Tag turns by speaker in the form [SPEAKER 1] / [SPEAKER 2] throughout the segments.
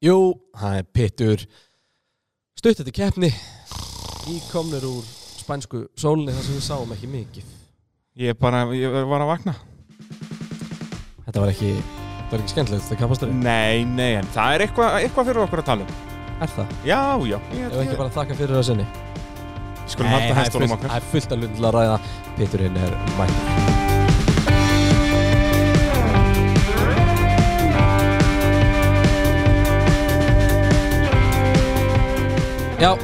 [SPEAKER 1] Jú, það er pittur stutt eftir keppni í komnir úr spænsku sólinni þar sem við sáum ekki mikið
[SPEAKER 2] Ég bara, ég var að vakna
[SPEAKER 1] Þetta var ekki, þetta var ekki skemmtilegt þetta kapastur
[SPEAKER 2] Nei, nei, en það er eitthvað eitthva fyrir okkur að tala um
[SPEAKER 1] Er það?
[SPEAKER 2] Já, já Ég,
[SPEAKER 1] Ef ekki bara þakka fyrir það sinni
[SPEAKER 2] Við Skulum halda
[SPEAKER 1] það er
[SPEAKER 2] hestunum
[SPEAKER 1] fullt-
[SPEAKER 2] okkar
[SPEAKER 1] það er fullt að lundla að ræða Pitturinn er mætt Já,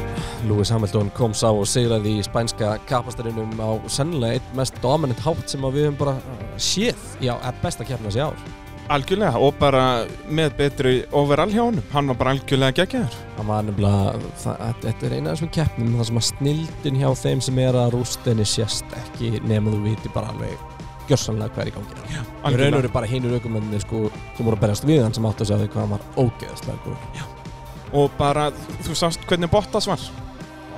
[SPEAKER 1] Lewis Hamilton kom sá og sigraði í spænska kapastarinnum á sennilega einn mest dominant hátt sem að við höfum bara uh, séð í á að besta keppna þessi ár.
[SPEAKER 2] Algjörlega, og bara með betri overall hjá honum Hann var bara algjörlega geggjaður
[SPEAKER 1] Það var nefnilega, það- þetta- þetta er eina af þessum keppnum þar sem að snildin hjá þeim sem er að rústinni sést ekki nema þú viti bara alveg gjörsanlega hvað er í gangi. Við raunum
[SPEAKER 2] Algjörlega.
[SPEAKER 1] eru bara hinur aukumennir sko sem voru að berjast við hann sem áttu að segja því hvað hann var ógeðslega góð.
[SPEAKER 2] Og bara, þú sást hvernig Bottas var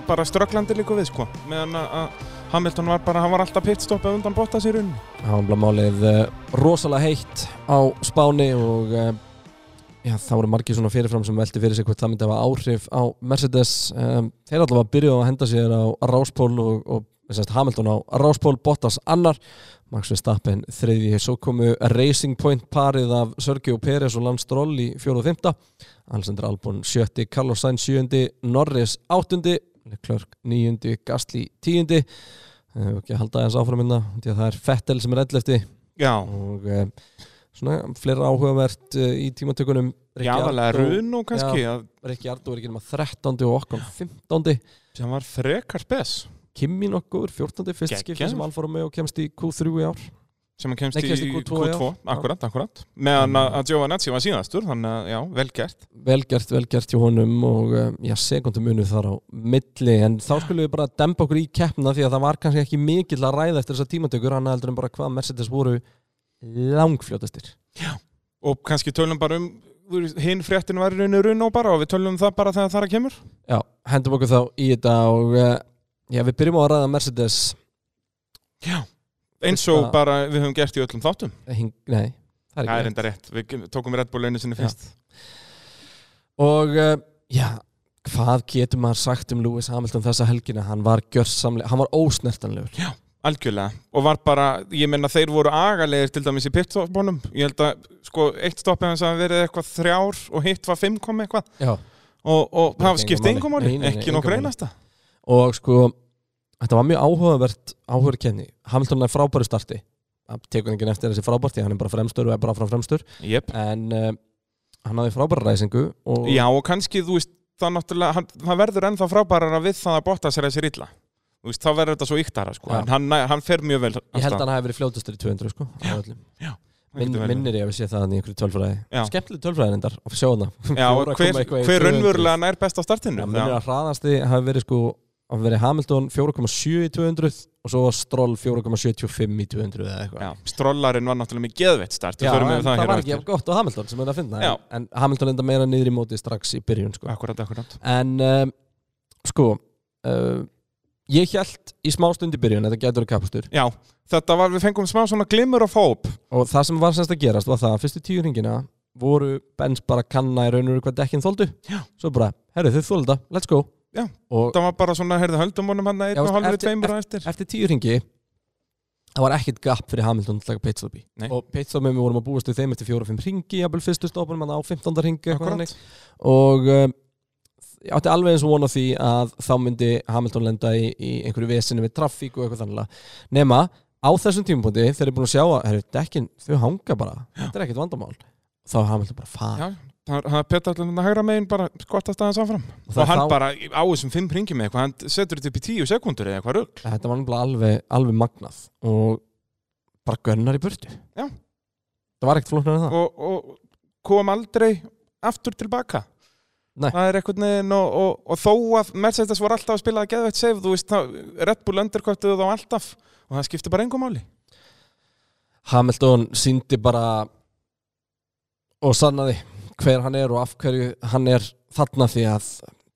[SPEAKER 2] Bara strögglandi líka við, sko Meðan að- að Hamilton var bara, hann var alltaf pitstoppað undan Bottas í runni
[SPEAKER 1] Það var bara málið eh, rosalega heitt á Spáni og eh, já, þá voru margir svona fyrirfram sem velti fyrir sig hvort það myndi hafa áhrif á Mercedes. Um, þeir allavega byrjuðu að henda sér á Ráspól og, og sérst, Hamilton á Ráspól, Bottas annar, Max Verstappen þriðji. Svo komu Racing Point parið af Sergio Pérez og Lance Stroll í fjóru og fymta. Alexander Albon sjötti, Carlos Sainz sjöndi, Norris áttundi, Leclerc níundi, Gastli tíundi. Það hefur ekki að halda aðeins áfram minna því að það er Fettel sem er ell eftir
[SPEAKER 2] Já,
[SPEAKER 1] og e, svona fleira áhugavert e, í tímatökunum Rikki
[SPEAKER 2] jáðalega
[SPEAKER 1] Ardó-
[SPEAKER 2] run og kannski að,
[SPEAKER 1] Rikki Ardó er ekki nema 13. og okkur 15.
[SPEAKER 2] sem var frekar spes
[SPEAKER 1] Kimi nokkur 14. fyrst skipti
[SPEAKER 2] Geggjaður.
[SPEAKER 1] sem Alfa Romeo kemst í Q3 í ár
[SPEAKER 2] sem hann kemst
[SPEAKER 1] Nei, kemst
[SPEAKER 2] í
[SPEAKER 1] í Q2,
[SPEAKER 2] Q2,
[SPEAKER 1] já.
[SPEAKER 2] akkurat, akkurat meðan
[SPEAKER 1] Mm.
[SPEAKER 2] að- að Giovanazzi var síðastur þannig að, já, vel gert
[SPEAKER 1] velgert, velgert hjá honum og e, já, sekundum unnu þar á milli en þá skulum við bara dempa okkur í keppna því að það var kannski ekki mikill að ræða eftir þessar tímatökur hann heldur en bara hvað Mercedes voru langfljótastir
[SPEAKER 2] og kannski tölum bara um þú veist, hinn fréttin var í rauninu runn og bara og við tölum um það bara þegar það er að kemur
[SPEAKER 1] Já, hendum okkur þá í þetta og uh, já, við byrjum á að ræða Mercedes
[SPEAKER 2] eins og
[SPEAKER 1] Fyrsta-
[SPEAKER 2] bara við höfum gert í öllum þáttum
[SPEAKER 1] Eh, hing, Nei, það er
[SPEAKER 2] það er
[SPEAKER 1] ekki rétt.
[SPEAKER 2] enda rétt, við ge- tókum Red Bull einu sinni fyrst
[SPEAKER 1] Og uh, já, hvað getur maður sagt um Lewis Hamilton þessa helgina? Hann var gjörsamlega, hann var ósnertanlegur
[SPEAKER 2] algjörlega og var bara, ég menna þeir voru agalegir til dæmis í pitstoppunum ég held að, sko, eitt stoppið hans hafi verið eitthvað þrjár og hitt var fimm kom eitthvað
[SPEAKER 1] Já
[SPEAKER 2] og, og
[SPEAKER 1] Nei,
[SPEAKER 2] það
[SPEAKER 1] engu
[SPEAKER 2] skipti
[SPEAKER 1] máli.
[SPEAKER 2] engum
[SPEAKER 1] Nei,
[SPEAKER 2] máli,
[SPEAKER 1] nei, nei,
[SPEAKER 2] ekki
[SPEAKER 1] engu
[SPEAKER 2] nokkur
[SPEAKER 1] máli.
[SPEAKER 2] einasta
[SPEAKER 1] Og sko, þetta var mjög áhugavert áhugaverð kenni Hamilton er frábæru starti Það tekur enginn eftir þessi frábært, því hann er bara fremstur og er bara áfram fremstur
[SPEAKER 2] yep.
[SPEAKER 1] En uh, hann hafði frábæra ræsingu og
[SPEAKER 2] Já og kannski þú veist það, náttúrulega, hann, það verður ennþá frábærara við það að botta sér þessi illa Þú veist, þá verður þetta svo yktara sko.
[SPEAKER 1] Já.
[SPEAKER 2] en hann, næ- hann fer mjög vel
[SPEAKER 1] Ég held að hann hafi verið fljótastur í 200 sko á öllum. Minn, minnir ég að við sé það hann í einhverju tölfræði
[SPEAKER 2] Já.
[SPEAKER 1] skemmtileg tölfræði endar og sjá hana
[SPEAKER 2] Já, og
[SPEAKER 1] Fjóra komma
[SPEAKER 2] hver,
[SPEAKER 1] eitthvað í
[SPEAKER 2] hver
[SPEAKER 1] 200.
[SPEAKER 2] raunverulega nær best á
[SPEAKER 1] Já,
[SPEAKER 2] startinu
[SPEAKER 1] minnir að hraðasti hafi verið sko hafi verið Hamilton 4,7 í 200 og svo var Stroll 4,75 í 200 eða eitthvað
[SPEAKER 2] Já, strollarinn var náttúrulega með geðveitt start
[SPEAKER 1] Já,
[SPEAKER 2] Við förum
[SPEAKER 1] en
[SPEAKER 2] yfir
[SPEAKER 1] það,
[SPEAKER 2] hér á
[SPEAKER 1] var ekki
[SPEAKER 2] eftir.
[SPEAKER 1] jafn gott á Hamilton sem er að finna
[SPEAKER 2] Já.
[SPEAKER 1] en, en Hamilton enda meira niður í móti strax í byrjun sko.
[SPEAKER 2] Akkurat, akkurat
[SPEAKER 1] en um, sko uh, ég held í smá stund í byrjun þetta getur kapstur
[SPEAKER 2] Já, þetta var, við fengum smá svona glimur af hóp
[SPEAKER 1] og það sem var semst að gerast var það að fyrstu tíu hringina voru Benz bara að kanna í raunur hvað dekkin þóldu
[SPEAKER 2] Já.
[SPEAKER 1] svo bara, herru þau þólda, let's go
[SPEAKER 2] Já.
[SPEAKER 1] og
[SPEAKER 2] Það var bara svona, heyrðu, höldum honum hann
[SPEAKER 1] Já,
[SPEAKER 2] einn og
[SPEAKER 1] veist,
[SPEAKER 2] halvri
[SPEAKER 1] eftir-
[SPEAKER 2] tveimur á eftir
[SPEAKER 1] eftir tíu ringi það var ekkert gap fyrir Hamilton til að taka pitstopi
[SPEAKER 2] Nei.
[SPEAKER 1] og pitstopum við vorum að búast við þeim eftir fjóra og fimm ringi jafnvel fyrstu stopunum hann á 15. ringi eitthvað
[SPEAKER 2] Akkurat.
[SPEAKER 1] þannig. og um, ég átti alveg eins og vona því að þá myndi Hamilton lenda í, í einhverju vesinu með trafík og eitthvað þannig nema á þessum tímapunkti þeir eru búin að sjá að herru, dekkin, þau hanga bara þetta er ekkert vandamál þá er Hamilton bara fara
[SPEAKER 2] Já, Það það peta allir hann að hægra megin bara skottast aðeins áfram
[SPEAKER 1] og,
[SPEAKER 2] Og
[SPEAKER 1] það er
[SPEAKER 2] hann
[SPEAKER 1] þá-
[SPEAKER 2] bara á þessum fimm ringjum eða eitthvað Hann setur þetta upp í tíu sekundur eða eitthvað rugg
[SPEAKER 1] þetta var nefnilega alveg, alveg magnað og bara gönnar í burtu
[SPEAKER 2] Já.
[SPEAKER 1] það var ekkert flóknar en það
[SPEAKER 2] og, og kom aldrei aftur tilbaka
[SPEAKER 1] Nei.
[SPEAKER 2] það er einhvern veginn og, og, og þó að Mercedes voru alltaf að spila að geðveitt save þú veist, það, Red Bull underkvartuðu þá alltaf og það skipti bara engum máli
[SPEAKER 1] Hamilton síndi bara og sannaði hver hann er og af hverju hann er þarna því að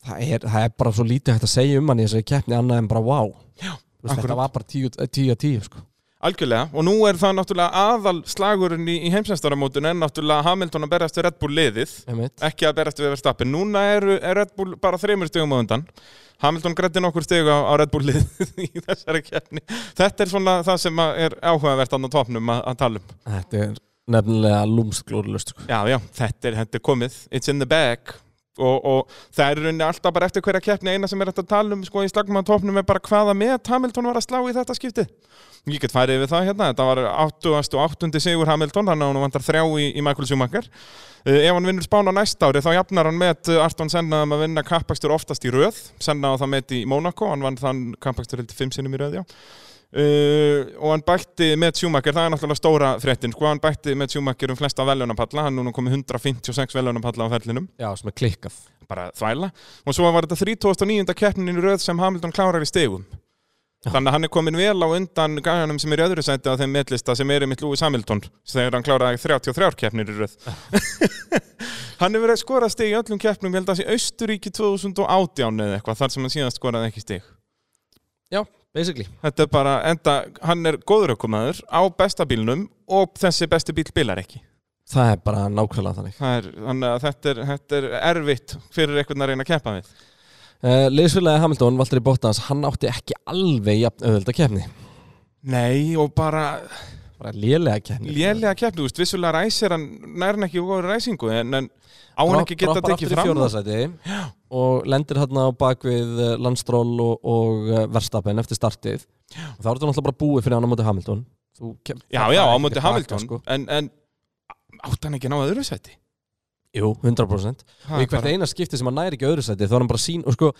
[SPEAKER 1] það er, það er bara svo lítið hægt að segja um hann í þessari keppni annað en bara wow Já, veist,
[SPEAKER 2] akkurat.
[SPEAKER 1] þetta var bara 10 10 af 10 sko.
[SPEAKER 2] Algjörlega, og nú er það náttúrulega aðal slagurinn í, í heimsmeistaramótinu en náttúrulega Hamilton að berast við Red Bull liðið
[SPEAKER 1] einmitt
[SPEAKER 2] ekki að berast við Verstappen. Núna er, er Red Bull bara þreymur stegum á undan. Hamilton grætti nokkur stegu á, á Red Bull liðið í þessari kefni. Þetta er svona það sem að er áhugavert annað tópnum að, að tala um.
[SPEAKER 1] Þetta er nefnilega sko. lúmsglóðlust
[SPEAKER 2] Já, já, þetta er, þetta er komið. It's in the bag. Og, og það er í rauninni alltaf bara eftir hverja keppni eina sem er þetta að tala um sko, í slagnum á tópnum er bara hvaða með Hamilton var að slá í þetta skipti ég get farið yfir það hérna, þetta var 88. sigur Hamilton, hann á hann vantar þrjá í, í Michael Schumacher uh, ef hann vinnur spána næsta ári þá jafnar hann met uh, Arton Senna um að vinna kappakstur oftast í röð Senna á það met í Monaco, hann vann þann kappakstur heldur fimm sinnum í röð, já Uh, og hann bætti með Schumacher, það er náttúrulega stóra fréttin, sko, hann bætti með Schumacher um flesta veljónapalla, hann er núna komið 156 veljónapalla á ferlinum
[SPEAKER 1] Já, sem er klikkað
[SPEAKER 2] bara þvæla og svo var þetta 39. keppnin í röð sem Hamilton klárar í stegum þannig að hann er komin vel á undan gæjanum sem er í öðru sæti á þeim metlista sem er einmitt Lewis Hamilton þegar hann kláraði 33 keppnir í röð hann hefur verið að skora steg í öllum keppnum, ég held að það sé Austuríki 2018 eða eitthvað, þar sem hann síðan skoraði ekki steg
[SPEAKER 1] Já, basically
[SPEAKER 2] þetta er bara, enda, hann er góður ökumæður á besta bílnum og þessi besti bíl bilar ekki
[SPEAKER 1] Það er bara nákvæmlega þannig
[SPEAKER 2] Það er, þannig að þetta er, þetta er erfitt fyrir einhvern að reyna að keppa við
[SPEAKER 1] uh, Leysfélagi Hamilton, Valtteri Bottas Hann átti ekki alveg jafn auðvölda kefni
[SPEAKER 2] Nei, og bara
[SPEAKER 1] Bara lélega kefni
[SPEAKER 2] lélega keppni, þú veist, vissulega ræsir hann nærna ekki góður ræsingu en, en á hann ekki geta
[SPEAKER 1] Droppar
[SPEAKER 2] tekið
[SPEAKER 1] aftur í
[SPEAKER 2] fram úr.
[SPEAKER 1] fjórðasæti og lendir hérna á bak við landstról og, og eh, Verstappen eftir startið og þá er þetta náttúrulega bara búið fyrir hann á móti Hamilton Þú kem,
[SPEAKER 2] Já,
[SPEAKER 1] það
[SPEAKER 2] já,
[SPEAKER 1] er
[SPEAKER 2] á
[SPEAKER 1] ekki
[SPEAKER 2] móti
[SPEAKER 1] tilbaka,
[SPEAKER 2] Hamilton
[SPEAKER 1] sko.
[SPEAKER 2] en, en átt hann ekki að ná öðru sæti
[SPEAKER 1] Jú, 100%
[SPEAKER 2] Ha,
[SPEAKER 1] og í hvert
[SPEAKER 2] bara-
[SPEAKER 1] eina skipti sem hann næri ekki öðru sæti þá er hann bara sín og sko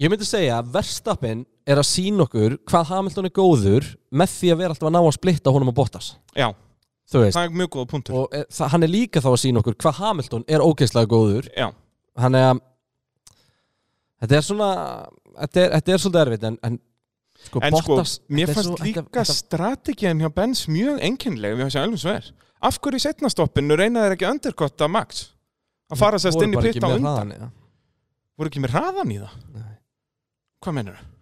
[SPEAKER 1] ég myndi segja að Verstappen er að sín okkur hvað Hamilton er góður með því að vera alltaf að ná að splitta honum að Bottas
[SPEAKER 2] Já,
[SPEAKER 1] þú veist
[SPEAKER 2] það er mjög góða punktur
[SPEAKER 1] og er, það, hann er líka þá að sín okkur hvað Hamilton er ógeðslega góður
[SPEAKER 2] Já,
[SPEAKER 1] hann er að þetta er svona þetta er, þetta er svolítið erfitt en, en sko
[SPEAKER 2] en sko,
[SPEAKER 1] Bottas
[SPEAKER 2] mér
[SPEAKER 1] þetta er
[SPEAKER 2] fannst
[SPEAKER 1] svo-
[SPEAKER 2] líka
[SPEAKER 1] þetta- þetta-
[SPEAKER 2] strategiðan hjá Benz mjög enginlega við þessi alveg sver Af hverju í setna stoppinu reynaði þeir ekki að underkotta Max að fara sérst
[SPEAKER 1] voru
[SPEAKER 2] inn í
[SPEAKER 1] bara
[SPEAKER 2] pitt
[SPEAKER 1] ekki
[SPEAKER 2] á
[SPEAKER 1] með
[SPEAKER 2] undan
[SPEAKER 1] hraðan, ja.
[SPEAKER 2] Voru ekki með hraðan í það?
[SPEAKER 1] Nei.
[SPEAKER 2] Hvað mennur það?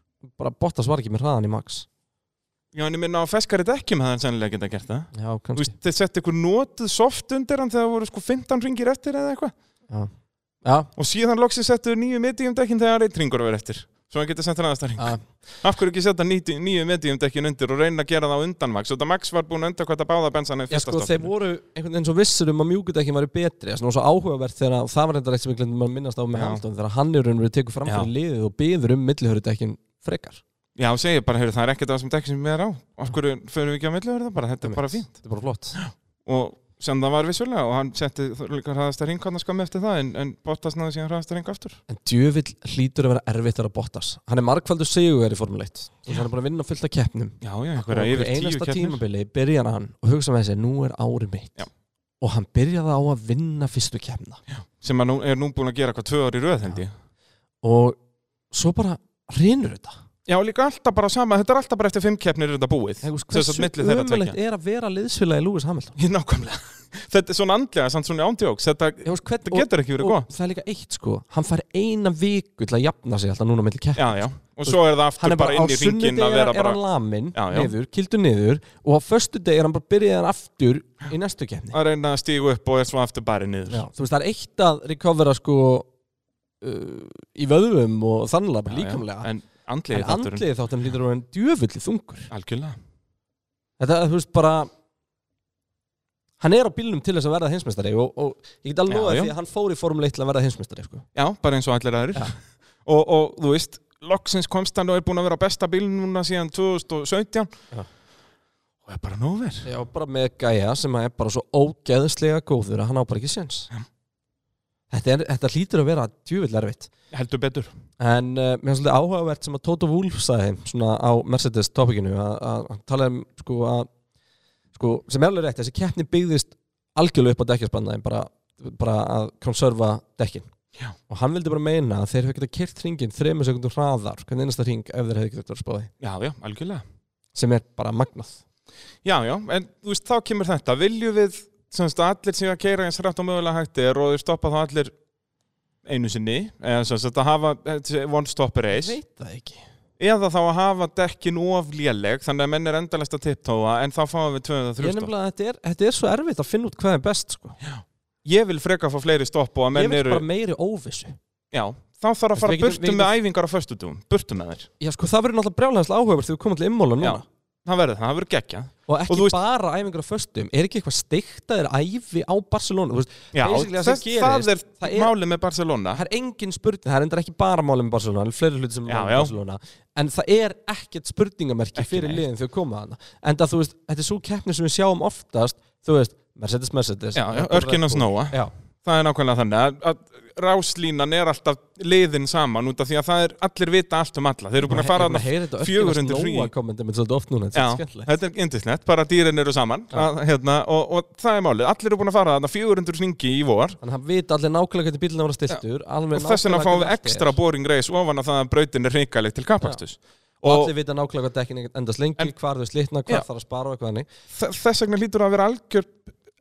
[SPEAKER 1] bara Bottas var ekki með hraðan í Max
[SPEAKER 2] Já, en ég minna á feskari dekkjum hefði hann sennilega geta gert það
[SPEAKER 1] já,
[SPEAKER 2] Þú
[SPEAKER 1] kannski
[SPEAKER 2] veist, þeir sett eitthvað notuð soft undir hann þegar það voru sko 15 ringir eftir eða eitthvað
[SPEAKER 1] já,
[SPEAKER 2] og síðan loksins settu þeir nýju medium dekkin þegar eitt ringur verið eftir svo hann getur sett hann aðasta ring
[SPEAKER 1] já,
[SPEAKER 2] af hverju ekki setja nýju, nýju medium dekkin undir og reyna að gera það á undan Max og þetta Max var búin að undan hvað það báða bensana í
[SPEAKER 1] já
[SPEAKER 2] fyrsta
[SPEAKER 1] sko, þeir
[SPEAKER 2] stoppinu.
[SPEAKER 1] voru einhvern veginn svo vissur um að mjúkudekkin væri betri það er svona svo áhugavert þegar að- og það var þetta reitt sem við glendum að minnast á með
[SPEAKER 2] Já.
[SPEAKER 1] Hamilton þegar hann er raunverið tekur fram
[SPEAKER 2] Já.
[SPEAKER 1] fyrir liðið og byður um millihörudekkin frekar
[SPEAKER 2] Já, og segir bara, heyrðu, það er ekkert af þessum dekkin sem við er á af hverju förum við ekki á milli verið það bara, þetta er bara fín
[SPEAKER 1] þetta er bara flott
[SPEAKER 2] og sem það var vissulega og hann setti þó- líka hraðasta ring hann að skamma eftir það en, en Bottas náði síðan hraðasta ring aftur
[SPEAKER 1] En djöfill hlýtur að vera erfitt að Bottas Hann er margfaldur sigur í Formule 1 Þú veist, Hann er bara að vinna fullt af keppnum
[SPEAKER 2] Já, já,
[SPEAKER 1] Og
[SPEAKER 2] einhverja
[SPEAKER 1] okkur
[SPEAKER 2] yfir tíu
[SPEAKER 1] einasta
[SPEAKER 2] keppnir
[SPEAKER 1] tímabili byrjar hann og hugsa með þessi, nú er árið mitt
[SPEAKER 2] Já.
[SPEAKER 1] og hann byrjaði á að vinna fyrstu keppna
[SPEAKER 2] sem hann nú- er nú búin að gera hvað tvö ár í röð held ég
[SPEAKER 1] og svo bara hrynur þetta
[SPEAKER 2] Já, líka alltaf bara sama, þetta er alltaf bara eftir fimm keppnir er þetta búið.
[SPEAKER 1] Þú veist,
[SPEAKER 2] Sem sagt, milli
[SPEAKER 1] Hversu
[SPEAKER 2] þeirra
[SPEAKER 1] ömulegt er að vera liðsfélagi Lewis Hamilton
[SPEAKER 2] Ég nákvæmlega. Þetta er svona andlega, samt svona ándjóks, þetta,
[SPEAKER 1] Ég veist, hvern,
[SPEAKER 2] þetta getur ekki verið
[SPEAKER 1] og,
[SPEAKER 2] góð.
[SPEAKER 1] og það er líka eitt sko hann fær eina viku til að jafna sig alltaf núna mellir keppna
[SPEAKER 2] Já, já, og svo er það
[SPEAKER 1] hann
[SPEAKER 2] aftur
[SPEAKER 1] er
[SPEAKER 2] bara
[SPEAKER 1] bara,
[SPEAKER 2] inn
[SPEAKER 1] á
[SPEAKER 2] í ringin
[SPEAKER 1] sunnudegi
[SPEAKER 2] að
[SPEAKER 1] er,
[SPEAKER 2] vera
[SPEAKER 1] er
[SPEAKER 2] bara,
[SPEAKER 1] hann lamin
[SPEAKER 2] Já, já.
[SPEAKER 1] niður, kildur niður og á föstudegi er hann bara byrjaðan aftur í næstu keppni
[SPEAKER 2] að reyna að stígu upp og er svo aftur bara niður.
[SPEAKER 1] Já, þú veist, það er eitt að recovera sko uh, í vöðum og þannlega bara
[SPEAKER 2] Já, já.
[SPEAKER 1] líkamlega
[SPEAKER 2] En andlega
[SPEAKER 1] en
[SPEAKER 2] þátturinn,
[SPEAKER 1] andlið þáttan hlýtur að vera en djöfulli þungur
[SPEAKER 2] algjörlega.
[SPEAKER 1] þetta, þú veist, bara hann er á bílnum til þess að verða heimsmeistari og, og ég get alveg
[SPEAKER 2] Já,
[SPEAKER 1] loðið
[SPEAKER 2] já.
[SPEAKER 1] því að hann fór í formule 1 til að verða heimsmeistari sko.
[SPEAKER 2] Já, bara eins og allir aðrir.
[SPEAKER 1] Já.
[SPEAKER 2] Og, og þú veist, loksins komst hann og er búin að vera á besta bíl núna síðan 2017
[SPEAKER 1] Já.
[SPEAKER 2] og er bara nóver.
[SPEAKER 1] já, bara með gæja sem er bara svo ógeðslega góður að hann á bara ekki séns þetta, er, þetta hlýtur að vera djöfull erfitt
[SPEAKER 2] Heldur betur.
[SPEAKER 1] En uh, mér finnst svolítið áhugavert sem að Toto Wolff sagði svona á Mercedes topikinu að að hann talaði um sko að sko, sem er alveg rétt, þessi keppni byggðist algjörlega upp á dekkjarspannaðin bara, bara að konserva dekkin
[SPEAKER 2] Já.
[SPEAKER 1] og hann vildi bara meina að þeir hefði getað kert hringin þremur sekundum hraðar hvernig einasta hring ef þeir hefði getað verið að spáði
[SPEAKER 2] Já, já, algjörlega.
[SPEAKER 1] sem er bara magnað
[SPEAKER 2] Já, já, en þú veist, þá kemur þetta. Viljum við semst, að allir sem að keira eins rætt og mögulega hægt er og þeir stoppa þá allir einu sinni, eða semst, að hafa eh, one stop
[SPEAKER 1] Ég
[SPEAKER 2] race.
[SPEAKER 1] veit það ekki
[SPEAKER 2] eða þá að hafa dekkin of léleg þannig að menn er endalest að tipptóa en þá fáum við
[SPEAKER 1] Ég
[SPEAKER 2] 200 stopp
[SPEAKER 1] nefnilega, þetta er, þetta er svo erfitt að finna út hvað er best sko.
[SPEAKER 2] ég vil freka að fá fleiri stopp og
[SPEAKER 1] Ég
[SPEAKER 2] að menn
[SPEAKER 1] vil
[SPEAKER 2] eru
[SPEAKER 1] bara meiri óvissu
[SPEAKER 2] já, þá þarf að
[SPEAKER 1] Við
[SPEAKER 2] fara
[SPEAKER 1] getum-
[SPEAKER 2] burtu
[SPEAKER 1] við getum-
[SPEAKER 2] með æfingar á föstudum burtu með þér,
[SPEAKER 1] Já sko, það verður náttúrulega brjálæðislega áhugavert þegar við komum til immóla núna
[SPEAKER 2] Já. það verður það, það verður geggja
[SPEAKER 1] Og ekki
[SPEAKER 2] Og þú veist-
[SPEAKER 1] bara æfingar á föstum Er ekki eitthvað steikt að þeir æfi á Barcelona Þú veist,
[SPEAKER 2] já,
[SPEAKER 1] Basically það sem
[SPEAKER 2] þess, það er
[SPEAKER 1] gerist, það er-
[SPEAKER 2] málið með Barcelona
[SPEAKER 1] Það er engin spurning, það er endur ekki bara málið með Barcelona Það er fleiri hluti sem
[SPEAKER 2] Já,
[SPEAKER 1] er
[SPEAKER 2] já.
[SPEAKER 1] með Barcelona En það er ekkert spurningamerki
[SPEAKER 2] Ekki
[SPEAKER 1] fyrir
[SPEAKER 2] neitt.
[SPEAKER 1] liðin þegar við koma hana En það, þú veist, þetta er svo keppni sem við sjáum oftast Þú veist, Mercedes, Mercedes
[SPEAKER 2] já,
[SPEAKER 1] Red Bull, Red
[SPEAKER 2] örkinn að
[SPEAKER 1] Bull.
[SPEAKER 2] snóa
[SPEAKER 1] Já,
[SPEAKER 2] það er nákvæmlega þannig að, að ráslínan er alltaf liðin saman út af því að það er allir vita allt um alla þeir eru búin að fara
[SPEAKER 1] Ég er búin að heyra þetta
[SPEAKER 2] 400
[SPEAKER 1] örkinn að
[SPEAKER 2] frí.
[SPEAKER 1] snóa kommenta mitt svolítið oft núna, þetta er
[SPEAKER 2] Já,
[SPEAKER 1] skemmtilegt
[SPEAKER 2] þetta er yndislegt, bara dýrin eru saman
[SPEAKER 1] Já.
[SPEAKER 2] að, hérna, og, og það er málið, allir eru búin að fara þarna 400 ringi í vor
[SPEAKER 1] Þannig að hann vita allir nákvæmlega hvernig bílina voru stiltur alveg
[SPEAKER 2] og þess vegna
[SPEAKER 1] nákvæmlega
[SPEAKER 2] fáum við
[SPEAKER 1] hvernig allt
[SPEAKER 2] ekstra boring race ofan að það að brautin er hrikaleg til kapakstus
[SPEAKER 1] er. og
[SPEAKER 2] og
[SPEAKER 1] allir vita nákvæmlega hvað dekkin endast lengi
[SPEAKER 2] En-
[SPEAKER 1] hvar þau slitna, hvar
[SPEAKER 2] Já.
[SPEAKER 1] þarf að spara og eitthvað þannig
[SPEAKER 2] þ- þess vegna lítur að vera algjör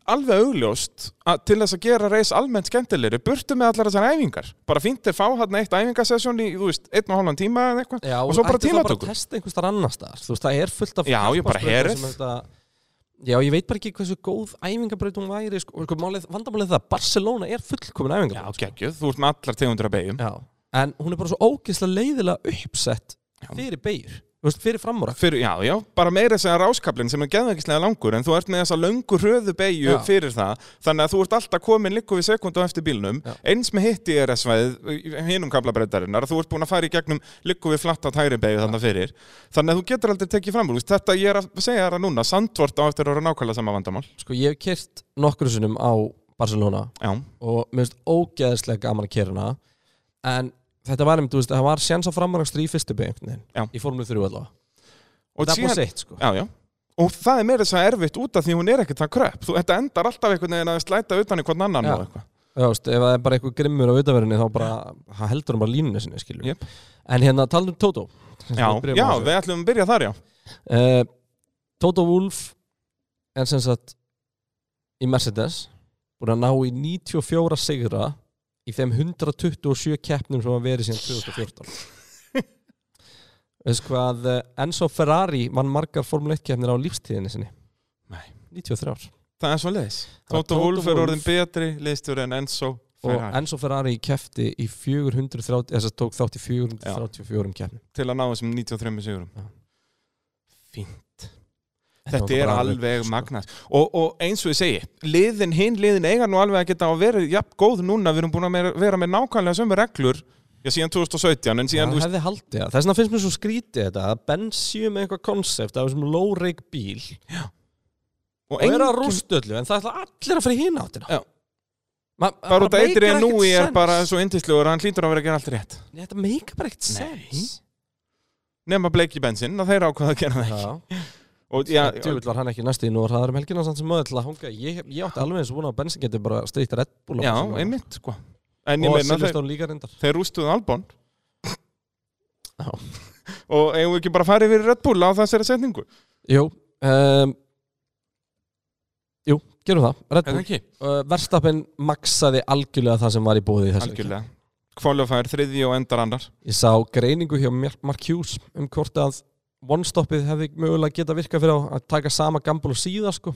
[SPEAKER 2] alveg augljóst að, til þess að gera reis almennt skemmtilegri, burtu með allar þessar æfingar bara fínt er fá hann eitt æfingasessjón í, þú veist, einn og hálfan tíma eða eitthvað
[SPEAKER 1] Já,
[SPEAKER 2] og svo bara
[SPEAKER 1] ætti þá
[SPEAKER 2] tímatökur
[SPEAKER 1] bara að testa einhvers þar annars þar þú veist, það er fullt af
[SPEAKER 2] Já, ég bara
[SPEAKER 1] kappaksbrautum
[SPEAKER 2] herið.
[SPEAKER 1] sem þetta- Já, ég veit bara ekki hversu góð æfingabraut hún væri sko, og sko, málið- vandamálið er það, Barcelona er fullkomin
[SPEAKER 2] Já,
[SPEAKER 1] æfingabraut sko.
[SPEAKER 2] geggjuð, þú ert með allar tegundur að beigjum
[SPEAKER 1] Já. En hún er bara svo ógeðslega leiðilega uppsett
[SPEAKER 2] Já.
[SPEAKER 1] fyrir beigur, þú veist, fyrir framúra
[SPEAKER 2] Fyrir, já, já, bara meira þess að ráskablinn sem er geðveikislega langur en þú ert með þessa löngu hröðu beigju
[SPEAKER 1] Já.
[SPEAKER 2] fyrir það þannig að þú ert alltaf komin líku við sekundu á eftir bílnum
[SPEAKER 1] Já.
[SPEAKER 2] eins með hitt E í RS-væð hinum kablabrettarinnar þú ert búin að fara í gegnum líku við flatta tæri beigju þannig fyrir þannig að þú getur aldrei tekið fram úr Þú veist, þetta ég er að segja þér að núna sandvort á eftir að vera nákvæmlega sama vandamál
[SPEAKER 1] Sko, ég hef kert nokkru sinnum á Barcelona
[SPEAKER 2] Já,
[SPEAKER 1] og mér finnst ógeðslega gaman að kera hana en þetta var einmitt, þú veist, það var séns á framarakstri í fyrstu beigjöfnin
[SPEAKER 2] Já.
[SPEAKER 1] í formule 3 allavega
[SPEAKER 2] og,
[SPEAKER 1] það var
[SPEAKER 2] síðan,
[SPEAKER 1] sitt, sko
[SPEAKER 2] já, já. og það er meira þess að erfitt út af því hún er ekkert það kröpp þú, þetta endar alltaf einhvern veginn að slæta utan í hvern annan
[SPEAKER 1] Já.
[SPEAKER 2] og eitthvað.
[SPEAKER 1] Þú veist, ef það er bara eitthvað grimmur á auðaverinni þá bara, það heldur hann bara línunni sinni, skilur
[SPEAKER 2] Jep.
[SPEAKER 1] en hérna, talum um Toto sem
[SPEAKER 2] Já,
[SPEAKER 1] við byrjum
[SPEAKER 2] já,
[SPEAKER 1] á þessu.
[SPEAKER 2] við ætlum að byrja þar, já
[SPEAKER 1] Eh, Toto Wolf er sem sagt í Mercedes búin að ná í 94 sigra í þeim 127 keppnum sem hann verið síðan 2014 veist hvað eh, Enzo Ferrari vann margar Formule 1 keppnir á lífstíðinni sinni
[SPEAKER 2] Nei.
[SPEAKER 1] 93
[SPEAKER 2] Það er svo leiðis.
[SPEAKER 1] Það er
[SPEAKER 2] Tóta
[SPEAKER 1] Toto
[SPEAKER 2] Wolf er
[SPEAKER 1] Wolff.
[SPEAKER 2] orðin betri liðstjóri en Enzo
[SPEAKER 1] og
[SPEAKER 2] Ferrari
[SPEAKER 1] Enzo Ferrari keppti í 430 þess að tók þátt í 434 keppnum
[SPEAKER 2] til að ná þessum 93 sigurum.
[SPEAKER 1] Já.
[SPEAKER 2] Fínt.
[SPEAKER 1] var
[SPEAKER 2] Þetta er
[SPEAKER 1] bara
[SPEAKER 2] alveg
[SPEAKER 1] sko.
[SPEAKER 2] magnað. Og, og eins og ég segi, liðin, hinn liðin eiga nú alveg að geta að vera jafn góð núna. Við erum búin að meira- vera með nákvæmlega sömu reglur já, síðan 2017, en
[SPEAKER 1] Það
[SPEAKER 2] síðan, þú veist,
[SPEAKER 1] hefði haldið það. Þess vegna finnst mér svo skrítið þetta að bensíu með eitthvað konsept af þessum low-rake bíl
[SPEAKER 2] og
[SPEAKER 1] og er að
[SPEAKER 2] engin-
[SPEAKER 1] rústa öllu en það ætla allir að fara í hina áttina
[SPEAKER 2] Já.
[SPEAKER 1] Ma,
[SPEAKER 2] Bara út að
[SPEAKER 1] meikar
[SPEAKER 2] Adrian
[SPEAKER 1] ekkert
[SPEAKER 2] Nui er
[SPEAKER 1] sens.
[SPEAKER 2] bara svo yndislegur, hann hlýtur að vera að gera allt rétt.
[SPEAKER 1] Nei, Þetta meikar bara ekkert
[SPEAKER 2] Nei.
[SPEAKER 1] sens
[SPEAKER 2] Nefna Blake í bensinn, að þeir ákvaða að gera það ekki.
[SPEAKER 1] Já,
[SPEAKER 2] Og,
[SPEAKER 1] já
[SPEAKER 2] já,
[SPEAKER 1] Djúvill var hann ekki næstu í nú og hraðar um helgina samt sem maður til að hanga ég, ég átti alveg eins og vona að bensin getur bara stýtt Red Bull á
[SPEAKER 2] já,
[SPEAKER 1] Barcelona.
[SPEAKER 2] einmitt, sko. En ég
[SPEAKER 1] Og
[SPEAKER 2] meina, þeir,
[SPEAKER 1] Silvestón líka reyndar
[SPEAKER 2] þeir rústuðu um Albon
[SPEAKER 1] Já.
[SPEAKER 2] og eigum við ekki bara að fara yfir Red Bull á þessari setningu
[SPEAKER 1] Jú um, Jú, gerum það Red Bull
[SPEAKER 2] ekki?
[SPEAKER 1] uh, Verstappen maxaði algjörlega það sem var í bóði í þessari keppni.
[SPEAKER 2] algjörlega Qualifier þriði og endar annar
[SPEAKER 1] Ég sá greiningu hjá Mar- Mark Hughes um hvort að one-stoppið hefði mögulega geta virkað fyrir á að taka sama gambul og síða sko.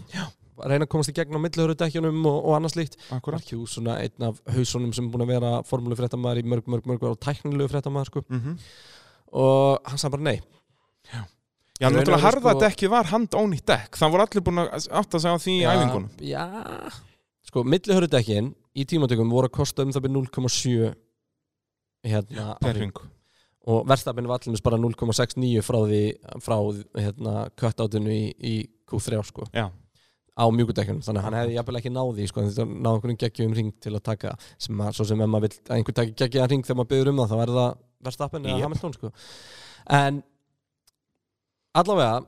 [SPEAKER 1] Að reyna að komast í gegn á millihörudekjunum og, og annað slíkt
[SPEAKER 2] Akkurat
[SPEAKER 1] Mark Hughes, svona einn af hausunum sem er búin að vera formúlu fréttamaður í mörg, mörg, mörg ár og tæknilegu fréttamaður sko.
[SPEAKER 2] mm -hmm.
[SPEAKER 1] og hann sagði bara nei
[SPEAKER 2] Já,
[SPEAKER 1] Í raun og
[SPEAKER 2] náttúrulega
[SPEAKER 1] veru,
[SPEAKER 2] harða
[SPEAKER 1] sko-
[SPEAKER 2] dekkið var handónýtt dekk Það voru allir búin að átt að segja á því í æfingunum
[SPEAKER 1] Já, sko, millihörudekjun í tímatökum voru að kosta um það byrja 0,7 hérna á hring.
[SPEAKER 2] Perring
[SPEAKER 1] og verðstafinu var allir bara 0,69 frá því frá hérna cutoutinu í, í Q3 sko
[SPEAKER 2] Já,
[SPEAKER 1] á mjúkudekkunum þannig að hann hefði jafnvel ekki náði sko, en þetta náði einhverjum geggjum ring til að taka sem að, svo sem ef maður vill að einhver taki geggjaðan ring þegar maður byður um það, þá er það verðstappen eða
[SPEAKER 2] Jep.
[SPEAKER 1] Hamilton sko en allavega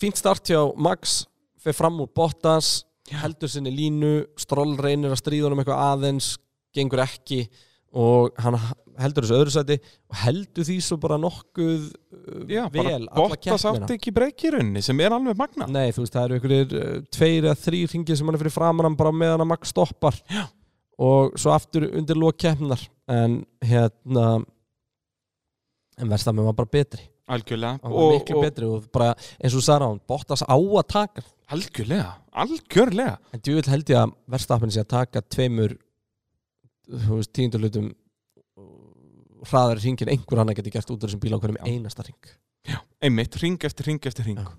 [SPEAKER 1] fínt start hjá Max fer fram úr Bottas heldur sinni línu, Stroll reynir að stríða honum eitthvað aðeins, gengur ekki og hann heldur þessu öðru sæti og heldur því svo bara nokkuð uh,
[SPEAKER 2] já bara
[SPEAKER 1] vel alla
[SPEAKER 2] Bottas
[SPEAKER 1] keppnina.
[SPEAKER 2] átt ekki breykirunni sem er alveg magnað
[SPEAKER 1] Nei, þú veist, það eru einhverjir uh, tveir eða þrýr ringir sem hann er fyrir framan hann bara meðan að Max stoppar
[SPEAKER 2] Já.
[SPEAKER 1] og svo aftur undir lók keppnar en hérna en verðst það með maður bara betri
[SPEAKER 2] algjörlega
[SPEAKER 1] hann var miklu betri og bara eins og Sara hann Bottas á að taka
[SPEAKER 2] algjörlega, algjörlega
[SPEAKER 1] en djúvill held ég að verðstafnir sé að taka tveimur þú veist, tíundurlutum hraðar hringin einhver annar geti gert út af þessum bíl á hverjum
[SPEAKER 2] Já.
[SPEAKER 1] einasta hring
[SPEAKER 2] einmitt, ring eftir ring eftir ring
[SPEAKER 1] Já.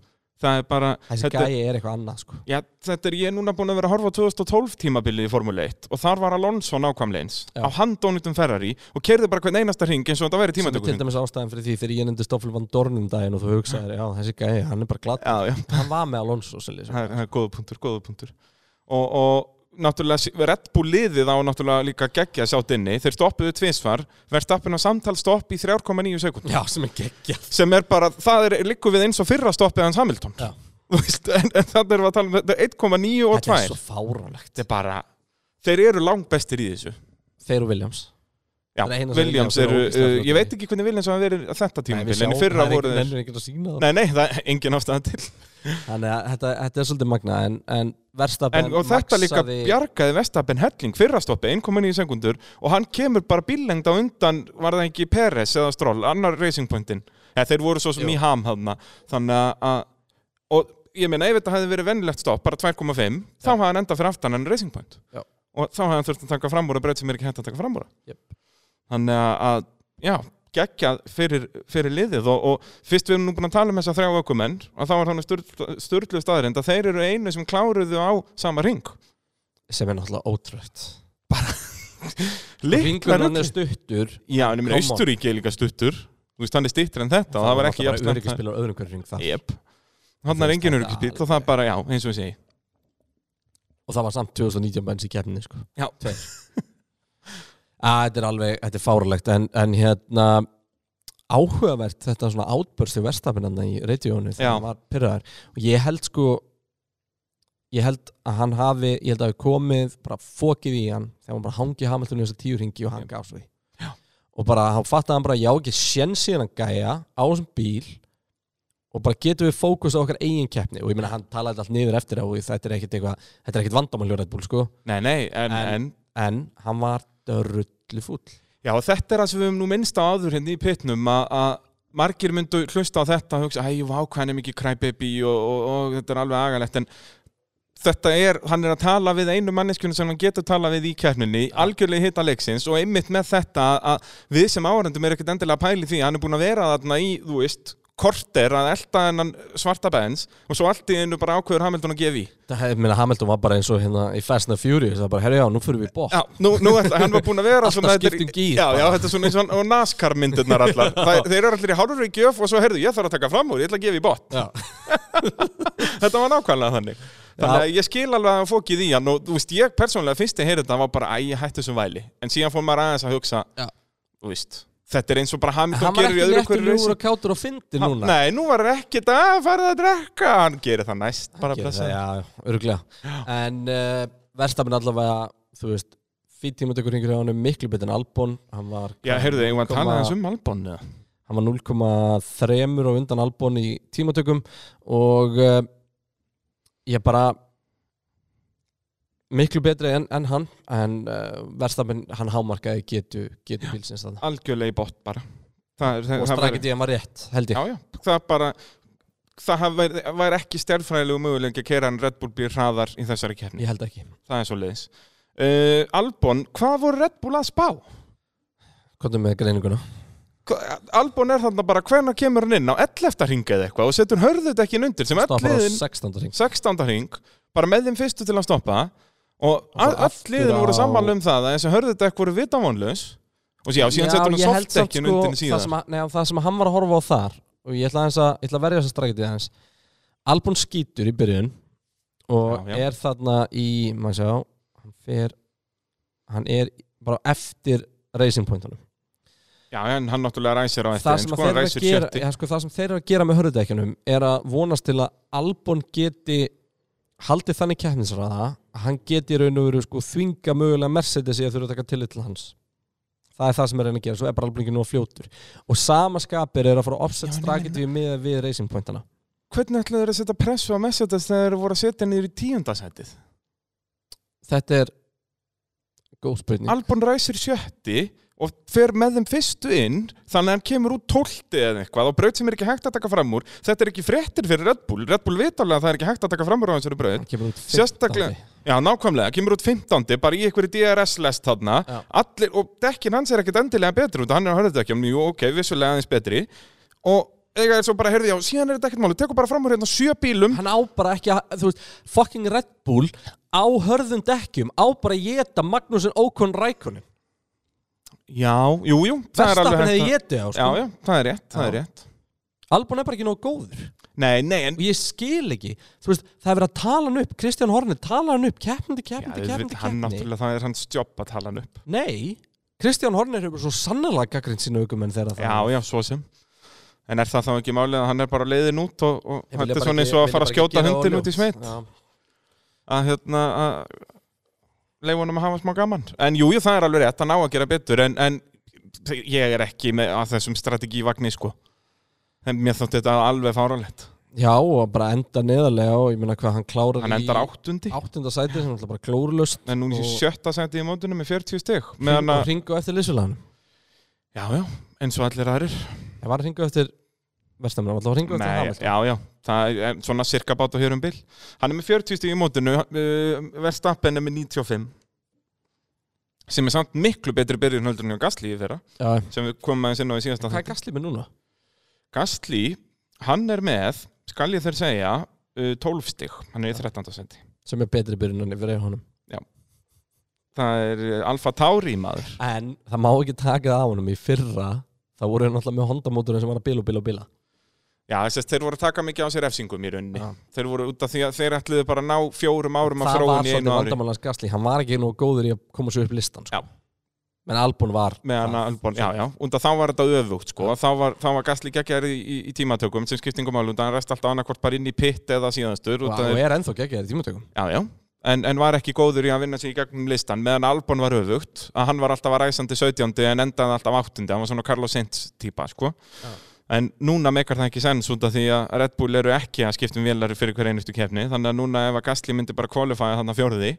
[SPEAKER 2] það er bara
[SPEAKER 1] þessi
[SPEAKER 2] þetta-
[SPEAKER 1] gæi er eitthvað annað sko
[SPEAKER 2] Já, þetta er ég núna búin að vera að horfa á 2012 tímabilið í Formule 1 og þar var Alonso nákvæmleins
[SPEAKER 1] Já.
[SPEAKER 2] á handónutum Ferrari og kerði bara hvern einasta ring eins og þetta væri
[SPEAKER 1] sem er til
[SPEAKER 2] tímatökur
[SPEAKER 1] dæmis ástæðan fyrir því þegar ég nefndi Stoffel van Dornum daginn og þú hugsaðir, já þessi gæi, hann er bara glatt
[SPEAKER 2] Já, já,
[SPEAKER 1] hann var með Alonso sem lýsum
[SPEAKER 2] það er, það er góða punktur, góða punktur og, og náttúrulega Red Bull liðið á náttúrulega líka geggja sjátt inni þeir stoppuðu tvisvar, verðstappin á samtal stopp í 3,9 sekund
[SPEAKER 1] já, sem er geggjað
[SPEAKER 2] sem er bara, það er líku við eins og fyrra stoppið hans Hamilton
[SPEAKER 1] Já.
[SPEAKER 2] Þú veist, en, en þannig erum við að tala um þetta er 1,9 og 2
[SPEAKER 1] þetta er svo fáránlegt
[SPEAKER 2] þetta er bara, þeir eru langbestir í þessu
[SPEAKER 1] þeir og Williams
[SPEAKER 2] Já,
[SPEAKER 1] Það er eina sem Williams
[SPEAKER 2] Williams
[SPEAKER 1] er
[SPEAKER 2] eru,
[SPEAKER 1] ógeðslega
[SPEAKER 2] uh,
[SPEAKER 1] fljótur
[SPEAKER 2] ég
[SPEAKER 1] í.
[SPEAKER 2] veit ekki hvernig Williams hafa verið að þetta tímabil, en í fyrra voru þeir
[SPEAKER 1] nefnir ekkert að sína það
[SPEAKER 2] Nei, nei, það er engin ástæða til
[SPEAKER 1] þannig að þetta, þetta er svolítið magna en, en
[SPEAKER 2] en,
[SPEAKER 1] verðstafn
[SPEAKER 2] Og þetta líka bjargaði Vestapen Helling fyrra stoppi, 1,9 sekundur og hann kemur bara bíllengd á undan var það ekki Peres eða Stroll, annar racing pointin eða þeir voru svo sem
[SPEAKER 1] Jú.
[SPEAKER 2] í ham hafna þannig að- að, og ég meina ef þetta hefði verið venjulegt stopp, bara 2,5 þá hafði hann enda fyrir aftan en racing point
[SPEAKER 1] Já.
[SPEAKER 2] og þá hafði hann þurft að taka fram úr að breyt sem er ekki hægt að taka fram úr
[SPEAKER 1] Jöp.
[SPEAKER 2] þannig að- að, já, geggjað fyrir, fyrir liðið og, og fyrst við erum nú búin að tala um þessa þrjá ökumenn og þá var þannig sturglu staðrind að þeir eru einu sem kláruðu á sama ring
[SPEAKER 1] sem er náttúrulega ótrútt
[SPEAKER 2] Lyklar
[SPEAKER 1] ringurinn hann
[SPEAKER 2] öllu.
[SPEAKER 1] er stuttur
[SPEAKER 2] Já, en ég
[SPEAKER 1] Come
[SPEAKER 2] meina
[SPEAKER 1] on.
[SPEAKER 2] Austuríki er líka stuttur Þú veist, hann er stittur en þetta og það var ekki
[SPEAKER 1] jafnstæmt Það var
[SPEAKER 2] jafnstæmt
[SPEAKER 1] náttúrulega bara öryggisbílar á öðrum hverju ring þar
[SPEAKER 2] Jep Þannig er
[SPEAKER 1] Þú veist,
[SPEAKER 2] engin
[SPEAKER 1] þetta
[SPEAKER 2] öryggisbíl og
[SPEAKER 1] alveg.
[SPEAKER 2] það er bara, já, eins og ég segi
[SPEAKER 1] og það var samt 2019 benns í keppninni sko.
[SPEAKER 2] Já.
[SPEAKER 1] Tveir. að, þetta er alveg, þetta er fáralegt en, en hérna áhugavert þetta svona átbörst í verstafinanna í reytjónu þegar
[SPEAKER 2] Já.
[SPEAKER 1] hann var pyrraðar og ég held sko ég held að hann hafi, ég held að hafi komið bara fokið í hann þegar hann bara hangi Hamilton í þessa tíu ringi og hann gaf svo því
[SPEAKER 2] Já.
[SPEAKER 1] og bara hann fattaði hann bara já ekki sjens í hann gæja á þessum bíl og bara getum við fókus á okkar eigin keppni og ég meina hann talaði þetta allt niður eftir á og þetta er ekkit eitthvað, þetta er ekkit vandamál hjá Red Bull sko,
[SPEAKER 2] Nei, nei, en,
[SPEAKER 1] En-
[SPEAKER 2] en
[SPEAKER 1] en hann var dörrullu fúll
[SPEAKER 2] Já, og þetta er það sem við höfum nú minnst á áður hérna í pitnum að- að margir myndu hlusta á þetta og hugsa, æjú, vá, hvað hann er mikið crybaby og, og, og þetta er alveg agalegt en þetta er, hann er að tala við einu manneskjunum sem hann getur tala við í kjarninni algjörlega hitta leiksins og einmitt með þetta að við sem áhörendum er ekkert endilega að pæli því að hann er búin að vera þarna í, þú veist korter að elta hennan svarta bens og svo allt í einu bara ákveður Hamilton að gefa í
[SPEAKER 1] það hefði, minna Hamilton var bara eins og hérna í Fast and the Furious, það var bara, herru já, nú fyrir við í bótt
[SPEAKER 2] Já, nú, nú er, hann var búin að vera
[SPEAKER 1] Alltaf
[SPEAKER 2] svona þetta er-
[SPEAKER 1] skipt um gír,
[SPEAKER 2] Já,
[SPEAKER 1] bara.
[SPEAKER 2] já, þetta er svona eins og, og NASCAR myndirnar allar Það, Þeir eru allir í hálfur í gjöf og svo heyrðu, ég þarf að taka fram úr, ég ætla að gefa í bot
[SPEAKER 1] Já.
[SPEAKER 2] Þetta var nákvæmlega þannig Þannig að ég skil alveg að hann fókið í hann og þú veist, ég persónlega fyrst ég heyrði þetta var bara, æ, ég hætti þessum væli En síðan fór maður aðeins að hugsa,
[SPEAKER 1] Já.
[SPEAKER 2] þú veist, þetta er eins og bara
[SPEAKER 1] En
[SPEAKER 2] Hamilton
[SPEAKER 1] hann var
[SPEAKER 2] gerir í
[SPEAKER 1] ekki
[SPEAKER 2] öðru
[SPEAKER 1] réttur
[SPEAKER 2] hverju
[SPEAKER 1] ljúfur
[SPEAKER 2] reysi
[SPEAKER 1] og kátur og fyndi
[SPEAKER 2] Ha-
[SPEAKER 1] núna
[SPEAKER 2] Nei, nú var ekkert að fara að drekka Hann gerir það næst, bara
[SPEAKER 1] Gerir
[SPEAKER 2] blessa
[SPEAKER 1] það, já, örgulega en uh, verstafinn allavega þú veist, fyrir tímatökur hringur hjá hann miklu betur en Albon hann var,
[SPEAKER 2] Já, heyrðu, ég var að tala
[SPEAKER 1] Koma-
[SPEAKER 2] aðeins um Albon eða?
[SPEAKER 1] hann var 0,3 og undan Albon í tímatökum og uh, ég bara miklu betri en, en hann en uh, verstafinn, hann hámarkaði getu, getu bílsins þarna
[SPEAKER 2] Algjörlega í bot bara Það er- það-
[SPEAKER 1] og
[SPEAKER 2] það væri-
[SPEAKER 1] strakkið ég hann var rétt, held ég
[SPEAKER 2] já, já, það er bara það hafi verið- væri ekki stjærnfræðilegu möguleik að kera en Red Bull býr hraðar í þessari keppni,
[SPEAKER 1] ég held ekki,
[SPEAKER 2] það er svo leiðis uh, Albon, hvað voru Red Bull að spá?
[SPEAKER 1] komdu með greininguna
[SPEAKER 2] Hva- Albon er þarna bara hvenær kemur hann inn á 11. ring eða eitthvað og setur hörðut ekki undir sem öll
[SPEAKER 1] stoppar á
[SPEAKER 2] liðin
[SPEAKER 1] 16. ring
[SPEAKER 2] 16. ring, bara með þeim fyrstu til að stoppa og
[SPEAKER 1] Og svo
[SPEAKER 2] all
[SPEAKER 1] aftur
[SPEAKER 2] liðin voru
[SPEAKER 1] á-
[SPEAKER 2] sammála um það að þessi hörðut ekki voru vitavónlaus og já, síðan setur hann
[SPEAKER 1] ég held samt, sko
[SPEAKER 2] softdekkin undir
[SPEAKER 1] það
[SPEAKER 2] síðan
[SPEAKER 1] sem, að- nei, það sem hann var að horfa á þar og ég ætla, aðeins að, ég ætla að verja þess að strækja aðeins Albon skýtur í byrjun og
[SPEAKER 2] Já, já.
[SPEAKER 1] er þarna í maður sjá, hann fer hann er bara eftir racing pointunum
[SPEAKER 2] Já, en hann náttúrulega ræsir á eftir
[SPEAKER 1] það
[SPEAKER 2] en
[SPEAKER 1] sem,
[SPEAKER 2] sko,
[SPEAKER 1] sko,
[SPEAKER 2] hann
[SPEAKER 1] að
[SPEAKER 2] ræsir
[SPEAKER 1] þeir eru að
[SPEAKER 2] sjötti.
[SPEAKER 1] gera, ja, sko, það sem þeir eru að gera með hörðudekjunum er að vonast til að Albon geti haldið þannig keppnisraða að hann geti í raun og veru sko, þvinga mögulega Mercedes í að þurfa að taka tillit til hans það er það sem er að reyna að gera, svo er bara Albon ekki nú að fljótur og sama skapir er að fara að
[SPEAKER 2] Já,
[SPEAKER 1] offset
[SPEAKER 2] en ég
[SPEAKER 1] strategy með við racing pointana
[SPEAKER 2] hvernig ætlaðu þeir að setja pressu á Mercedes þegar þeir voru að setja niður í tíundasætið?
[SPEAKER 1] þetta er góð spurning
[SPEAKER 2] Albon ræsir sjötti og fer með þeim fyrstu inn þannig að hann kemur út tólti eða eitthvað og braut sem er ekki hægt að taka fram úr þetta er ekki fréttir fyrir Red Bull, Red Bull vitalega að það er ekki hægt að taka fram úr á þessari braut
[SPEAKER 1] hann kemur út
[SPEAKER 2] Sérstaklega,
[SPEAKER 1] 15.
[SPEAKER 2] já nákvæmlega, kemur út 15. bara í einhverju DRS-lest þarna
[SPEAKER 1] Já.
[SPEAKER 2] Allir, og dekkin hans er ekkit endilega betri út af hann er á hörðudekkjum, jú ok, vissulega aðeins betri og eiga er svo bara, heyrði já, síðan er þetta ekkert máli, tekur bara fram úr hérna sjö bílum
[SPEAKER 1] hann á bara ekki að, þú veist, fucking Red Bull á hörðum dekkjum á bara að geta Magnúsin Ókon Rækonin
[SPEAKER 2] Já, jú, jú, það er
[SPEAKER 1] Verstappen
[SPEAKER 2] alveg
[SPEAKER 1] hefði
[SPEAKER 2] hægt að-
[SPEAKER 1] getið á
[SPEAKER 2] Já,
[SPEAKER 1] sko.
[SPEAKER 2] já, það er rétt, það er
[SPEAKER 1] Já.
[SPEAKER 2] rétt
[SPEAKER 1] Albon er bara ekki nóg góður
[SPEAKER 2] Nei, nei, en
[SPEAKER 1] og ég skil ekki, þú veist, það er verið að tala hann upp Kristján Horner, tala hann upp, keppnandi, keppnandi,
[SPEAKER 2] Já,
[SPEAKER 1] keppnandi,
[SPEAKER 2] við- hann
[SPEAKER 1] keppnandi
[SPEAKER 2] náttúrulega, það er hans jobb að tala hann upp
[SPEAKER 1] Nei, Kristján Horner hefur svo sannlega gaggrind sína aukumenn þegar það
[SPEAKER 2] Já, já, svo sem En er það þá ekki málið að hann er bara leiðin út og, og
[SPEAKER 1] Ég vilja
[SPEAKER 2] þetta er
[SPEAKER 1] bara
[SPEAKER 2] svona
[SPEAKER 1] ekki-
[SPEAKER 2] eins og að
[SPEAKER 1] vilja
[SPEAKER 2] fara að
[SPEAKER 1] bara ekki
[SPEAKER 2] skjóta
[SPEAKER 1] gera
[SPEAKER 2] hundin
[SPEAKER 1] það
[SPEAKER 2] út í
[SPEAKER 1] ljóst.
[SPEAKER 2] smit
[SPEAKER 1] Já.
[SPEAKER 2] að hérna að leiða honum að hafa smá gaman en jú, jú, það er alveg rétt, hann á að gera betur en, en ég er ekki með að þessum strategívagni sko en mér þótti þetta alveg fáralegt
[SPEAKER 1] Já, og bara enda neðarlega og ég meina hvað hann klárar
[SPEAKER 2] hann endar áttundi,
[SPEAKER 1] áttunda sæti sem er náttúrulega bara glórulöst
[SPEAKER 2] en núna í
[SPEAKER 1] og-
[SPEAKER 2] sjötta senti í mótunum með 40 stig meðan
[SPEAKER 1] og
[SPEAKER 2] að,
[SPEAKER 1] ringu eftir Lissulanum
[SPEAKER 2] já, já, eins og allir aðrir
[SPEAKER 1] Ég var að ringu eftir Vestamina, alltaf að ringu eftir
[SPEAKER 2] Nei,
[SPEAKER 1] Hamilton
[SPEAKER 2] já, já, það er svona cirka bát og hér um bil hann er með 40 stig í mótinu uh, Verstappen er með 95 sem er samt miklu betri byrjun heldur en hjá Gasly í fyrra
[SPEAKER 1] Já,
[SPEAKER 2] sem við komum aðeins inn á í síðasta
[SPEAKER 1] hvað er
[SPEAKER 2] þætti.
[SPEAKER 1] Gasly með núna?
[SPEAKER 2] Gastli, hann er með, skal ég þeir segja, uh, 12 stig, hann er í 13. sendi.
[SPEAKER 1] Sem er betri byrjunan yfir eða honum
[SPEAKER 2] Það er uh, Alfa Tauri maður.
[SPEAKER 1] En það má ekki taka það á honum í fyrra þá voru hann alltaf með Honda-mótorinn sem var að bila og bila og bila
[SPEAKER 2] Já, þess að þeir voru að taka mikið á sér efsingum í rauninni.
[SPEAKER 1] Já.
[SPEAKER 2] Þeir voru út af því að þeir ætluðu bara að ná fjórum árum af
[SPEAKER 1] Það var
[SPEAKER 2] þróun í
[SPEAKER 1] svolítið
[SPEAKER 2] einu ári.
[SPEAKER 1] vandamálans Gasly, hann var ekki nú góður í að koma svo upp listan sko.
[SPEAKER 2] Já.
[SPEAKER 1] Men Albon var
[SPEAKER 2] Með hann
[SPEAKER 1] það.
[SPEAKER 2] að Albon, já, já, undan þá var þetta öfugt, sko, þá var, þá var Gastli geggjær í, í, í tímatökum sem skiptingum mál, undan hann rest alltaf annarkvort bara inn í pitt eða síðanstur,
[SPEAKER 1] og
[SPEAKER 2] undan,
[SPEAKER 1] og er ennþá geggjaður í tímatökum
[SPEAKER 2] já, já, en, en var ekki góður í að vinna sig í gegnum listan, meðan Albon var öfugt að hann var alltaf að ræsandi 17. en endaði alltaf 8. hann var svona Carlos Sainz típa sko.
[SPEAKER 1] Já.
[SPEAKER 2] en núna meikar það ekki sens út af því að Red Bull eru ekki að skiptum vélari fyrir hver einustu kefni, þannig að núna ef að Gasly myndi bara kvalifæða þannig að fjórði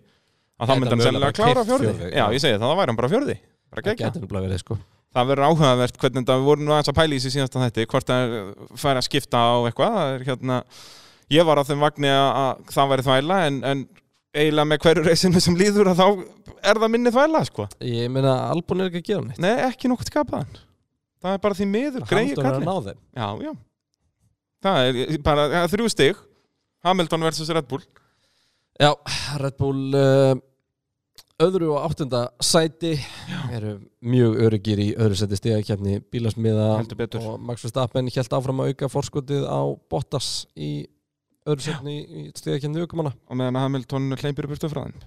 [SPEAKER 2] að þá
[SPEAKER 1] Gæti
[SPEAKER 2] myndi
[SPEAKER 1] hann
[SPEAKER 2] hann
[SPEAKER 1] mögulega
[SPEAKER 2] sennilega
[SPEAKER 1] bara
[SPEAKER 2] klára
[SPEAKER 1] klippt
[SPEAKER 2] fjórði,
[SPEAKER 1] fjórði,
[SPEAKER 2] já
[SPEAKER 1] já.
[SPEAKER 2] ég segi það, þá væri hann bara fjórði bara
[SPEAKER 1] Það
[SPEAKER 2] gegja.
[SPEAKER 1] getur nefnilega verið sko
[SPEAKER 2] það verður áhugavert hvernig þetta við vorum nú aðeins að pæla í sig síðasta þetta hvort það fær að skipta á eitthvað það er, hérna, ég var á þeim vagni að, að það væri þvæla en, en eiginlega með hverju reysinu sem líður að þá er það minni þvæla sko.
[SPEAKER 1] Ég meina Albon er ekki að gera neitt
[SPEAKER 2] nei, ekki nokkuð skapaðan það er bara því miður, greiði
[SPEAKER 1] Hamilton er að
[SPEAKER 2] kallin
[SPEAKER 1] ná þeim
[SPEAKER 2] já, já það er bara það er þrjú stig Hamilton versus Red Bull
[SPEAKER 1] Já, Red Bull uh, öðru og áttunda sæti eru mjög öryggir í öðru sæti stegakefni bílasmiða
[SPEAKER 2] Heldur betur.
[SPEAKER 1] og Max Verstappen hjælt áfram að auka forskotið á Bottas í öðru sætni í stegakefni aukumanna
[SPEAKER 2] og meðan að Hamilton hleypir upp frá þeim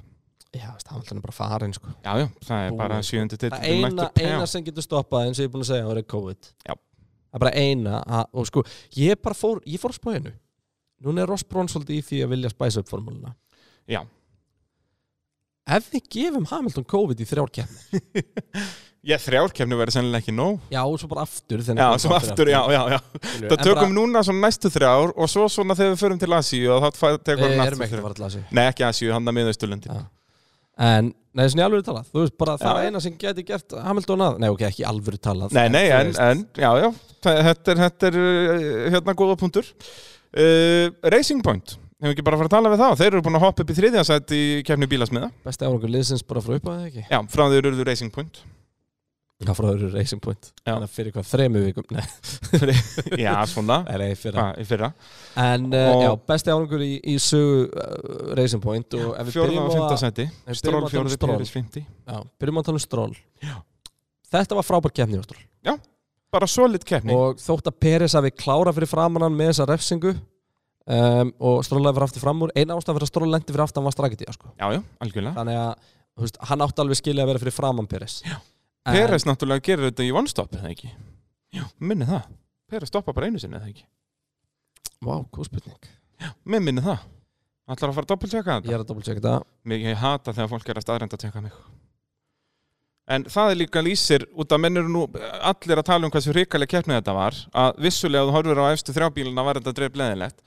[SPEAKER 1] Já, veist, Hamilton er bara farin sko
[SPEAKER 2] já, já, það er bara
[SPEAKER 1] Búið.
[SPEAKER 2] sjöndi titil
[SPEAKER 1] Það eina, eina sem getur stoppað eins og ég er búin að segja það er COVID
[SPEAKER 2] Já.
[SPEAKER 1] Það er bara eina að, og sko, ég bara fór, ég fór að spá hennu Núna er Ross Brown svolítið í því að vilja spæsa upp formúluna
[SPEAKER 2] Já.
[SPEAKER 1] Ef við gefum Hamilton COVID í þrjár keppni
[SPEAKER 2] ég þrjárkefni verður sennilega ekki nóg
[SPEAKER 1] Já, og svo bara aftur
[SPEAKER 2] já, svo aftur, já, já, já
[SPEAKER 1] Það
[SPEAKER 2] Það tökum núna svona næstu þrjár og svo svona þegar við förum til Asíu og þá fæ- tekur
[SPEAKER 1] Við
[SPEAKER 2] hann
[SPEAKER 1] erum
[SPEAKER 2] næstu
[SPEAKER 1] ekki að
[SPEAKER 2] þrjár.
[SPEAKER 1] fara til að segja
[SPEAKER 2] Nei, ekki Asíu, hann er miðausturlundi.
[SPEAKER 1] Já. En, nei, svona í alvöru talað Þú veist, bara það
[SPEAKER 2] Já.
[SPEAKER 1] er eina sem geti gert Hamilton að Nei, ok, ekki í alvöru talað
[SPEAKER 2] Nei, nei,
[SPEAKER 1] þú
[SPEAKER 2] en,
[SPEAKER 1] veist,
[SPEAKER 2] en, já, já, þa- þetta er, þetta er uh, hérna góða punktur. Uh, Racing Point, hefum ekki bara að fara að tala við það? Þeir eru búin að hoppa upp í þriðja sætt í kefni bílasmiða.
[SPEAKER 1] Besti árangur liðsins bara frá upp að það ekki
[SPEAKER 2] Já, frá þeir eruðu Racing Point.
[SPEAKER 1] Já, frá öðru Racing Point
[SPEAKER 2] Já.
[SPEAKER 1] Þannig að fyrir hvað, þremu vikum Nei,
[SPEAKER 2] já, svona,
[SPEAKER 1] nei, fyrir
[SPEAKER 2] hvað, í fyrra.
[SPEAKER 1] En uh,
[SPEAKER 2] Og-
[SPEAKER 1] já, besti árangur í, í sögu uh, Racing Point og ef við
[SPEAKER 2] Fjórða
[SPEAKER 1] byrjum
[SPEAKER 2] og
[SPEAKER 1] á
[SPEAKER 2] fymta
[SPEAKER 1] að-
[SPEAKER 2] sætti.
[SPEAKER 1] ef við
[SPEAKER 2] Stról
[SPEAKER 1] byrjum að tala um
[SPEAKER 2] fjórði,
[SPEAKER 1] Stroll
[SPEAKER 2] Peris fymti.
[SPEAKER 1] Já, byrjum að tala um stról
[SPEAKER 2] Já.
[SPEAKER 1] Þetta var frábær keppni hjá Stroll
[SPEAKER 2] Bara solid kefni.
[SPEAKER 1] og þótt að Peres hafi klára fyrir framann hann með þessa refsingu um, og strólaði fyrir aftur fram úr eina ástæðan fyrir að stróla lendi fyrir aftan var strakiti sko.
[SPEAKER 2] Já, já, algjörlega.
[SPEAKER 1] þannig að þú veist, hann átti alveg skilja að vera fyrir framann Peres
[SPEAKER 2] Já. Peres náttúrulega gerir þetta í one-stop, eða ekki? Já, minni það. Peres stoppa bara einu sinni, eða ekki?
[SPEAKER 1] Vá, góð spurning
[SPEAKER 2] Mér minni það Ætlar að fara að doppeltjekka
[SPEAKER 1] Ég
[SPEAKER 2] þetta?
[SPEAKER 1] er að dobbeltseka þetta
[SPEAKER 2] Mér, ég hata þegar fólk er að staðrenda að tjekka mig en það er líka lýsir út að menn eru nú allir að tala um hversu hrikaleg keppni þetta var að vissulega ef þú horfir á efstu þrjábíluna var þetta dreif leðilegt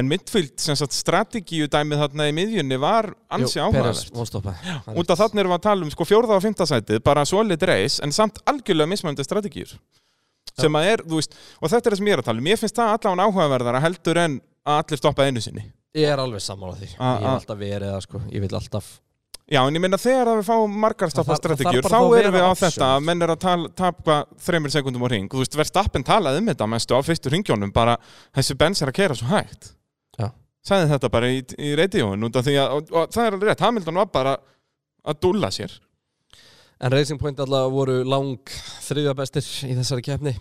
[SPEAKER 2] en midfield sem sagt strategíu dæmið þarna í miðjunni var ansi áhugavert
[SPEAKER 1] vonstoppa
[SPEAKER 2] út af þannig erum við að tala um sko fjórða og fymta sætið bara solid race en samt algjörlega mismöndi strategýr sem að er, þú veist, og þetta er það sem ég er að tala um ég finnst það allan áhugaverðara heldur en að allir stoppa einu sinni
[SPEAKER 1] Ég er alveg sammála því
[SPEAKER 2] A-
[SPEAKER 1] Ég hef
[SPEAKER 2] a-
[SPEAKER 1] alltaf verið það sko Ég vil alltaf
[SPEAKER 2] já, en ég minna þegar að við fáum margar
[SPEAKER 1] Það
[SPEAKER 2] stoppa
[SPEAKER 1] þarf- það þarf
[SPEAKER 2] strategýr
[SPEAKER 1] bara
[SPEAKER 2] þá
[SPEAKER 1] þá að
[SPEAKER 2] erum við
[SPEAKER 1] vera
[SPEAKER 2] á
[SPEAKER 1] options.
[SPEAKER 2] þetta að menn er að tala- tapa þreymur sekundum á ring þú veist, Verstappen talaði um þetta mestu á fyrstu ringjónum bara þessi bens er að kera svo hægt
[SPEAKER 1] Já.
[SPEAKER 2] sagði þetta bara í, í radióin út af því að, og, og það er alveg rétt, Hamilton var bara að dúlla sér
[SPEAKER 1] En Racing Point allavega voru lang þriðja bestir í þessari keppni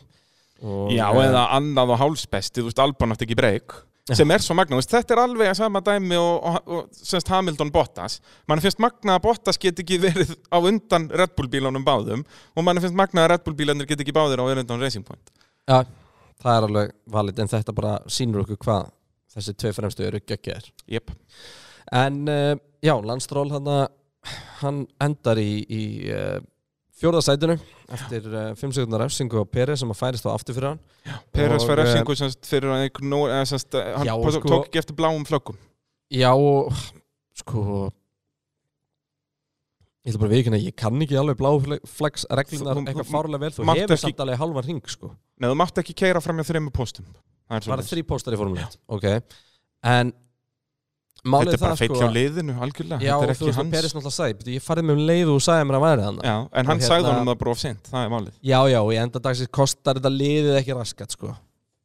[SPEAKER 1] og,
[SPEAKER 2] Já,
[SPEAKER 1] eh,
[SPEAKER 2] eða annað og hálsbesti, þú veist, Albon átti ekki breyk sem er svo magna, þú veist, þetta er alveg að sama dæmi og, og, og semst Hamilton Bottas mann finnst magna að Bottas get ekki verið á undan Red Bull bílunum báðum og mann finnst magna að Red Bull bílanir get ekki báðir á undan Racing Point
[SPEAKER 1] ja, Það er alveg valid En þetta bara sýnur okkur hvað Þessi tvei fremstu eru geggjaðir
[SPEAKER 2] Jep,
[SPEAKER 1] En uh, já, Landstról hann Hann endar í, í uh, Fjórða sætinu Eftir 5 uh, sekundar refsingu á Peri Sem að færist á aftur fyrir hann
[SPEAKER 2] Peres
[SPEAKER 1] Og,
[SPEAKER 2] fær
[SPEAKER 1] eh,
[SPEAKER 2] refsingu semst fyrir að ignó, eða, semst, eh, hann
[SPEAKER 1] Já,
[SPEAKER 2] pos-
[SPEAKER 1] sko-
[SPEAKER 2] tók ekki eftir bláum flökkum
[SPEAKER 1] Já, og sko Ég ætla bara að viðkynna, ég kann ekki alveg bláflags reglunar
[SPEAKER 2] Þú- þú-
[SPEAKER 1] eitthvað fárlega vel, þú
[SPEAKER 2] mátt
[SPEAKER 1] hefur
[SPEAKER 2] ekki-
[SPEAKER 1] samt alveg halvan ring sko,
[SPEAKER 2] Nei, þú mátt ekki keira fram með þreymur póstum Það
[SPEAKER 1] bara
[SPEAKER 2] er svoleiðis.
[SPEAKER 1] þrý póstar í formulegt ok, en
[SPEAKER 2] Þetta
[SPEAKER 1] málið
[SPEAKER 2] er bara
[SPEAKER 1] það
[SPEAKER 2] feill
[SPEAKER 1] sko
[SPEAKER 2] hjá
[SPEAKER 1] að-
[SPEAKER 2] liðinu, algjörlega
[SPEAKER 1] Já,
[SPEAKER 2] Þetta
[SPEAKER 1] og þú
[SPEAKER 2] er ekki
[SPEAKER 1] veist hvað
[SPEAKER 2] hans
[SPEAKER 1] Peris náttúrulega sagði, "Bíddu, ég farið með um leið og þú sagði mér að væri hann
[SPEAKER 2] Já, en hann
[SPEAKER 1] Og
[SPEAKER 2] sagði
[SPEAKER 1] hérna-
[SPEAKER 2] honum það bara of sent, það er málið
[SPEAKER 1] Já, já, og í enda dagsins kostar þetta liðið ekki raskat sko,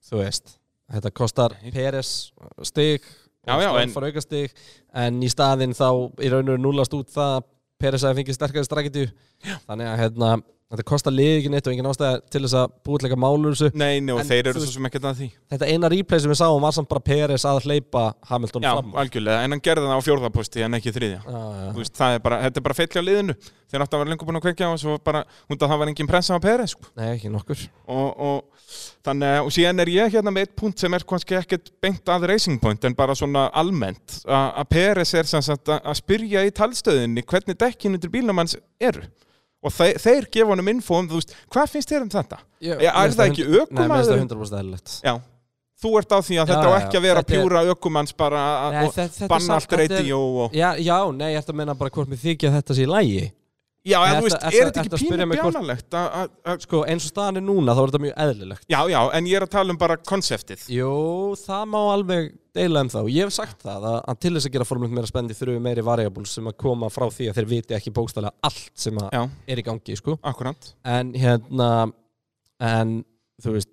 [SPEAKER 1] þú veist Þetta kostar
[SPEAKER 2] Nei.
[SPEAKER 1] Peres stig
[SPEAKER 2] Já, já, en-
[SPEAKER 1] en... fara auka stig en í staðinn þá í raun og veru núlast út það að Peres hafi fengið sterkari strakkitju þannig að hérna, þetta kostar liðið ekki neitt og engin ástæða til þess að búitleika málur þessu
[SPEAKER 2] Nei, nei, og
[SPEAKER 1] En
[SPEAKER 2] þeir
[SPEAKER 1] þú
[SPEAKER 2] eru svo
[SPEAKER 1] veist-
[SPEAKER 2] sem ekkert að því
[SPEAKER 1] Þetta eina replay sem við sáum var samt bara Peres að hleypa Hamilton
[SPEAKER 2] Já,
[SPEAKER 1] fram
[SPEAKER 2] algjörlega, en hann gerði það á fjórðaposti en ekki þriðja.
[SPEAKER 1] Já, já,
[SPEAKER 2] Þú Veist, það er bara, þetta er bara feillja á liðinu. Þeir áttu að vera lengur búin að kveikja á og svo bara, hún það var engin pressa á Peri, sko.
[SPEAKER 1] Nei, ekki nokkur
[SPEAKER 2] Og, og, þannig, að- og síðan er ég hérna með eitt punkt sem er kannski ekkert beint að racing point, en bara svona almennt. A- Að Peres er sem sagt að að spyrja í talstöðinni hvernig dekkin undir bílnum hans eru. Og þeir, þeir gefa honum info um, þú veist, hvað finnst þér um þetta?
[SPEAKER 1] Ég-
[SPEAKER 2] Já,
[SPEAKER 1] mér
[SPEAKER 2] er
[SPEAKER 1] finnst
[SPEAKER 2] það ekki
[SPEAKER 1] hund- Nei, mér finnst það
[SPEAKER 2] ökumaðurinn?
[SPEAKER 1] 100% eðlilegt
[SPEAKER 2] Já, þú ert á því að
[SPEAKER 1] Já,
[SPEAKER 2] þetta á
[SPEAKER 1] já,
[SPEAKER 2] ekki að
[SPEAKER 1] þetta
[SPEAKER 2] vera
[SPEAKER 1] er-
[SPEAKER 2] pjúra ökumanns bara að
[SPEAKER 1] Nei,
[SPEAKER 2] og
[SPEAKER 1] þetta- þetta er
[SPEAKER 2] banna
[SPEAKER 1] samt-
[SPEAKER 2] allt
[SPEAKER 1] þetta er-
[SPEAKER 2] reyting og...
[SPEAKER 1] Já, já, nei, ég ætti að menna bara hvort mér þykja að þetta sé í lægi
[SPEAKER 2] Já,
[SPEAKER 1] Nei,
[SPEAKER 2] en
[SPEAKER 1] ertu-
[SPEAKER 2] þú veist,
[SPEAKER 1] ertu-
[SPEAKER 2] er þetta
[SPEAKER 1] ertu að
[SPEAKER 2] ekki
[SPEAKER 1] spyrja
[SPEAKER 2] pínu
[SPEAKER 1] mig hvort-
[SPEAKER 2] bjánalegt að... að- að-
[SPEAKER 1] Sko, eins og staðan er núna, þá er þetta mjög eðlilegt
[SPEAKER 2] Já, já, en ég er að tala um bara konseptið.
[SPEAKER 1] Jú, það má alveg deila um þá Ég hef sagt það að, að til þess að gera formulegt meira spendi þurfum við meiri variables sem að koma frá því að þeir viti ekki bókstælega allt sem að
[SPEAKER 2] Já,
[SPEAKER 1] er í gangi, sko
[SPEAKER 2] akkurát.
[SPEAKER 1] En hérna, en þú veist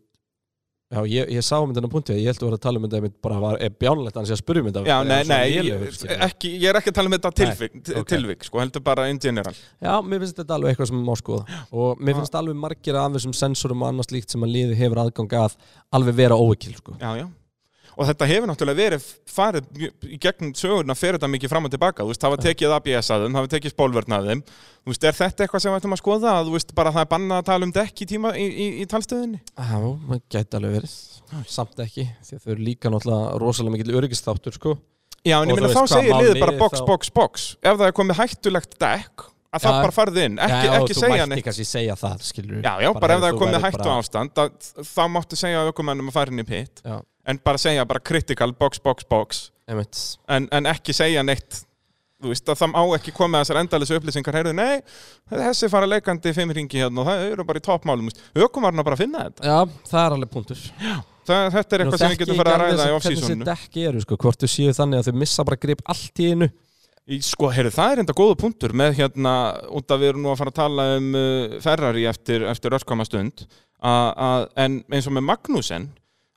[SPEAKER 1] Já, ég, ég sá um þennan punkti, ég held að vera að tala um þetta einmitt bara var, er bjánlegt að hann sé að spyrja um þetta
[SPEAKER 2] Já,
[SPEAKER 1] Er
[SPEAKER 2] nei,
[SPEAKER 1] svona
[SPEAKER 2] nei,
[SPEAKER 1] lélegur,
[SPEAKER 2] ég,
[SPEAKER 1] skilur.
[SPEAKER 2] ekki, ég er ekki að tala um þetta tilvik,
[SPEAKER 1] ok.
[SPEAKER 2] tilvik sko, heldur bara in general.
[SPEAKER 1] Já, mér finnst þetta alveg eitthvað sem má skoða og mér finnst alveg margir af þessum sensorum og annars líkt sem að liði hefur aðgang að alveg vera óveikil sko.
[SPEAKER 2] Já, já. Og þetta hefur náttúrulega verið farið mjög- í gegn sögurna fyrir þetta mikið fram og tilbaka, þú veist, það var tekið ABS að þeim, það var tekið spólverðna að þeim, þú veist, er þetta eitthvað sem við ættum að skoða, að þú veist, bara það er bannað að tala um dekk í tíma í, í, í talstöðinni?
[SPEAKER 1] Já, það gæti alveg verið samt ekki, því að þau eru líka náttúrulega rosalega mikil öryggisþáttur sko.
[SPEAKER 2] Já, en
[SPEAKER 1] Og þú
[SPEAKER 2] ég minna þá
[SPEAKER 1] veist, hvað
[SPEAKER 2] segir
[SPEAKER 1] má
[SPEAKER 2] liðið bara
[SPEAKER 1] liðið
[SPEAKER 2] box,
[SPEAKER 1] þá-
[SPEAKER 2] box, box ef það er komið hættulegt dekk að það
[SPEAKER 1] Já.
[SPEAKER 2] bara farið inn, ekki,
[SPEAKER 1] Já,
[SPEAKER 2] ekki segja
[SPEAKER 1] Þú mætti
[SPEAKER 2] neitt
[SPEAKER 1] kannski segja það, skilur
[SPEAKER 2] Já, já, bara ef það er
[SPEAKER 1] þú
[SPEAKER 2] komið
[SPEAKER 1] værir
[SPEAKER 2] hættu ástand að, þá máttu segja aukumennum að fara inn í pit
[SPEAKER 1] Já,
[SPEAKER 2] en bara segja bara critical, box, box, box
[SPEAKER 1] einmitt
[SPEAKER 2] en, en ekki segja neitt þú veist, að það má ekki koma með þessar endalessu upplýsingar heyrðu, nei, þessi fara leikandi í fimm ringi hérna og það eru bara í toppmálum aukumarna bara að finna þetta
[SPEAKER 1] Já, það er alveg punktur
[SPEAKER 2] það, þetta er
[SPEAKER 1] Nú
[SPEAKER 2] eitthvað sem
[SPEAKER 1] þekki
[SPEAKER 2] við getum farið að
[SPEAKER 1] ekki alveg
[SPEAKER 2] ræða í
[SPEAKER 1] þessi- Hvernig
[SPEAKER 2] off-seasonu
[SPEAKER 1] þessi dekki eru, sko, hvort þau séu þannig að þau missa bara grip allt í einu
[SPEAKER 2] Í- Sko, heyrðu, það er enda góða punktur með hérna, út að við erum nú að fara að tala um uh, Ferrari eftir, eftir örkama stund a- að- en eins og með Magnussen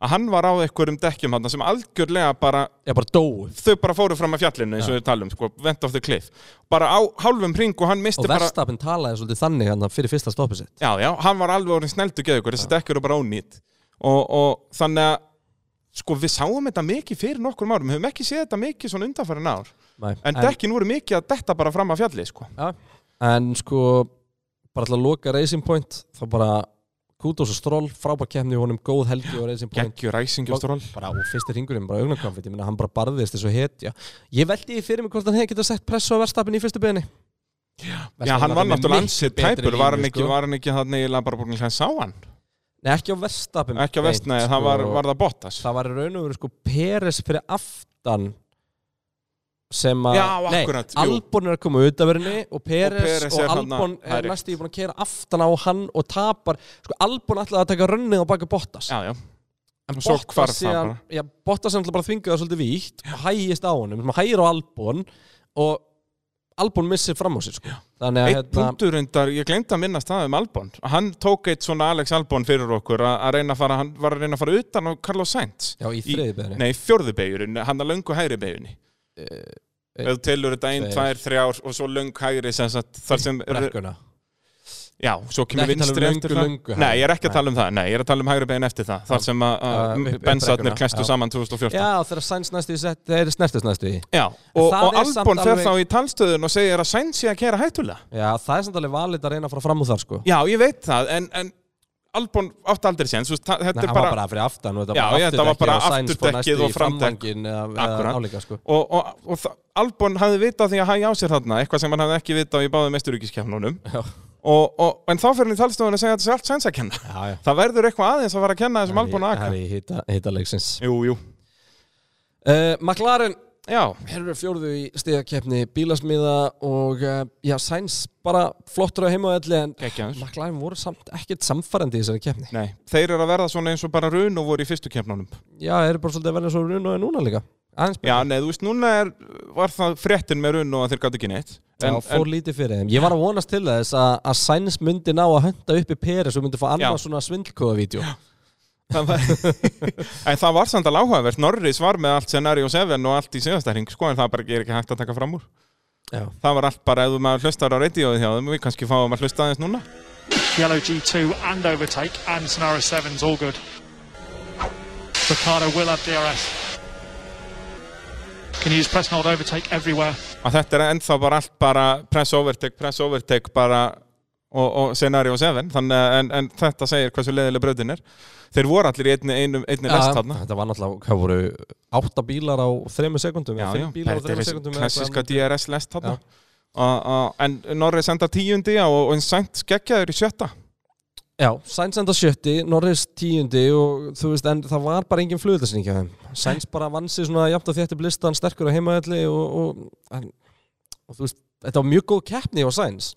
[SPEAKER 2] að hann var á einhverjum dekkjum þarna sem algjörlega bara,
[SPEAKER 1] Já, bara dóu
[SPEAKER 2] þau bara fóru fram að fjallinu eins og við talum, sko, vent of the cliff bara á hálfum ring og hann misti
[SPEAKER 1] Og
[SPEAKER 2] bara
[SPEAKER 1] verstapinn talaði svolítið þannig hann fyrir fyrsta stoppið sitt
[SPEAKER 2] Já, já, hann var alveg orðin sneldu geðugur, þessi dekk eru bara ónýtt og, og þannig að sko, við sáum þetta mikið fyrir nokkrum árum við höfum ekki séð þetta mikið svona undanfærin ár
[SPEAKER 1] Nei,
[SPEAKER 2] en, dekkin voru mikið að detta bara fram að fjalli, sko
[SPEAKER 1] Já, en sko bara til að loka Racing Point þá bara Kudos og Stroll frábær kemni honum góð helgi og Racing Point
[SPEAKER 2] Gengjur ræsing og stról
[SPEAKER 1] bara, og fyrsti ringurinn bara augnarkamfitt, ég meina hann bara barðist þessu hetja ég veldi í fyrir mig hvort hann hefði getað sett press á verðstapin í fyrstu beðinni
[SPEAKER 2] Já, hann var
[SPEAKER 1] með miklu
[SPEAKER 2] náttúrulega ansið
[SPEAKER 1] betri
[SPEAKER 2] tæpur,
[SPEAKER 1] línu,
[SPEAKER 2] var hann ekki,
[SPEAKER 1] sko.
[SPEAKER 2] var hann ekki hann eiginlega bara búin að sá hann?
[SPEAKER 1] Nei, ekki á sko. vestapum
[SPEAKER 2] Ekki á vestnæði, það var, var það Bottas.
[SPEAKER 1] það var í raun og veru sko Peres fyrir aftan sem að
[SPEAKER 2] Já, akkurat,
[SPEAKER 1] nei,
[SPEAKER 2] jú.
[SPEAKER 1] Albon er að koma út af verðinni og Peres og,
[SPEAKER 2] Perez er þarna,
[SPEAKER 1] Albon
[SPEAKER 2] það er
[SPEAKER 1] er
[SPEAKER 2] rétt.
[SPEAKER 1] næstu búin að kera aftan á hann og tapar, sko Albon ætlaði að taka rönnið á baki Bottas
[SPEAKER 2] Já, já.
[SPEAKER 1] en
[SPEAKER 2] svo hvarf
[SPEAKER 1] Bottas
[SPEAKER 2] það
[SPEAKER 1] síðan-
[SPEAKER 2] bara.
[SPEAKER 1] já, Bottas er náttúrulega bara þvingaði svolítið vítt og hægist á honum, sem hægir á Albon og Albon missir fram á sér sko. þannig að
[SPEAKER 2] Eitt punktur undar, ég glemt að minnast það um Albon. Hann tók eitt svona Alex Albon fyrir okkur að- að reyna að fara, hann var að reyna að fara utan á Carlos Sainz.
[SPEAKER 1] já, í þriði beðinni
[SPEAKER 2] Nei, fjórðu beigjurinn, hann að löngu hægri beigjunni.
[SPEAKER 1] eh,
[SPEAKER 2] Ef þú telur þetta einn,
[SPEAKER 1] tveir.
[SPEAKER 2] tvær, þrjár og svo löng hægri sem sagt, þar sem,
[SPEAKER 1] brekkuna
[SPEAKER 2] já, svo
[SPEAKER 1] Ekki tala um
[SPEAKER 2] kemur vinstri
[SPEAKER 1] löngu,
[SPEAKER 2] eftir það.
[SPEAKER 1] löngu hægri.
[SPEAKER 2] Nei, ég er ekki að
[SPEAKER 1] Nei.
[SPEAKER 2] tala um það, nei, ég er að tala um hægri beiginn eftir það, þar sem að,
[SPEAKER 1] upp-
[SPEAKER 2] að
[SPEAKER 1] upp brekkuna,
[SPEAKER 2] bennsatnir
[SPEAKER 1] já.
[SPEAKER 2] klæstu saman 2014.
[SPEAKER 1] já, þegar Sainz næstu í sett, þeir snertist næstu í
[SPEAKER 2] Já, og,
[SPEAKER 1] það
[SPEAKER 2] og
[SPEAKER 1] er samt
[SPEAKER 2] Albon fer
[SPEAKER 1] alveg-
[SPEAKER 2] þá í talstöðun og segir að Sainz sé að kera hættulega.
[SPEAKER 1] Já, það er samt alveg valið að reyna að fara fram úr þar sko
[SPEAKER 2] Já, ég veit það, en, en Albon átti aldrei séns, þú veist, það-
[SPEAKER 1] Nei,
[SPEAKER 2] þetta
[SPEAKER 1] hann
[SPEAKER 2] er bara...
[SPEAKER 1] var bara fyrir aftan og þetta
[SPEAKER 2] Já, ég, þetta var bara afturdekkið og framdekk.
[SPEAKER 1] framdekkin
[SPEAKER 2] Akkurat.
[SPEAKER 1] áleika sko
[SPEAKER 2] Og, og, og það, Albon hafði vitað því að hægja á sér þarna, eitthvað sem hann hafði ekki vitað í báðum mesturíkiskefnunum.
[SPEAKER 1] Já,
[SPEAKER 2] Og, og, en þá fyrir hann í talstöðun að segja að þetta sé allt Sainz að kenna.
[SPEAKER 1] já, já.
[SPEAKER 2] Það verður eitthvað aðeins að fara að kenna þessum Albon
[SPEAKER 1] Það
[SPEAKER 2] að aka.
[SPEAKER 1] er í hita, hita leiksins
[SPEAKER 2] Jú, jú.
[SPEAKER 1] uh, McLaren,
[SPEAKER 2] Já,
[SPEAKER 1] hér eru fjórðu í stigakeppni bílasmiða og uh, já, Sainz bara flottur á heimaðalli en
[SPEAKER 2] geggjaður.
[SPEAKER 1] McLaren voru samt ekkert samfærandi í þessari keppni
[SPEAKER 2] Nei, þeir eru að verða svona eins og bara run og voru í fyrstu kefnunum.
[SPEAKER 1] Já, þeir eru bara svolítið að verða svo runa núna líka Aðeins
[SPEAKER 2] Já, nei, þú veist, núna er, var það fréttin með run og að þeir gæti ekki neitt.
[SPEAKER 1] Já, fór lítið fyrir þeim. Ég var að vonast til þess að, að Sainz myndi ná að hönda upp í Peres og myndi fá annað svona svindlkóða-vídeó.
[SPEAKER 2] Það var, en það var samt alveg áhugavert Norris var með allt scenario 7 og allt í síðastæring sko, en það bara er ekki hægt að taka fram úr
[SPEAKER 1] Já.
[SPEAKER 2] það var allt bara ef maður hlustar á radioði hjá þeim við kannski fáum að hlusta aðeins núna
[SPEAKER 3] Yellow G2 and overtake, and Sonara 7's all good. Ricardo will have DRS. Can use press and hold overtake everywhere.
[SPEAKER 2] að þetta er ennþá bara allt bara press overtake, press overtake bara og, og scenario 7 þannig, að- en, en þetta segir hversu leiðileg bröðin er þeir voru allir í einni, einum, einni
[SPEAKER 1] Já,
[SPEAKER 2] lest þarna
[SPEAKER 1] Þetta var náttúrulega, hvað voru, átta bílar á þremur sekundum
[SPEAKER 2] Já, já,
[SPEAKER 1] bílar á
[SPEAKER 2] þetta er
[SPEAKER 1] þremur
[SPEAKER 2] þessi
[SPEAKER 1] sekundum
[SPEAKER 2] klassiska DRS lest þarna
[SPEAKER 1] Já.
[SPEAKER 2] Og- og- en Norris enda tíundi og, og en Sainz geggjaður í sjötta
[SPEAKER 1] Já, Sainz enda sjötti, Norris tíundi og þú veist, en það var bara engin flugðarsning hjá þeim. Sainz bara vann sig svona jafnt og þétti blistan sterkur á heimaðalli og, og, en, og þú veist, þetta var mjög góð keppni á Sainz.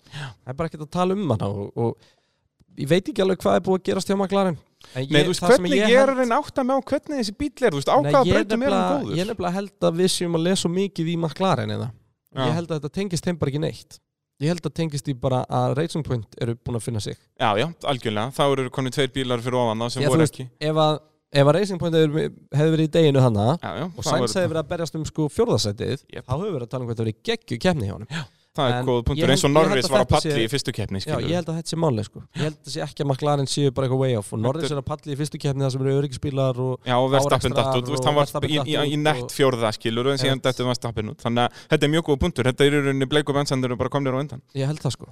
[SPEAKER 1] Það er bara ekkert að tala um hana og, og ég veit ekki alveg hvað er búið að gerast hjá McLaren. En
[SPEAKER 2] Nei, þú veist,
[SPEAKER 1] það sem
[SPEAKER 2] hvernig ég er
[SPEAKER 1] held-
[SPEAKER 2] að reyna átt að með á hvernig þessi bíl er, þú veist, á
[SPEAKER 1] Nei,
[SPEAKER 2] hvaða
[SPEAKER 1] ég
[SPEAKER 2] breytum er hann
[SPEAKER 1] nefnilega-
[SPEAKER 2] góður?
[SPEAKER 1] Ég er nefnilega held að við séum að lesa svo mikið í McLaren hérna. eða
[SPEAKER 2] Já.
[SPEAKER 1] Ég held að þetta tengist þeim bara ekki neitt Ég held að tengist því bara að Racing Point eru búin að finna sig
[SPEAKER 2] Já, já, algjörlega, þá eru konið tveir bílar fyrir ofan þá sem
[SPEAKER 1] Já, þú
[SPEAKER 2] voru
[SPEAKER 1] veist-
[SPEAKER 2] ekki.
[SPEAKER 1] Ef að, ef að Racing Point hefur hefur verið í deginu hana
[SPEAKER 2] Já, já,
[SPEAKER 1] og
[SPEAKER 2] það,
[SPEAKER 1] Sainz
[SPEAKER 2] voru,
[SPEAKER 1] hefur verið að berjast um sko fjórðasætið
[SPEAKER 2] Jep.
[SPEAKER 1] þá hefur verið að tala um hvað það verið geggju kemni hjá honum Já,
[SPEAKER 2] það er
[SPEAKER 1] en
[SPEAKER 2] góð
[SPEAKER 1] ég
[SPEAKER 2] punktur, eins og
[SPEAKER 1] held- ég held
[SPEAKER 2] Norris
[SPEAKER 1] að
[SPEAKER 2] var að
[SPEAKER 1] þetta
[SPEAKER 2] palli
[SPEAKER 1] sé-
[SPEAKER 2] í fyrstu keppni, skilur.
[SPEAKER 1] ég held að þetta sé mánlega sko Ég held að þetta sé ekki að McLaren séu bara eitthvað way off og Norris
[SPEAKER 2] Þetta
[SPEAKER 1] er að palli í fyrstu kemni þar sem eru öryggisbílar og
[SPEAKER 2] Já, og verðstappin
[SPEAKER 1] Árekstrar
[SPEAKER 2] datt út, þú veist,
[SPEAKER 1] og
[SPEAKER 2] hann var
[SPEAKER 1] Verstappen
[SPEAKER 2] í,
[SPEAKER 1] datt
[SPEAKER 2] í, í
[SPEAKER 1] út og-
[SPEAKER 2] nett fjórða, skilur, en síðan
[SPEAKER 1] Rétt.
[SPEAKER 2] þetta var stappin út. Þannig að þetta er mjög góð punktur, þetta er í rauninni bleik og bensendur og bara komnir á undan.
[SPEAKER 1] ég held það sko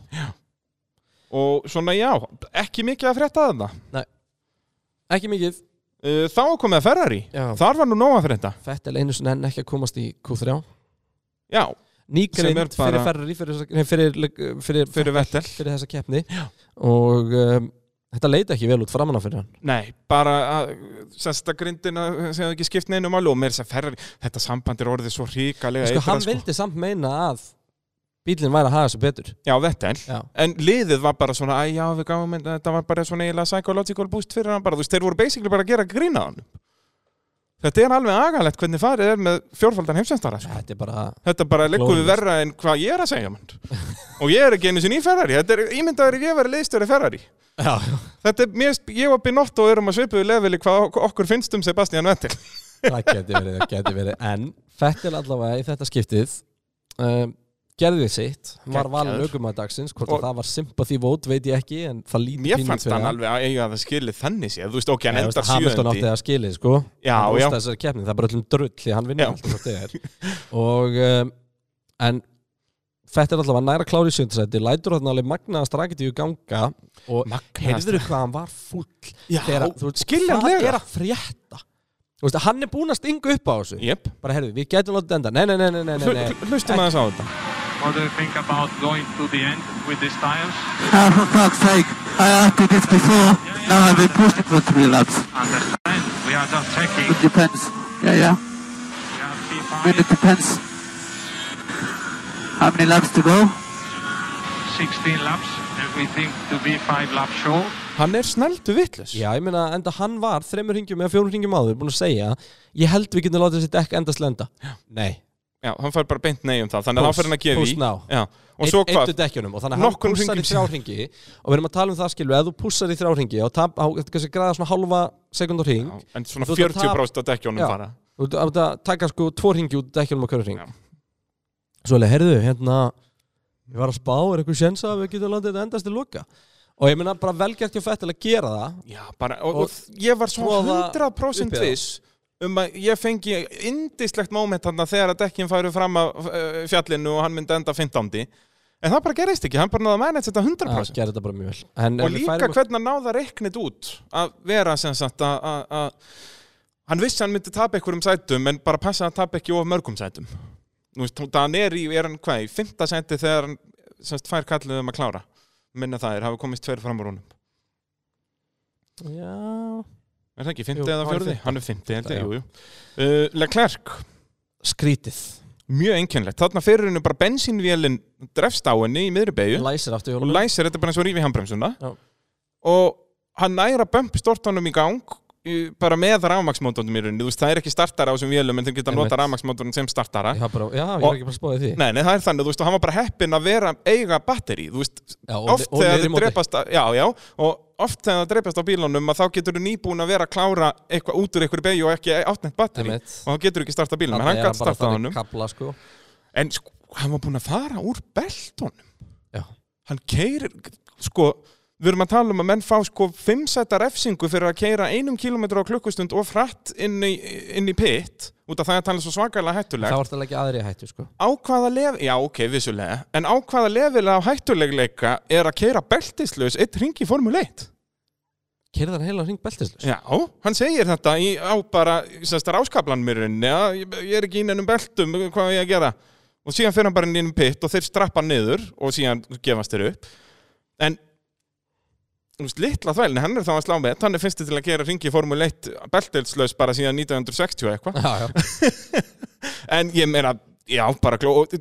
[SPEAKER 2] Og svona, já, ekki mikið að frétta þarna.
[SPEAKER 1] Ekki mikið,
[SPEAKER 2] Uh, Þá er komið að Ferrari,
[SPEAKER 1] Já.
[SPEAKER 2] þar var nú nóg að frétta.
[SPEAKER 1] Fettel einu sinni enn ekki að komast í Q3
[SPEAKER 2] Já,
[SPEAKER 1] nýgrind
[SPEAKER 2] Sem er
[SPEAKER 1] fyrir
[SPEAKER 2] bara-
[SPEAKER 1] Ferrari fyrir, þessa- nei, fyrir, fyrir, fyrir, fyrir,
[SPEAKER 2] fyrir Vettel.
[SPEAKER 1] þessa keppni og um, þetta leita ekki vel út framanna fyrir hann
[SPEAKER 2] Nei, bara að sesta grindina sem það ekki skipt neinu máli og mér sem ferrar, þetta samband er orðið svo ríkalega
[SPEAKER 1] sko,
[SPEAKER 2] eitrað,
[SPEAKER 1] hann vildi samt meina að bílinn væri að haga þessu betur
[SPEAKER 2] Já, Vettel
[SPEAKER 1] Já.
[SPEAKER 2] En liðið var bara svona, æ já, við gáum en þetta var bara svona eiginlega psychological boost fyrir hann bara, þú veist, þeir voru basically bara að gera grína hann Þetta er alveg agalegt hvernig farið er með fjórfaldan heimsendara sko.
[SPEAKER 1] þetta er bara
[SPEAKER 2] Þetta bara liggur við
[SPEAKER 1] Glórulaust.
[SPEAKER 2] verra en hvað ég er að segja mann. og ég er ekki einu sinni í Ferrari Þetta er ímyndaður ef ég verið leiðstöri Ferrari
[SPEAKER 1] já,
[SPEAKER 2] Þetta er, mér, ég og Binotto erum að svipuðu leveli hvað ok- okkur finnst um Sebastian Vettel
[SPEAKER 1] það geti verið, það geti verið. en Fettel allavega í þetta skiptið um, gerði sitt Hann var valin
[SPEAKER 2] Geggjaður.
[SPEAKER 1] aukum að dagsins hvort
[SPEAKER 2] Og-
[SPEAKER 1] að það var sympathy vote veit ég ekki en það lítur
[SPEAKER 2] Mér
[SPEAKER 1] pínu út
[SPEAKER 2] fannst
[SPEAKER 1] fyrir
[SPEAKER 2] hann
[SPEAKER 1] það.
[SPEAKER 2] alveg að eiga að það skilið þannig séð, þú veist, ok, hann
[SPEAKER 1] Nei, þú veist
[SPEAKER 2] endar
[SPEAKER 1] að Hamilton átti að
[SPEAKER 2] sjöndi.
[SPEAKER 1] skilið sko
[SPEAKER 2] Já,
[SPEAKER 1] hann rostaði
[SPEAKER 2] já.
[SPEAKER 1] þessari keppni, það er bara öllum drull því hann vinnur
[SPEAKER 2] Já.
[SPEAKER 1] alltaf hvort þið er og um, en Fettir allavega nær að klára í sjöndasæti lætur þarna alveg magnaða straketíu ganga og heyrður hvað hann var fúll
[SPEAKER 2] Já,
[SPEAKER 1] þegar þú veist, hvað
[SPEAKER 2] skiljanlega.
[SPEAKER 1] er að frétta Þú veist, hann er búinn að stinga upp á þessu
[SPEAKER 2] Jep,
[SPEAKER 1] bara heyrðu, við getum látið enda nei, nei, nei, nei, nei, nei, nei.
[SPEAKER 2] hlustum aðeins á þetta.
[SPEAKER 4] What do you think about going to the end with these tires?
[SPEAKER 5] Ah, for fuck's sake, I asked you this before. Now I've been pushed for three laps.
[SPEAKER 4] Understand? We are just checking.
[SPEAKER 5] It depends. Yeah, yeah.
[SPEAKER 4] We are
[SPEAKER 5] I mean, it
[SPEAKER 4] P5,
[SPEAKER 5] depends. How many laps to go?
[SPEAKER 4] 16 laps, and we think to be five laps short.
[SPEAKER 2] Hann er snældu vittlus.
[SPEAKER 1] Já, ég meina, enda hann var þremur ringjum eða fjórum ringjum áður búin að segja ég held við getum látið þessi dekk endast lenda Nei,
[SPEAKER 2] Já, hann fær bara beint nei um það, þannig að hann
[SPEAKER 1] Púls,
[SPEAKER 2] fyrir hann að gefa í.
[SPEAKER 1] púls ná.
[SPEAKER 2] Já, og svo hvað?
[SPEAKER 1] eittu dekkjunum og þannig að hann
[SPEAKER 2] Nokkrum
[SPEAKER 1] pússar í
[SPEAKER 2] hringjum
[SPEAKER 1] þrjá ringi og við erum að tala um það skilu, ef þú pússar í þrjá ringi og tap, á, þetta kannski græða svona halva sekundar ring
[SPEAKER 2] Já, En svona
[SPEAKER 1] Þú ert að tapa-
[SPEAKER 2] 40% að dekkjónum
[SPEAKER 1] Já.
[SPEAKER 2] fara.
[SPEAKER 1] Þú ert að taka sko tvo ringi út dekkjunum á hverju ring
[SPEAKER 2] Já.
[SPEAKER 1] Svo leið, heyrðu, hérna ég var að spá, er eitthvað sjensa að við getum látið þetta endast til loka og ég meina bara velgjart hjá fættil að gera það
[SPEAKER 2] Já, bara, og,
[SPEAKER 1] Og
[SPEAKER 2] og ég var svo
[SPEAKER 1] troða
[SPEAKER 2] 100%
[SPEAKER 1] upp í það.
[SPEAKER 2] viss um að ég fengi indislegt móment þarna þegar að dekkin færu fram af uh, fjallinu og hann myndi enda 15. En það bara gerist ekki, hann bara náða að mæna þetta
[SPEAKER 1] að
[SPEAKER 2] 100%.
[SPEAKER 1] gera þetta bara mjög vel en,
[SPEAKER 2] og
[SPEAKER 1] en Ah, við
[SPEAKER 2] líka
[SPEAKER 1] færum-
[SPEAKER 2] hvernig hann náða reiknit út að vera sem sagt að- að að- hann vissi að hann myndi tapa einhverjum sætum en bara passa að hann tapa ekki of mörgum sætum. Nú veist, það hann er í, er hann hvað, í fymta sæti þegar hann sem sagt fær kallið um að klára. Minna það er, hafa komist tveir fram úr honum.
[SPEAKER 1] Já.
[SPEAKER 2] Er það ekki
[SPEAKER 1] Jú,
[SPEAKER 2] fymti eða
[SPEAKER 1] hann er
[SPEAKER 2] fjörði?
[SPEAKER 1] fimmti.
[SPEAKER 2] Hann er fymti, held ég,
[SPEAKER 1] Já.
[SPEAKER 2] jú, jú. Uh, Leclerc,
[SPEAKER 1] skrítið,
[SPEAKER 2] mjög einkennlegt. Þarna fyrir hennu bara bensínvélinn drefst á henni í miðri beigju
[SPEAKER 1] læsir aftur
[SPEAKER 2] og
[SPEAKER 1] hjólum
[SPEAKER 2] læsir þetta bara eins og rífi handbremsuna
[SPEAKER 1] Já.
[SPEAKER 2] og hann næra bömp stortanum í gang í- bara með rafmaksmótornum í rauninni. Þú veist, það er ekki startara á þessum vélum en þeir geta
[SPEAKER 1] Einmitt.
[SPEAKER 2] nota rafmaksmótornum sem startara.
[SPEAKER 1] Já, bara, já, ég
[SPEAKER 2] Og-
[SPEAKER 1] var ekki bara að spáði því
[SPEAKER 2] Nei, nei, það er þannig, þú veist, og hann var bara heppinn að vera eiga batteri, þú veist,
[SPEAKER 1] Já, og,
[SPEAKER 2] oft
[SPEAKER 1] og
[SPEAKER 2] þegar
[SPEAKER 1] niður í
[SPEAKER 2] þið
[SPEAKER 1] móti.
[SPEAKER 2] drepast að, já, já, og oft þegar það drepast á bílunum að þá getur þú nýbúin að vera að klára eitthvað út úr einhverju beigju og ekki átnett batteri
[SPEAKER 1] Einmitt.
[SPEAKER 2] og þá getur þú ekki starta bílunum, en
[SPEAKER 1] Þarna
[SPEAKER 2] hann
[SPEAKER 1] er
[SPEAKER 2] gætt
[SPEAKER 1] bara
[SPEAKER 2] starta
[SPEAKER 1] þannig
[SPEAKER 2] honum
[SPEAKER 1] Kapla, sko.
[SPEAKER 2] en sko, hann var búin að fara úr beltunum
[SPEAKER 1] Já.
[SPEAKER 2] hann keirir, sko við erum að tala um að menn fá sko fimmsæta refsingu fyrir að keira einum kilometru á klukkustund og frætt inn í, inn í pitt út af það að tala svo svakalega hættulegt
[SPEAKER 1] Þá er þetta ekki aðri í hættu sko.
[SPEAKER 2] á hvaða lef, já ok, vissulega en á hvaða lefila á hættulegleika er að keira beltislaus eitt ring í Formule 1
[SPEAKER 1] Kerðan heila hring beltislaus
[SPEAKER 2] já, hann segir þetta í, á bara sérst ráskablan myrun já, ég, ég er ekki inn ennum beltum, hvað á ég að gera og síðan fer hann bara inn í ennum pitt og þeir strappa hann niður og síðan gefast þeir upp en þú veist, litla þvælni, hann er þá að slá með hann er fyrsti til að gera ringi í Formule 1 beltislaus bara síðan 1960 eitthvað
[SPEAKER 1] Já, já,
[SPEAKER 2] En ég meina, já, bara gló og,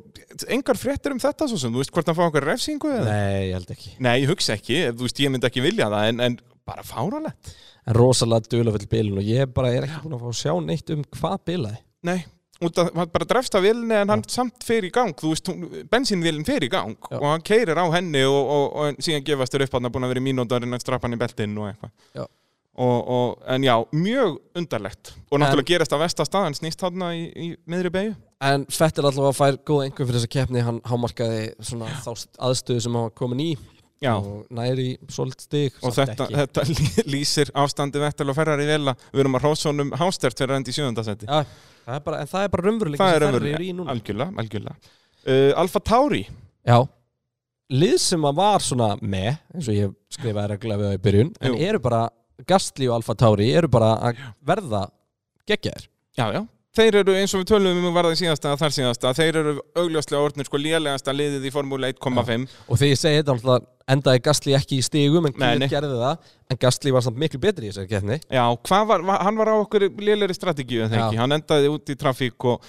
[SPEAKER 2] Engar fréttir um þetta svo sem, þú veist hvort hann fá einhver refsingu eða?
[SPEAKER 1] nei, ég held ekki
[SPEAKER 2] Nei, ég hugsa ekki, þú veist, ég myndi ekki vilja það En, en bara fáralegt
[SPEAKER 1] En rosalega duðlafell bilun og ég bara er ekki búin að fá að sjá neitt um hvað bilaði
[SPEAKER 2] Nei, út að hann bara drefst af vilni En hann samt fer í gang, þú veist, bensinvilin fer í gang
[SPEAKER 1] Já.
[SPEAKER 2] Og hann keirir á henni Og, og, og, en síðan gefast þér upp að hann búin að vera í mínúndarinn Að strappa hann í beltinn og eitthvað
[SPEAKER 1] Já.
[SPEAKER 2] Og, og, en já, mjög undarlegt og náttúrulega
[SPEAKER 1] En-
[SPEAKER 2] gerist að vestastaðan snýst þarna í, í miðri beigju
[SPEAKER 1] En Fettil allavega fær góða einhver fyrir þessa keppni Hann hámarkaði svona þá aðstöðu sem hann var komin í
[SPEAKER 2] Já,
[SPEAKER 1] og næri í svolít stig
[SPEAKER 2] og
[SPEAKER 1] samt
[SPEAKER 2] þetta,
[SPEAKER 1] ekki.
[SPEAKER 2] þetta lý- lýsir ástandi Vettel og Ferrari vel að við erum að hrósónum hástert fyrir endi í sjöðundasetti
[SPEAKER 1] Já, það er bara, En það er bara raunveruleik
[SPEAKER 2] það er
[SPEAKER 1] í
[SPEAKER 2] ömurlega,
[SPEAKER 1] núna
[SPEAKER 2] algjörlega, algjörlega. Uh, Alfa Tauri,
[SPEAKER 1] Já Lið sem að var svona með eins og ég skrifaði regla við það í byrjun en
[SPEAKER 2] Jú.
[SPEAKER 1] eru bara, Gastli og Alfa Tauri eru bara að verða geggjaðir
[SPEAKER 2] já já þeir eru eins og við tölum um varða í síðasta að þar síðasta, þeir eru augljóslega orðnir sko lélegasta liðið í Formúla 1,5
[SPEAKER 1] og þegar ég segi þetta náttúrulega endaði Gastli ekki í stigum en
[SPEAKER 2] Nei, nei.
[SPEAKER 1] Kíl gerði það en Gastli var samt miklu betri í þessari keppni
[SPEAKER 2] Já, hvað var, var- hann var á okkur lélegri strategíu
[SPEAKER 1] Já.
[SPEAKER 2] en þegar ekki, hann endaði út í trafík og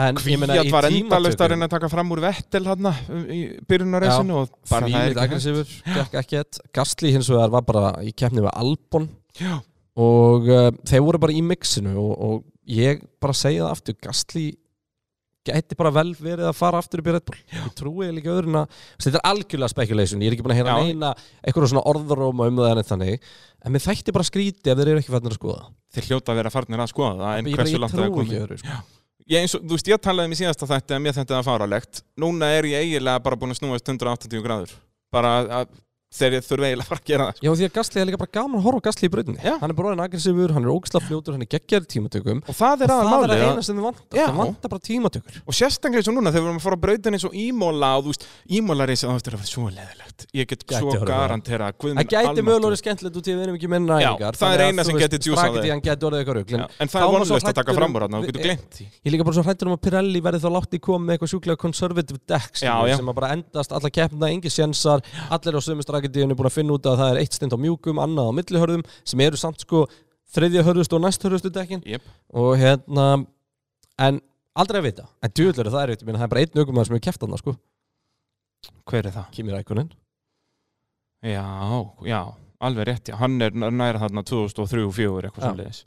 [SPEAKER 1] en ég meina
[SPEAKER 2] kvíat
[SPEAKER 1] í
[SPEAKER 2] var endalaust að
[SPEAKER 1] tímatökum
[SPEAKER 2] reyna að taka fram úr Vettel hann í byrjunarreysinu og bara
[SPEAKER 1] þvílitt
[SPEAKER 2] það er ekki hægt.
[SPEAKER 1] aggressífur, gekk ekkert Gastli hins vegar var bara í keppni við Albon
[SPEAKER 2] Já,
[SPEAKER 1] og uh, þeir voru bara í mixinu og, og ég bara segi það aftur Gastli gæti bara vel verið að fara aftur upp í Red Bull ég trúi eiginlega ekki öðrun að þetta er algjörlega speculation, ég er ekki búin að heyra
[SPEAKER 2] Já.
[SPEAKER 1] neina eitthvað svona orðaróma um það en þannig en mér þætti bara skríti ef þeir eru ekki fannir að skoða
[SPEAKER 2] þeir hljóta að vera farnir að skoða það en
[SPEAKER 1] ég, bara-
[SPEAKER 2] hversu
[SPEAKER 1] ég
[SPEAKER 2] langt það er
[SPEAKER 1] trúi
[SPEAKER 2] komið
[SPEAKER 1] ekki öðru sko.
[SPEAKER 2] ég, eins og, þú veist, ég talaði um í síðasta þætti að mér þetta er fáralegt. Núna er ég eiginlega bara búin að snúast 180 gráður. Bara að þegar ég þurfi eiginlega bara að gera það sko.
[SPEAKER 1] Já, því að Gastli er líka bara gaman að horfa á Gastli í brautinni
[SPEAKER 2] Já.
[SPEAKER 1] Hann er bara orðin aggressífur, hann er ógislega fljótur, hann er geggjar í tímatökum
[SPEAKER 2] og það er
[SPEAKER 1] Og það
[SPEAKER 2] aðan
[SPEAKER 1] er
[SPEAKER 2] málið
[SPEAKER 1] að
[SPEAKER 2] að-
[SPEAKER 1] eina sem þið vantar,
[SPEAKER 2] Já. Mm,
[SPEAKER 1] það vantar bara tímatökur
[SPEAKER 2] og sérstaklega eins og núna þegar við erum að fara að brauta eins og ímóla og þú veist, ímóla reysi það á eftir að vera svo leðilegt ég get
[SPEAKER 1] Gæti
[SPEAKER 2] svo
[SPEAKER 1] orðið.
[SPEAKER 2] garantera guð minn
[SPEAKER 1] Það gæti
[SPEAKER 2] almáttugur.
[SPEAKER 1] mögulega orðið skemmtilegt út í að við erum ekki minna
[SPEAKER 2] Já,
[SPEAKER 1] æfingar
[SPEAKER 2] það er
[SPEAKER 1] þannig að,
[SPEAKER 2] eina
[SPEAKER 1] þú
[SPEAKER 2] sem
[SPEAKER 1] veist,
[SPEAKER 2] gæti djúsað
[SPEAKER 1] bragðið í hann gæti orðið eitthvað rugl
[SPEAKER 2] Já, en það
[SPEAKER 1] þá
[SPEAKER 2] er
[SPEAKER 1] var svo
[SPEAKER 2] vonlust að
[SPEAKER 1] hræddur
[SPEAKER 2] taka
[SPEAKER 1] um-
[SPEAKER 2] fram úr þarna, þú getur
[SPEAKER 1] við-
[SPEAKER 2] gleymt því
[SPEAKER 1] Ég er líka bara svo hrættur um að Pirelli verði þá látt í kom með eitthvað sjúklega conservative deck
[SPEAKER 2] Já,
[SPEAKER 1] skilur,
[SPEAKER 2] já.
[SPEAKER 1] sem að bara endast alla keppna, engi sjensar allir á sömu straketíðinu búin að finna út að það er eitt stund á mjúkum, annað á millihörðum sem eru samt sko þriðja hörðust og næst hörðustu dekkin
[SPEAKER 2] Jep.
[SPEAKER 1] og hérna en aldrei að vita, en djúðlega það er veit, það er bara einn ökumæður sem hefur keft þarna sko
[SPEAKER 2] hver er það?
[SPEAKER 1] Kimi Rækunin,
[SPEAKER 2] já, já, alveg rétt já. hann er n- næra þarna 2003 og 2004 eitthvað
[SPEAKER 1] Já.
[SPEAKER 2] sem leiðis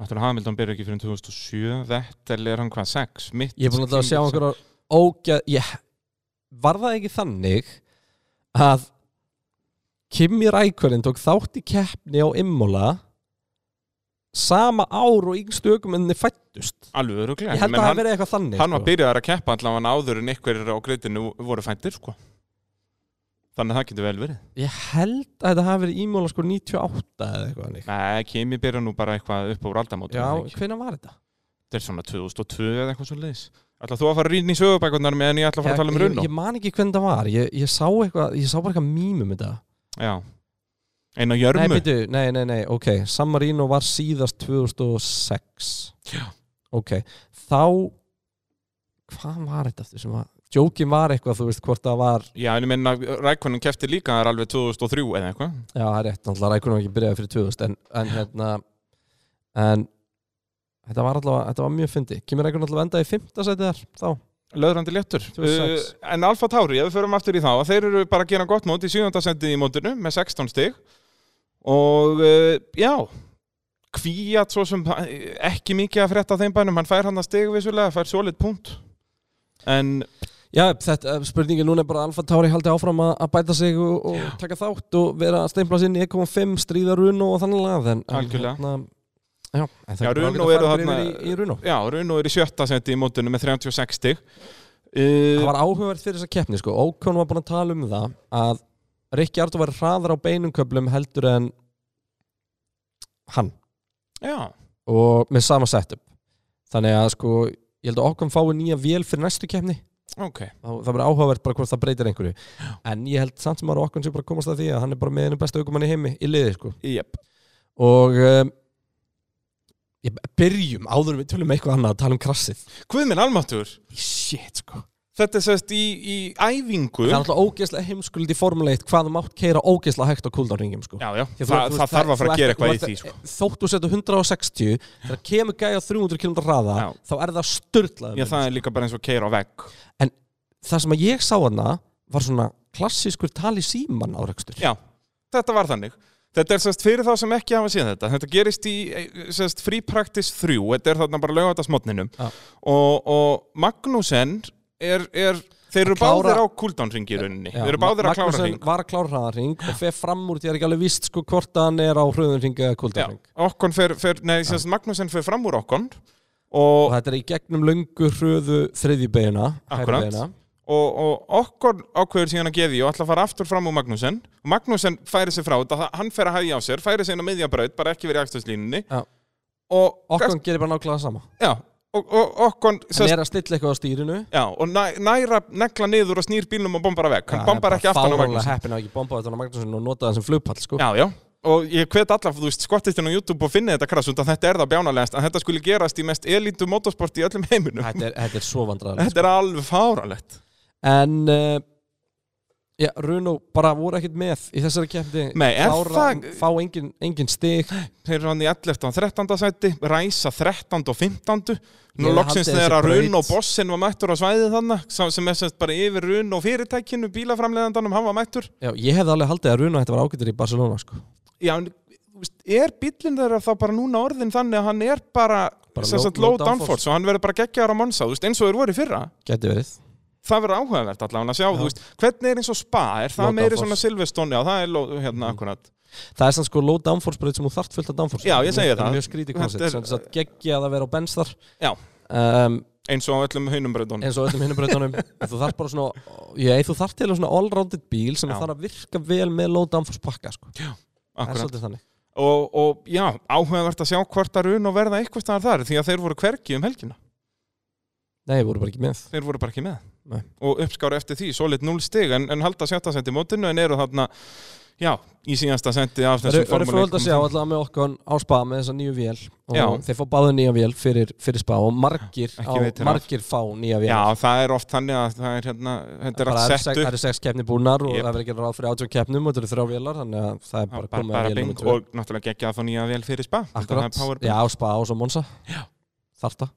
[SPEAKER 2] náttúrulega Hamilton byrja ekki fyrir 2007 þetta er hann hvað, 6 mitt
[SPEAKER 1] ég er búin að sjá
[SPEAKER 2] tímabil sem-
[SPEAKER 1] einhverjar ógæð, ég var það ekki þannig að Kimi Rækunin tók þátt í keppni á Immola sama ár og yngstu ökumenni fættust
[SPEAKER 2] alveg öruglega
[SPEAKER 1] ég held að
[SPEAKER 2] menn
[SPEAKER 1] það hafi
[SPEAKER 2] hann,
[SPEAKER 1] verið eitthvað þannig
[SPEAKER 2] hann var
[SPEAKER 1] sko.
[SPEAKER 2] byrjaðar að keppa allavega áður en einhverjir á greitinu voru fæntir sko. þannig að það getur vel verið
[SPEAKER 1] ég held að þetta hafi verið Immola sko 98 eða eitthvað þannig
[SPEAKER 2] Nei, Kimi byrja nú bara eitthvað upp á aldamótum
[SPEAKER 1] já,
[SPEAKER 2] eða ekki?
[SPEAKER 1] hvenær var þetta?
[SPEAKER 2] Þetta er svona 2002 eða eitthvað svo leiðis Ætla þú að fara að rýna í sögubækurnar meðan ég ætla að fara að tala um
[SPEAKER 1] ég,
[SPEAKER 2] runn
[SPEAKER 1] ég man ekki hvernig það var ég, ég sá eitthvað, ég sá bara eitthvað mýmum þetta
[SPEAKER 2] Já Einn á
[SPEAKER 1] nei,
[SPEAKER 2] jörmu
[SPEAKER 1] byrju, nei, nei, nei, ok San Marino var síðast 2006
[SPEAKER 2] Já.
[SPEAKER 1] ok, þá hvað var þetta aftur sem var Jókin var eitthvað, þú veist hvort það var
[SPEAKER 2] Já, en ég menna Rækonin kefti líka þar alveg 2003 eða eitthvað
[SPEAKER 1] Já, það er rétt, náttúrulega rækunum var ekki byrjaði fyrir 2000 en, en hérna en þetta var allavega, þetta var mjög fyndi Kimi rækunum allavega endaði í fimmta sæti þar þá,
[SPEAKER 2] Löðrandi léttur Uh,
[SPEAKER 1] 2006.
[SPEAKER 2] En Alfa Tauri, ef við förum aftur í þá að Þeir eru bara að gera gott mót í 7. sendið í mótinu með 16 stig Og uh, já Kvíat svo sem eh, ekki mikið að frétta af þeim bænum Hann fær hann að stig vissulega, fær solid punkt En
[SPEAKER 1] já, þetta spurningin núna er bara að Alfa Tauri haldi áfram að, að bæta sig og, og taka þátt og vera að steimpla sinni 1.5 E stríða Runo og þannig lagað en, en
[SPEAKER 2] Algjörlega.
[SPEAKER 1] hérna, já, en það
[SPEAKER 2] Já,
[SPEAKER 1] er bara
[SPEAKER 2] Runo
[SPEAKER 1] ágætt að
[SPEAKER 2] eru
[SPEAKER 1] fara bara
[SPEAKER 2] þarna-
[SPEAKER 1] yfir í, í Runo
[SPEAKER 2] Já, Runo er í sjötta seti í mótinu með 36 stig
[SPEAKER 1] Það
[SPEAKER 2] uh,
[SPEAKER 1] var áhugavert fyrir þessa keppni sko. Ókon var búin að tala um það að Rikki Ardó var hraðar á beinum köflum heldur en hann
[SPEAKER 2] Já,
[SPEAKER 1] og með sama setup þannig að sko, ég held að Ókon fái nýja vél fyrir næstu keppni
[SPEAKER 2] ok
[SPEAKER 1] Þá- það verður áhugavert bara hvort það breytir einhverju en ég held samt sem að Ókon sé bara að komast að því að hann er bara með einu besta aukumann í heimi í liði sko.
[SPEAKER 2] yep.
[SPEAKER 1] og um, ég byrjum áður en við tölum eitthvað annað að tala um krassið
[SPEAKER 2] Guðminn Almatur
[SPEAKER 1] shit sko
[SPEAKER 2] Þetta er sérst í, í æfingu
[SPEAKER 1] Það er
[SPEAKER 2] Já,
[SPEAKER 1] alltaf ógeðslega heimskuldi í Formule 1 hvað þú mátt keira ógeðslega hægt á kúldarringum sko.
[SPEAKER 2] já,
[SPEAKER 1] Því að þú-
[SPEAKER 2] það,
[SPEAKER 1] þú-
[SPEAKER 2] það þarf að fara
[SPEAKER 1] þú
[SPEAKER 2] að gera
[SPEAKER 1] ert- þú
[SPEAKER 2] eitthvað í
[SPEAKER 1] ert-
[SPEAKER 2] því sko.
[SPEAKER 1] Þótt þú setur 160 þegar kemur gæja á 300 km hraða
[SPEAKER 2] Já.
[SPEAKER 1] þá er það störtlaður
[SPEAKER 2] Já, það er líka bara eins og keira á vegg
[SPEAKER 1] það sem að ég sá hana var svona klassískur tali síman áreikstur
[SPEAKER 2] Já, þetta var þannig Þetta er sérst fyrir þá sem ekki hafa síðan þetta Þetta gerist í eh, sérst Free Practice 3 Þetta er þarna bara laugatasmotninum
[SPEAKER 1] Já.
[SPEAKER 2] og, og Magnussen er, er Þeir eru
[SPEAKER 1] klára-
[SPEAKER 2] báðir á cooldown-ringi í rauninni Þeir eru báðir að klára ring
[SPEAKER 1] var að klára hraðarring og fer fram úr því að ég er ekki alveg víst sko hvort hann er á hröðunring eða kúldarring
[SPEAKER 2] Okkon fer, fer nei, sérst Magnussen fer fram úr Okkon
[SPEAKER 1] og
[SPEAKER 2] og,
[SPEAKER 1] þetta er í gegnum löngu hröðu þriðjubegina
[SPEAKER 2] Akkurat. og, og Okkon ákveður síðan að gefi og ætla að fara aftur fram úr Magnussen og Magnussen færi sig frá þetta, það- hann fer að hægja á sér færi sig inn á miðjabraut, bara ekki verið í aksturslínunni
[SPEAKER 1] Já.
[SPEAKER 2] og,
[SPEAKER 1] okkur gerir bara nákvæmlega sama
[SPEAKER 2] já, og, og Okkon
[SPEAKER 1] hann
[SPEAKER 2] sérst,
[SPEAKER 1] er að stilla eitthvað á stýrinu
[SPEAKER 2] já, og næ, næra negla niður og snýr bílnum og bombar að veg hann bombar ekki aftan á Magnussen
[SPEAKER 1] heppin að ekki bomba þetta á Magnúsin og nota það sem flugpall sko.
[SPEAKER 2] já, já og ég hvet alla, þú veist, skottist inn á YouTube og finni þetta krass, undan þetta er það bjánalegast að þetta skuli gerast í mest elítu motorsport í öllum heiminum
[SPEAKER 1] þetta, er, þetta er svo vandræðilegt
[SPEAKER 2] þetta er alveg fáralegt
[SPEAKER 1] en uh, já, Runo bara voru ekkert með í þessari keppni
[SPEAKER 2] Nei, er það-
[SPEAKER 1] fá engin, engin stig
[SPEAKER 2] Þeir eru hann í 11. og 13. sæti, Ræsa 13. og 15. Nú
[SPEAKER 1] Ég
[SPEAKER 2] loksins
[SPEAKER 1] haldi þessi
[SPEAKER 2] þegar að Run og
[SPEAKER 1] braut-
[SPEAKER 2] Bossin var mættur á svæðið þannig, sem er semst bara yfir Run og fyrirtækinu, bílaframleðandanum, hann var mættur.
[SPEAKER 1] já, ég hefði alveg haldið að Runo þetta var ágættur í Barcelona sko.
[SPEAKER 2] Já, en þú veist, er bílinn þeirra þá bara núna orðin þannig að hann er bara,
[SPEAKER 1] Bara
[SPEAKER 2] sem
[SPEAKER 1] low-
[SPEAKER 2] sagt
[SPEAKER 1] low
[SPEAKER 2] low downforce og hann verður bara geggjaður á Monza, þú veist, eins og þeir voru í fyrra.
[SPEAKER 1] geti verið
[SPEAKER 2] Það verður áhugavert allavega að sjá, þú veist, hvernig er eins og spa, er það
[SPEAKER 1] Low
[SPEAKER 2] meiri
[SPEAKER 1] downforce. Mm.
[SPEAKER 2] svona Silveston, já, það er low, hérna akkurat.
[SPEAKER 1] það er sann sko low downforce breyt sem hún þarft fullt af downforce
[SPEAKER 2] Já, ég segi
[SPEAKER 1] er
[SPEAKER 2] það.
[SPEAKER 1] mjög skrítið
[SPEAKER 2] Þetta
[SPEAKER 1] koncept
[SPEAKER 2] er-
[SPEAKER 1] sem þess að geggja að vera á bens þar
[SPEAKER 2] Já.
[SPEAKER 1] um,
[SPEAKER 2] eins og á öllum hinumbröðunum
[SPEAKER 1] eins og öllum hinnum breytunum þú þarf bara svona, ég, þú þarf til að svona all-rounded bíl sem
[SPEAKER 2] Já.
[SPEAKER 1] þarf að virka vel með low downforce pakka sko. það er
[SPEAKER 2] Akkurat.
[SPEAKER 1] svolítið þannig
[SPEAKER 2] og, og já, áhugavert að sjá hvort að run og verða eitthvað staðar þar því að þeir voru hvergi um helgina
[SPEAKER 1] nei, við vorum bara ekki með
[SPEAKER 2] þeir voru bara ekki með
[SPEAKER 1] Nei.
[SPEAKER 2] og uppskáru eftir því, solid 0 stig en, en halda sjötta senti mótinu en eru þarna já, í síðasta senti af
[SPEAKER 1] það
[SPEAKER 2] þessum
[SPEAKER 1] eru
[SPEAKER 2] Formule
[SPEAKER 1] fróðald að
[SPEAKER 2] 1.
[SPEAKER 1] sjá allavega með okkur á spa með þessa nýju vél og
[SPEAKER 2] Já.
[SPEAKER 1] þeir fá báðu nýja vél fyrir, fyrir spa og margir,
[SPEAKER 2] Ekki
[SPEAKER 1] á,
[SPEAKER 2] veitir af.
[SPEAKER 1] margir fá nýja vél
[SPEAKER 2] Já, það er oft þannig að það er hérna, þetta er
[SPEAKER 1] Bara
[SPEAKER 2] allt
[SPEAKER 1] það eru
[SPEAKER 2] sett
[SPEAKER 1] sex- það
[SPEAKER 2] upp
[SPEAKER 1] eru sex keppni búnar og
[SPEAKER 2] Jep.
[SPEAKER 1] það verður ekki ráð fyrir átjón keppnum og þetta eru þrjá vélar þannig að það er
[SPEAKER 2] Já,
[SPEAKER 1] bara,
[SPEAKER 2] bara,
[SPEAKER 1] komið
[SPEAKER 2] bara
[SPEAKER 1] að
[SPEAKER 2] bing
[SPEAKER 1] vélum
[SPEAKER 2] og náttúrulega geggja að fá nýja vel fyrir spa
[SPEAKER 1] akkurat,
[SPEAKER 2] Það er power-
[SPEAKER 1] já, spa og svo Monza þarta,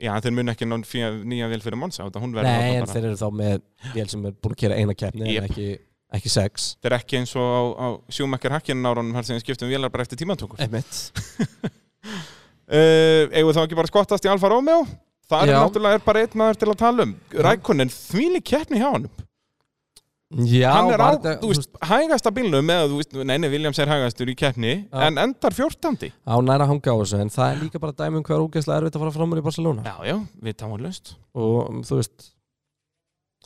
[SPEAKER 2] já, þeir munu ekki ná fía- nýja vel fyrir Monsa hún verður
[SPEAKER 1] nei en
[SPEAKER 2] þarna bara-
[SPEAKER 1] þeir eru þá með vél sem er búin að kera eina keppni
[SPEAKER 2] Jep.
[SPEAKER 1] en ekki, ekki sex
[SPEAKER 2] Þetta er ekki eins og á, á sjúmakkar hakkinn árunum þar sem við skiptum vélar bara eftir tímantungur uh,
[SPEAKER 1] Einmitt.
[SPEAKER 2] Eh, eigum þá ekki bara að skottast í Alfa Romeo það er
[SPEAKER 1] Já.
[SPEAKER 2] náttúrulega er bara einn maður til að tala um Rækonin, þvíli keppni hjá honum
[SPEAKER 1] já,
[SPEAKER 2] hann er á,
[SPEAKER 1] var þetta-
[SPEAKER 2] þú veist, hægasta bílnum eða, þú veist, neini, Williams er hægastur í keppni
[SPEAKER 1] Já.
[SPEAKER 2] en endar fjórtandi
[SPEAKER 1] á næra hanga á þessu en það er líka bara dæmi um hvað er ógeðslega erfitt að fara fram úr í Barcelona
[SPEAKER 2] já, já, við táum löst
[SPEAKER 1] og um, þú veist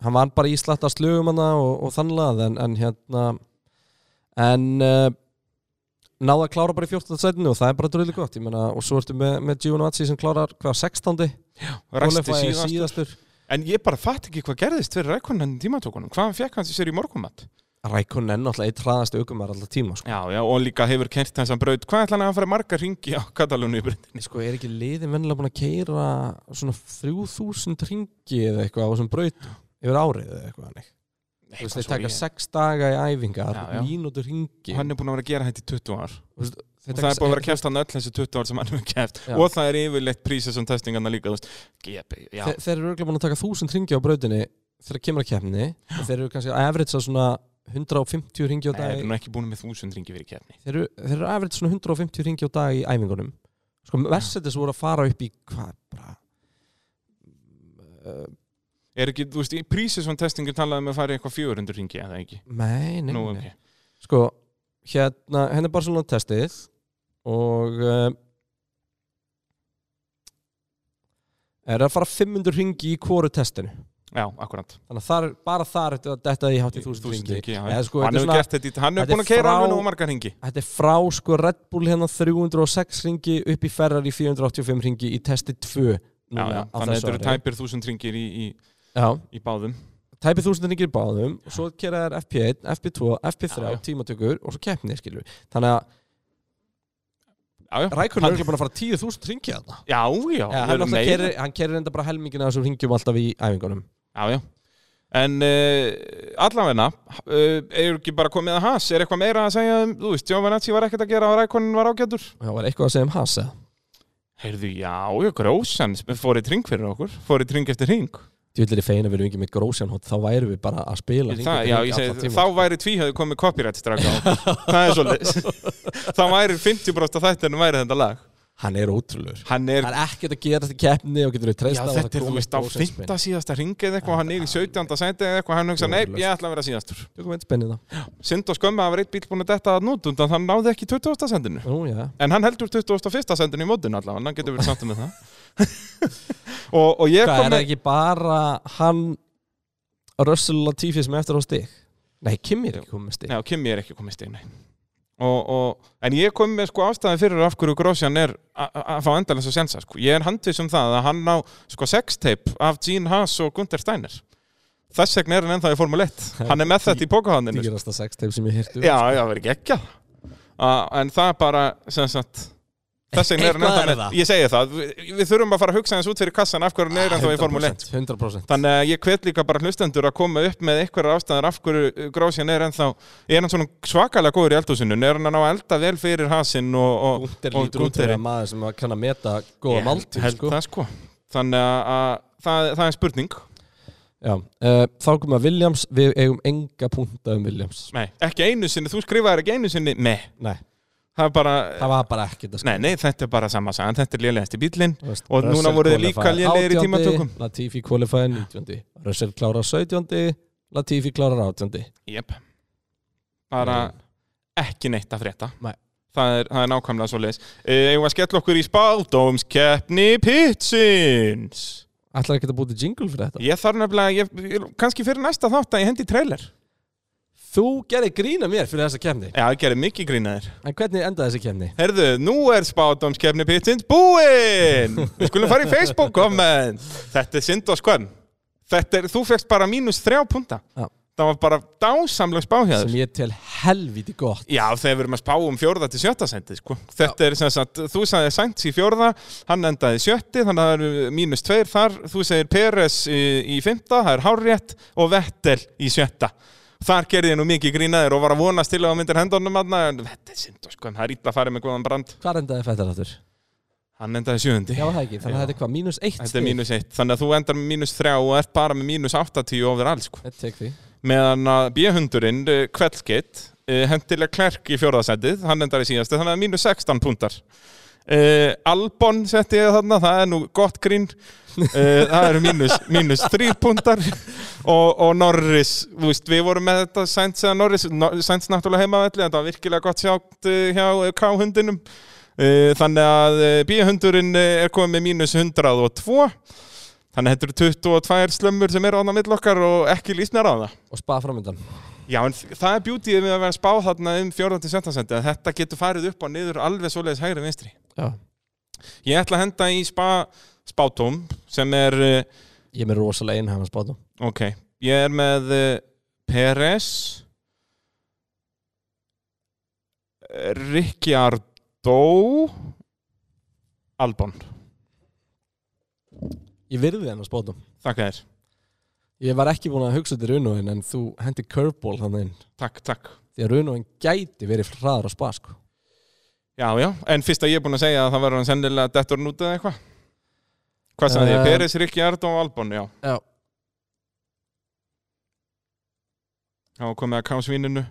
[SPEAKER 1] hann var bara í slatta slugum hann og, og þannlega en, en hérna en uh, náða að klára bara í 14. setinu og það er bara dröðlega gott ég meina, og svo ertu með, með Giovinazzi sem klárar hvað 16.
[SPEAKER 2] resti
[SPEAKER 1] Qualifying
[SPEAKER 2] síðast
[SPEAKER 1] síðastur
[SPEAKER 2] en ég bara fatt ekki hvað gerðist fyrir Rækonin tímantungunum hvað fekk hann sér í morgumat
[SPEAKER 1] Rækun er náttúrulega eitt hraðast aukumar alltaf tíma sko.
[SPEAKER 2] já, já, og líka hefur kert þessan braut hvað ætla hann að fara marga ringi á Katalónu í breytinni
[SPEAKER 1] sko er ekki liðin vennilega búin að keira svona 3000 ringi eða eitthvað á þessum braut yfir árið eða eitthvað þannig Þú veist, þeir taka sex daga í æfingar,
[SPEAKER 2] Já, já.
[SPEAKER 1] mínútur ringi
[SPEAKER 2] og hann er búin að vera að gera þetta í 20 ár
[SPEAKER 1] og
[SPEAKER 2] og það er búin að vera að kæft hann öll þessi 20 ár sem hann hefur kæft
[SPEAKER 1] Já.
[SPEAKER 2] og það er yfirleitt prísið sem testingarna líka þú veist, ég, já,
[SPEAKER 1] Þe, þeir eru örgulega búin að taka þúsund ringi á brautinni þegar kemur að kemni og þeir eru kannski að average að svona 150 ringi á
[SPEAKER 2] Nei,
[SPEAKER 1] dag
[SPEAKER 2] þeir eru nú ekki búin með þúsund ringi fyrir kefni
[SPEAKER 1] þeir eru, þeir eru average svona 150 ringi á dag í æfingunum sko Mercedes voru að fara upp í hvað bara uh,
[SPEAKER 2] er ekki, þú veist, í prísið sem testingar talaði með að fara í eitthvað 400 ringi eða ekki
[SPEAKER 1] nei, nei,
[SPEAKER 2] Nú,
[SPEAKER 1] nei.
[SPEAKER 2] okay.
[SPEAKER 1] sko hérna, henni er bara svona testið og uh, er að fara 500 ringi í hvoru testinu
[SPEAKER 2] já, akkurat
[SPEAKER 1] þannig að þar, bara þar ertu að detta í hátt í 1000
[SPEAKER 2] Þúsund
[SPEAKER 1] ringi
[SPEAKER 2] ringi, já.
[SPEAKER 1] Eða sko,
[SPEAKER 2] hann
[SPEAKER 1] þetta er
[SPEAKER 2] hefur
[SPEAKER 1] svona-
[SPEAKER 2] gert þetta í, hann
[SPEAKER 1] þetta
[SPEAKER 2] hefur búin
[SPEAKER 1] er
[SPEAKER 2] að keira
[SPEAKER 1] frá-
[SPEAKER 2] alveg nógu marga ringi
[SPEAKER 1] Þetta er frá sko Red Bull hérna 306 ringi upp í Ferrari 485 ringi í testi 2
[SPEAKER 2] já,
[SPEAKER 1] núna á
[SPEAKER 2] já, þannig að
[SPEAKER 1] þessu
[SPEAKER 2] þetta eru
[SPEAKER 1] ári.
[SPEAKER 2] tæpir þúsund ringir í, í,
[SPEAKER 1] Já,
[SPEAKER 2] í báðum
[SPEAKER 1] tæpið þúsund ringir í báðum og svo kera þær FP1, FP2, FP3
[SPEAKER 2] Já, já.
[SPEAKER 1] tímatökur og svo keppni skilur Þannig að
[SPEAKER 2] já, já,
[SPEAKER 1] Rækun er
[SPEAKER 2] Hann-
[SPEAKER 1] ekki búin að fara 10.000 ringi að það
[SPEAKER 2] já, já,
[SPEAKER 1] Já,
[SPEAKER 2] þeir
[SPEAKER 1] hann,
[SPEAKER 2] eru
[SPEAKER 1] náttúrulega
[SPEAKER 2] meira.
[SPEAKER 1] keyrir- hann kerir enda bara helmingin að þessum ringjum alltaf í æfingunum
[SPEAKER 2] Já, já. En uh, allavegna, uh, er ekki bara komið að hans? Er eitthvað meira að segja um, þú veist, Jóvanazzi var ekkert að gera og Rækonin var ágætur?
[SPEAKER 1] og það var eitthvað að segja um Hasa
[SPEAKER 2] Heyrðu, já, já, grósan fór í tring fyrir okkur, fór í tring eftir ring.
[SPEAKER 1] Djúlir í feina við erum ekki með grósjanhótt þá værum við bara að spila hring
[SPEAKER 2] Það,
[SPEAKER 1] eftir
[SPEAKER 2] já,
[SPEAKER 1] hring
[SPEAKER 2] ég
[SPEAKER 1] allan
[SPEAKER 2] segi,
[SPEAKER 1] tímann.
[SPEAKER 2] þá væri tvíhauði komið copyright straka á okkur. það er svolítið. þá væri 50% af þættinu væri þetta lag.
[SPEAKER 1] Hann er ótrúlur
[SPEAKER 2] Hann er,
[SPEAKER 1] Það er ekkert að gera þetta keppni og getur við
[SPEAKER 2] já,
[SPEAKER 1] treysta
[SPEAKER 2] þetta er, þú veist, á fynda síðasta ringið eða eitthvað, hann er í 17. sæti eða eitthvað, hann hugsa, nei, ég ætla að vera síðastur.
[SPEAKER 1] Tökum einn spennið þá
[SPEAKER 2] Sind og skömmi að vera eitt bíl búin að detta að nút, undan hann náði ekki 20. sendinu.
[SPEAKER 1] Nú, já
[SPEAKER 2] En hann heldur 21. sendin í mótin allavega, hann getur verið samt með það. og, og ég
[SPEAKER 1] Hvað er
[SPEAKER 2] kom
[SPEAKER 1] það
[SPEAKER 2] með...
[SPEAKER 1] ekki bara hann Russell Latifi sem er eftir á stig? Nei, Kimi er ekki komið með stig
[SPEAKER 2] Já, Kimi er ekki komið stegin, nei. Og, og, en ég kom með sko ástæði fyrir af hverju Grósjan er a- a- að fá endalins að sensa. Sko. Ég er handvis um það að hann ná sko sexteip af Gene Haas og Gunther Steiner. Þess vegna er hann ennþá í Formule 1. Hann er með þetta í bókahandinu. sko.
[SPEAKER 1] Dýrasta sextape sem ég um. hirtu
[SPEAKER 2] Já, já, það verður gekkja. En það er bara, sem sagt... Þess vegna er hann
[SPEAKER 1] Eitthvað
[SPEAKER 2] ennþá
[SPEAKER 1] er
[SPEAKER 2] með...
[SPEAKER 1] það.
[SPEAKER 2] Ég segi það, við, við þurfum að fara að hugsa eins út fyrir kassan af hverju hann er ennþá í Formule 1.
[SPEAKER 1] 100%
[SPEAKER 2] Þannig að ég hvet líka bara hlustendur að koma upp með einhverjar ástæðar af hverju Grósjan er ennþá, er hann svona svakalega góður í eldhúsinu, er hann að ná að elda vel fyrir hasinn og, og,
[SPEAKER 1] Gúnter
[SPEAKER 2] og
[SPEAKER 1] lítur út fyrir að maður sem að kann að meta góða
[SPEAKER 2] Ég
[SPEAKER 1] máltíð
[SPEAKER 2] held
[SPEAKER 1] sko.
[SPEAKER 2] það sko. Þannig að, að það, það er spurning.
[SPEAKER 1] Já, uh, Þá komum að Williams Við eigum enga punta um Williams
[SPEAKER 2] Nei, ekki einu sinni, þú skrifaðir ekki einu sinni, meh,
[SPEAKER 1] Nei,
[SPEAKER 2] það er bara,
[SPEAKER 1] það sko. var bara ekkert að
[SPEAKER 2] nei, nei, þetta er bara sama sagan, þetta er lélegasti bílinn.
[SPEAKER 1] Þú veist,
[SPEAKER 2] Og núna
[SPEAKER 1] Russell
[SPEAKER 2] voru þeir líka
[SPEAKER 1] qualifier
[SPEAKER 2] lélegir í
[SPEAKER 1] 18.,
[SPEAKER 2] tímatökum.
[SPEAKER 1] Latifi kvalifaði 19. Russell klárar 17. Latifi klárar 18.
[SPEAKER 2] Jep. Bara ekki neitt að frétta.
[SPEAKER 1] Nei.
[SPEAKER 2] Það er, Eh, það er nákvæmlega svo leiðis. Eða skella okkur í spáldómskeppni Pitsins.
[SPEAKER 1] Ætlar ekki að búti jingle fyrir þetta?
[SPEAKER 2] Ég þarf nefnilega, ég, ég, kannski fyrir næsta þátt að ég hendi trailer
[SPEAKER 1] Þú gerði grína mér fyrir þessa kemni
[SPEAKER 2] Já, ég gerir mikið grínaðir
[SPEAKER 1] En hvernig endaði þessi kemni?
[SPEAKER 2] Herðu, nú er spátumskefni pittsins búinn Við skulum fara í Facebook komment Þetta er synd og skvann Þetta er, þú fegst bara mínus þrjá punta
[SPEAKER 1] Já.
[SPEAKER 2] Það var bara dásamleg spáhjáður
[SPEAKER 1] Sem ég tel helvíti gott
[SPEAKER 2] Já, þegar við erum að spá um fjórða til sjötta sendi sko. Þetta er sem sagt, þú sagði Sainz í fjórða hann endaði í sjötti, þannig að það eru mínus tveir þar, þú segir Peres í, í fymta, það er hárétt og Vettel í sjötta Þar gerði ég nú mikið grínaðir og var að vonast til að þú myndir hendunum aðna, en þetta er synd og sko, en það er illa að fara með góðan brand
[SPEAKER 1] Hvar endaði fættar aftur?
[SPEAKER 2] Hann endaði í sjöundi,
[SPEAKER 1] Já, það ekki, þannig að þetta er hvað, mínus eitt
[SPEAKER 2] þetta
[SPEAKER 1] stig?
[SPEAKER 2] er mínus eitt þannig að þú endar með mínus þrjá og ert bara með mínus 80 overall, sko.
[SPEAKER 1] Þetta tek því
[SPEAKER 2] meðan að B-hundurinn uh, Kveldgeitt uh, hendilega Klerk í fjórðasendið, hann endar í síðastu þannig að mínus 16 púntar uh, Albon setti ég þarna, það er nú gott grín uh, það eru mínus, mínus 3 púntar og, og Norris, þú veist við vorum með þetta Sainz eða Norris Nor Sainz náttúrulega heimavelli, þetta var virkilega gott sjátt uh, hjá uh, K-hundinum uh, þannig að uh, B-hundurinn uh, er komið með mínus 102 Þannig að þetta eru 22 slömmur sem eru ána mill okkar og ekki lísnar á það.
[SPEAKER 1] Og spa framöndan
[SPEAKER 2] Já, en þ- það er bjútið við að vera að spá þarna um 14-17 sendi að þetta getur farið upp og niður alveg svoleiðis hægri vinstri.
[SPEAKER 1] Já
[SPEAKER 2] Ég ætla að henda í spa, spátóm sem er, eh,
[SPEAKER 1] Ég er með rosalega einhæma spátum
[SPEAKER 2] ok, ég er með eh, Peres, Ricciardo, Albon.
[SPEAKER 1] Ég virði hennar spátum
[SPEAKER 2] Takk þér.
[SPEAKER 1] Ég var ekki búin að hugsa þetta runóin en þú hendi curveball þannig inn
[SPEAKER 2] Takk, takk.
[SPEAKER 1] Því að runóin gæti verið hraður á spa sko
[SPEAKER 2] Já, já, en fyrst að ég er búinn að segja að það verður hann sennilega dettur nút eða eitthvað. Hvað sagði ég?
[SPEAKER 1] Eh.
[SPEAKER 2] Peres, Ricciardo og Albon, já.
[SPEAKER 1] Já
[SPEAKER 2] Þá er komið að kásvíninu.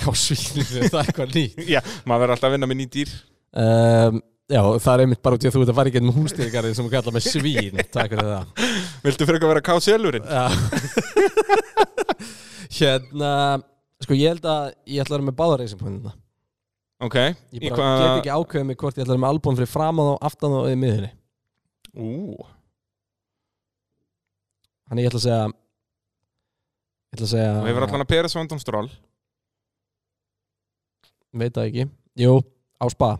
[SPEAKER 1] Kásvíl, það er eitthvað nýtt
[SPEAKER 2] Já, maður verður alltaf að vinna með ný dýr.
[SPEAKER 1] um, Já, það er einmitt bara út í að þú ert að fara í gegnum hústýrgarinn sem við kallar með svín Takk fyrir það
[SPEAKER 2] Viltu fyrir að vera káselurinn?
[SPEAKER 1] Já Hérna Sko ég held að ég ætla að vera með báða reysingpunina
[SPEAKER 2] Ok.
[SPEAKER 1] Ég
[SPEAKER 2] Í
[SPEAKER 1] bara
[SPEAKER 2] hvaða-
[SPEAKER 1] get ekki ákveðið mig hvort ég ætla að vera með albún fyrir framáð og aftan og í miðinni
[SPEAKER 2] Ú,
[SPEAKER 1] Þannig ég ætla að segja Ég ætla að segja
[SPEAKER 2] þú hefur allan að Peres og Andon Stról.
[SPEAKER 1] Veit það ekki Jú, á spa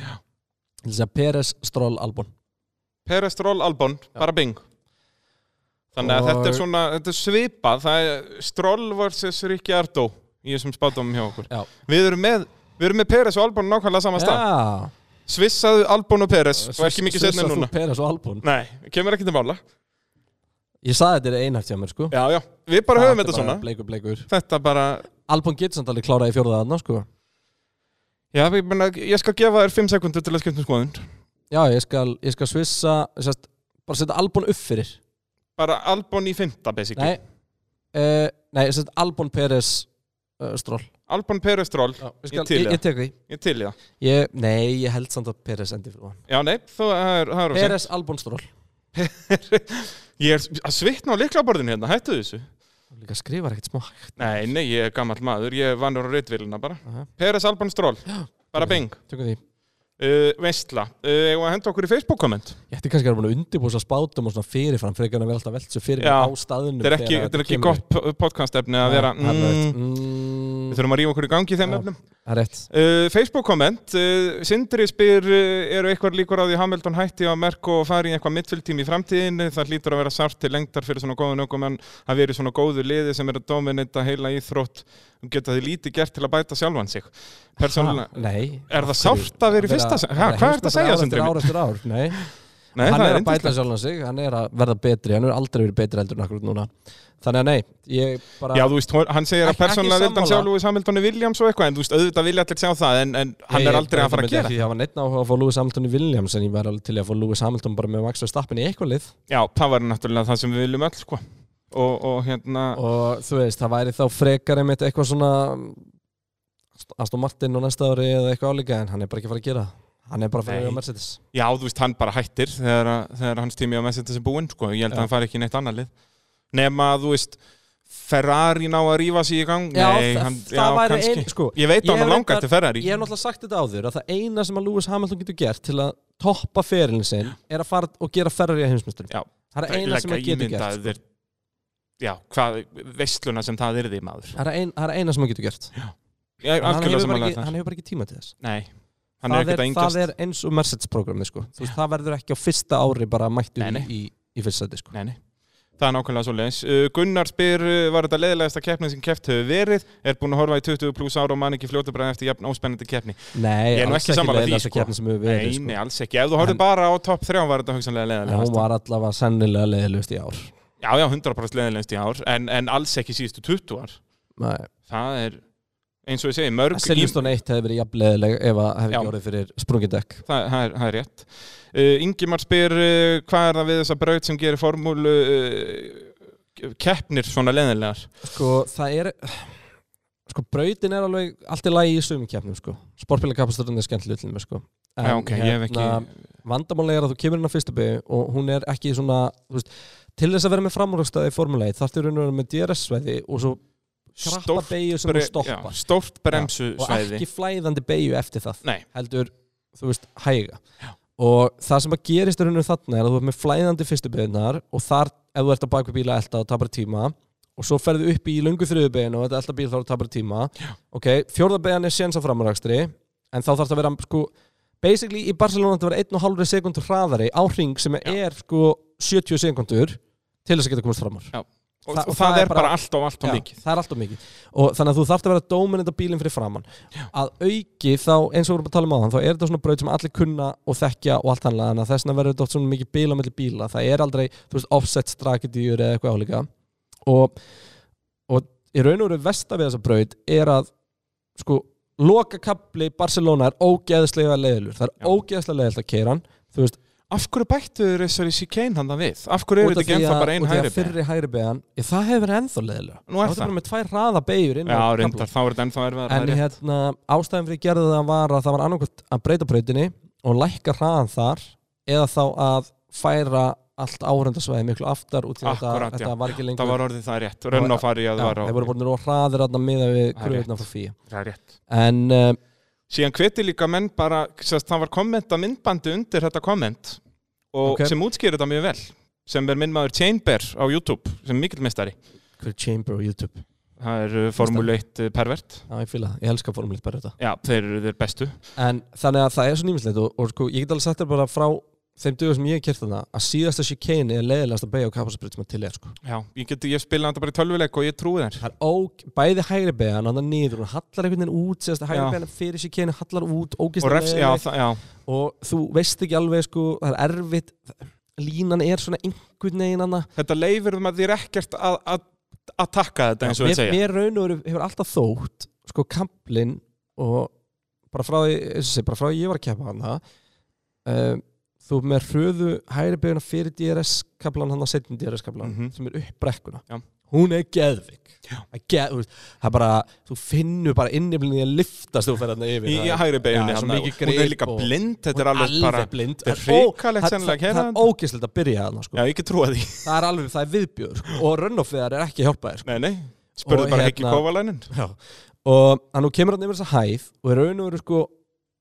[SPEAKER 1] Já Ég ætla að segja Peres, Stroll, albún
[SPEAKER 2] Peres, Stról, Albon, bara bing. Þannig að
[SPEAKER 1] Og-
[SPEAKER 2] þetta er svona, þetta er svipað. Það er Stról versus Ricciardo í þessum spátumum hjá okkur.
[SPEAKER 1] Já.
[SPEAKER 2] Við erum með, við erum með Peres og Albon á nákvæmlega sama stað.
[SPEAKER 1] Já
[SPEAKER 2] Svissaðu Albon og Peres og ekki mikið setna
[SPEAKER 1] Svissar þú
[SPEAKER 2] núna.
[SPEAKER 1] Peres og albún
[SPEAKER 2] Nei, kemur ekki til mála.
[SPEAKER 1] Ég saði þetta er einhægt hjá mér sko
[SPEAKER 2] Já, já, við bara höfum þetta
[SPEAKER 1] er bara
[SPEAKER 2] svona.
[SPEAKER 1] Bleikur, bleikur
[SPEAKER 2] Þetta bara,
[SPEAKER 1] Albon getur samt alveg klárað í fjórða aðna sko
[SPEAKER 2] já, ég, meina, ég skal gefa þér 5 sekundur til að skipta um skoðun.
[SPEAKER 1] Já, ég skal, ég skal svissa sest, bara setja Albon upp fyrir
[SPEAKER 2] Bara Albon í 5. basically.
[SPEAKER 1] Nei, uh, nei ég setja Albon Peres uh, Stroll
[SPEAKER 2] Albon Peres Stroll,
[SPEAKER 1] ég,
[SPEAKER 2] ég
[SPEAKER 1] skal,
[SPEAKER 2] til í
[SPEAKER 1] ég, ég
[SPEAKER 2] það.
[SPEAKER 1] tek því
[SPEAKER 2] Ég til í það.
[SPEAKER 1] ég, Nei, ég held samt að Peres endi fyrir hann
[SPEAKER 2] Já, nei, þú, það er, það er of seint.
[SPEAKER 1] Peres Albon Stroll
[SPEAKER 2] Ég er að svitna á liklaborðinu hérna, hættu þessu.
[SPEAKER 1] Líka skrifar ekkert smá hægt.
[SPEAKER 2] Nei, nei, ég er gammal maður, ég er vanur á reytvilina bara.
[SPEAKER 1] Aha.
[SPEAKER 2] Peres Albon Stroll, bara bing.
[SPEAKER 1] Tökum því
[SPEAKER 2] Uh, veistla, uh, og að henda okkur í Facebook komment.
[SPEAKER 1] Ég ætti kannski að vera búin að undirbúsa spátum og svona fyrirfram frekar en að vera alltaf velt svo fyrir
[SPEAKER 2] Já.
[SPEAKER 1] á staðinu
[SPEAKER 2] Þetta er ekki, þetta er ekki gott podcast efni að vera, mm,
[SPEAKER 1] mm,
[SPEAKER 2] við þurfum að rífa okkur í gangi í þeim
[SPEAKER 1] Já.
[SPEAKER 2] efnum.
[SPEAKER 1] Það er rétt
[SPEAKER 2] Uh, Facebook komment uh, Sindri spyr, uh, eru eitthvað líkur á því Hamilton hætti á Merko og fari í eitthvað midfjöldtím í framtíðin, það hlýtur að vera sárt til lengdar fyrir svona góðun okkur, menn að vera í svona góðu liði sem er að dominita heila íþrótt geta því lítið gert til að bæta sjálfan sig persónulega,
[SPEAKER 1] Ha, Nei
[SPEAKER 2] er það sárt að vera í fyrsta sæti? Ha, Hvað er þetta að segja, Sindri?
[SPEAKER 1] Ár eftir ár, eftir ár, nei
[SPEAKER 2] Nei,
[SPEAKER 1] hann
[SPEAKER 2] það
[SPEAKER 1] er
[SPEAKER 2] er
[SPEAKER 1] að bæta
[SPEAKER 2] yndislegt.
[SPEAKER 1] sjálfan sig, hann er að verða betri hann er aldrei verið betri heldur en akkur núna þannig að nei, ég bara
[SPEAKER 2] Já, þú veist, hon- hann segir að
[SPEAKER 1] Ekki- ekki
[SPEAKER 2] persónulega vildi hann sjá
[SPEAKER 1] sammála.
[SPEAKER 2] Lewis Hamilton í Williams og eitthvað, en þú veist, auðvitað vilja allir sjá það en, en hann er aldrei að fara að gera
[SPEAKER 1] Ég hafa neitt áhuga að fá Lewis Hamilton í Williams en ég væri alveg til í að fá Lewis Hamilton bara með Max Verstappen í eitthvað lið
[SPEAKER 2] Já, það var náttúrulega það sem við viljum öll, sko og, og hérna,
[SPEAKER 1] og þú veist, það væri þá frekar einmitt eitthvað svona mm, Aston Martin og næsta ári eða eitthvað álíka en hann er bara ekki að fara að gera það. hann er bara að fara
[SPEAKER 2] Nei.
[SPEAKER 1] að vera Mercedes
[SPEAKER 2] Já, þú veist, hann bara hættir þegar, að- þegar hans tími á Mercedes er búinn, sko. Ég held
[SPEAKER 1] Já.
[SPEAKER 2] að hann fari ekki í neitt annað lið. Nema, að, þú veist, Ferrari ná að rífa sig í gang
[SPEAKER 1] Já,
[SPEAKER 2] Nei,
[SPEAKER 1] það-
[SPEAKER 2] hann,
[SPEAKER 1] það væri ein- sko,
[SPEAKER 2] Ég veit
[SPEAKER 1] ég
[SPEAKER 2] að hann
[SPEAKER 1] hef
[SPEAKER 2] langar
[SPEAKER 1] reyndar-
[SPEAKER 2] til Ferrari
[SPEAKER 1] Ég hef náttúrulega sagt þetta áður að það eina sem að Lewis Hamilton getur gert til að toppa ferilin sinn er að fara og gera ferrari að heimsmyndsturum.
[SPEAKER 2] Já,
[SPEAKER 1] Það er eina sem að getur gert. sko.
[SPEAKER 2] þér, Já, hvað, veisluna sem það yrði maður
[SPEAKER 1] Það er ein- það er eina sem að getur gert.
[SPEAKER 2] Ég er
[SPEAKER 1] En Hann
[SPEAKER 2] algjörlega
[SPEAKER 1] hefur, bara
[SPEAKER 2] samanlega
[SPEAKER 1] ekki,
[SPEAKER 2] það
[SPEAKER 1] hann hefur bara ekki tíma til þess.
[SPEAKER 2] Nei, hann er
[SPEAKER 1] það,
[SPEAKER 2] ekkert að
[SPEAKER 1] er, það
[SPEAKER 2] yngjast
[SPEAKER 1] er eins og Mercedes-programmi sko. Þú veist, það verður ekki á fyrsta ári bara mættu
[SPEAKER 2] Nei, nei.
[SPEAKER 1] í, í fyrsta sæti sko.
[SPEAKER 2] Nei, nei Það er nákvæmlega svo leiðis. Gunnar spyr, uh, var þetta leiðilegasta keppnin sem keppt hefur verið? Er búin að horfa í 20 pluss ára og man ekki fljótabræðan eftir jafn óspennandi keppni?
[SPEAKER 1] Nei,
[SPEAKER 2] Ég er nú
[SPEAKER 1] alls
[SPEAKER 2] ekki sammála
[SPEAKER 1] leiðilegasta
[SPEAKER 2] því, sko.
[SPEAKER 1] keppnin sem hefur
[SPEAKER 2] Nei,
[SPEAKER 1] verið sko.
[SPEAKER 2] nei, alls ekki. Ef þú horfið
[SPEAKER 1] En-
[SPEAKER 2] bara á topp 3 var þetta hugsanlega
[SPEAKER 1] En hún
[SPEAKER 2] leiðilegast.
[SPEAKER 1] var allavega sennilega leiðilegust í ár.
[SPEAKER 2] Já, já, 100% leiðilegast í ár, en, en alls ekki síðustu 20 ár.
[SPEAKER 1] Nei.
[SPEAKER 2] Það er, eins og ég segi, mörg...
[SPEAKER 1] Silveston 1 hefði verið jafn leiðileg ef að hefði
[SPEAKER 2] Já.
[SPEAKER 1] ekki orðið fyrir sprungindekk.
[SPEAKER 2] Það, það, er, það er rétt. Uh, Ingimar spyr, uh, hvað er það við þessa braut sem gerir formúlu uh, keppnir svona leiðilegar?
[SPEAKER 1] Sko, það er sko, brautin er alveg allt í lagi í sumum keppnum, sko. Sportbílakapasturinn er skemmtileg til mig, sko. En, hérna,
[SPEAKER 2] Já, ok, ég hef ekki...
[SPEAKER 1] Vandamálega er að þú kemur inn á fyrstu byggju og hún er ekki svona, þú veist, til þess að vera með framrúkstaði í formulegi, þarftu í raun og vera með DRS-sveiði og svo krappa
[SPEAKER 2] Stórt
[SPEAKER 1] beigju sem
[SPEAKER 2] bre-
[SPEAKER 1] hún stoppar.
[SPEAKER 2] já, stórt bremsu
[SPEAKER 1] og
[SPEAKER 2] svæði
[SPEAKER 1] ekki flæðandi beigju eftir það
[SPEAKER 2] Nei.
[SPEAKER 1] heldur, þú veist, hæga og það sem að gerist raunum þarna er að þú ert með flæðandi fyrstu beigjunar og þar, ef þú ert að baka bíla elta og tapar tíma og svo ferðu upp í löngu þriðu beiginu og þetta elta bíl þá tapar tíma Já. ok, fjórða beigjan er séns á framrækstri en þá þarf það að vera sko, basically í Barcelona þetta var 1,5 sekundur hraðari á hring sem er sko 70 sekundur til þess að geta komast framar
[SPEAKER 2] og,
[SPEAKER 1] það-
[SPEAKER 2] og það er bara allt og allt og
[SPEAKER 1] Já,
[SPEAKER 2] mikið
[SPEAKER 1] það er alltaf mikið og þannig að þú þarft að vera dóminenda bílinn fyrir framann að auki þá, eins og við erum að tala um á þann þá er þetta svona braut sem allir kunna og þekkja og allt hannlega, þannig að þess vegna verður þetta oft svona mikið bíla mellir bíla, það er aldrei, þú veist, offset strakedýr eða eitthvað álíka og, og í raun og veru vestar við þessa braut er að sko, loka kapli Barcelona er ógeðslega leiðilur, það er
[SPEAKER 2] Já.
[SPEAKER 1] ógeðslega leiðilt að keira hann, þú veist,
[SPEAKER 2] af hverju bættu þessari síkæn þannig við af hverju eru þetta ekki ennþá bara einn
[SPEAKER 1] út af
[SPEAKER 2] hægri
[SPEAKER 1] því að
[SPEAKER 2] beygja?
[SPEAKER 1] fyrri hægri beðan, það hefur verið ennþá leiðilega
[SPEAKER 2] Nú er
[SPEAKER 1] það
[SPEAKER 2] það.
[SPEAKER 1] bara með tvær hraða beigur inn
[SPEAKER 2] já,
[SPEAKER 1] á kaflann.
[SPEAKER 2] reyndar, þá er þetta ennþá erfiðar
[SPEAKER 1] En
[SPEAKER 2] það er rétt.
[SPEAKER 1] hérna, ástæðan fyrir að gera það var að það var annarkvæmt að breyta breytinni og lækka hraðan þar eða þá að færa allt áhörndasvæði miklu aftar út í þetta,
[SPEAKER 2] Akkurat, já.
[SPEAKER 1] þetta var ekki lengur
[SPEAKER 2] það var orðið það rétt, rönn á fari að
[SPEAKER 1] já,
[SPEAKER 2] það var á
[SPEAKER 1] þeir voru búin að hraðir að miða við
[SPEAKER 2] Það er rétt.
[SPEAKER 1] kröðuna frá fíu
[SPEAKER 2] það er rétt
[SPEAKER 1] en uh,
[SPEAKER 2] síðan hveti líka menn bara sérst, það var kommenta myndbandi undir þetta komment og
[SPEAKER 1] Ok.
[SPEAKER 2] sem útskýrir þetta mjög vel sem er minn maður Chainbear á YouTube sem er mikilmestari
[SPEAKER 1] hver er chamber á YouTube
[SPEAKER 2] það er uh, Formule 1 uh, pervert
[SPEAKER 1] já, ég fýla það, ég elska formulit bara þetta
[SPEAKER 2] já, þeir eru þeir bestu
[SPEAKER 1] en þannig að það er svo nýmislegt og, og sko, ég get alveg sagt þér bara frá þeim dögum sem ég hef kert þarna að síðasta chicane er leiðilegast að beigja á kapasbreyt sem að til er sko.
[SPEAKER 2] já, ég, get, ég spila þetta bara í tölvuleik og ég trúi þær
[SPEAKER 1] það er óg, bæði hægri beðan hann nýður, hún hallar einhvern veginn út síðast að hægri
[SPEAKER 2] Já.
[SPEAKER 1] beðan fyrir sér kyni, hallar út
[SPEAKER 2] og refs, já,
[SPEAKER 1] og,
[SPEAKER 2] það, já,
[SPEAKER 1] og þú veist ekki alveg sko, það er erfitt línan er svona einhvern veginn anna
[SPEAKER 2] þetta leifir um að þér ekkert að, að, að taka þetta eins og
[SPEAKER 1] mér,
[SPEAKER 2] við segja
[SPEAKER 1] mér raun og veru hefur alltaf þótt sko kamplinn og bara frá því, eins og sé, bara frá því ég var að keppa hann um, þú ert með hröðu hægri beðuna fyrir DRS-kaplan hann að setjum DRS-kaplan
[SPEAKER 2] Mhm.
[SPEAKER 1] sem er upp brekkuna
[SPEAKER 2] Já.
[SPEAKER 1] hún er geðvik
[SPEAKER 2] Já.
[SPEAKER 1] geð, þú veist, það er bara, þú finnur bara inniflinni að liftast þú fer hann yfir
[SPEAKER 2] í
[SPEAKER 1] Það er-
[SPEAKER 2] hægri
[SPEAKER 1] Já,
[SPEAKER 2] beginni
[SPEAKER 1] svo
[SPEAKER 2] hann
[SPEAKER 1] mikið
[SPEAKER 2] hún er
[SPEAKER 1] grip
[SPEAKER 2] líka
[SPEAKER 1] og- hún
[SPEAKER 2] blind þetta er alveg bara
[SPEAKER 1] blind sko.
[SPEAKER 2] þetta er
[SPEAKER 1] Það ó-
[SPEAKER 2] hrikalegt
[SPEAKER 1] það-
[SPEAKER 2] sennilega
[SPEAKER 1] það-
[SPEAKER 2] að keyra
[SPEAKER 1] það
[SPEAKER 2] þetta.
[SPEAKER 1] er ógeðslegt að byrja hann sko.
[SPEAKER 2] já, ég get trúið því
[SPEAKER 1] það er alveg, það er viðbjör sko. og runoffeðar er ekki hjálpaðir sko.
[SPEAKER 2] nei, nei spurðu
[SPEAKER 1] Og
[SPEAKER 2] bara
[SPEAKER 1] hérna-
[SPEAKER 2] ekki kofalænin
[SPEAKER 1] Já. og hann nú kemur hann yfir þessa hæð og er raun og veru sko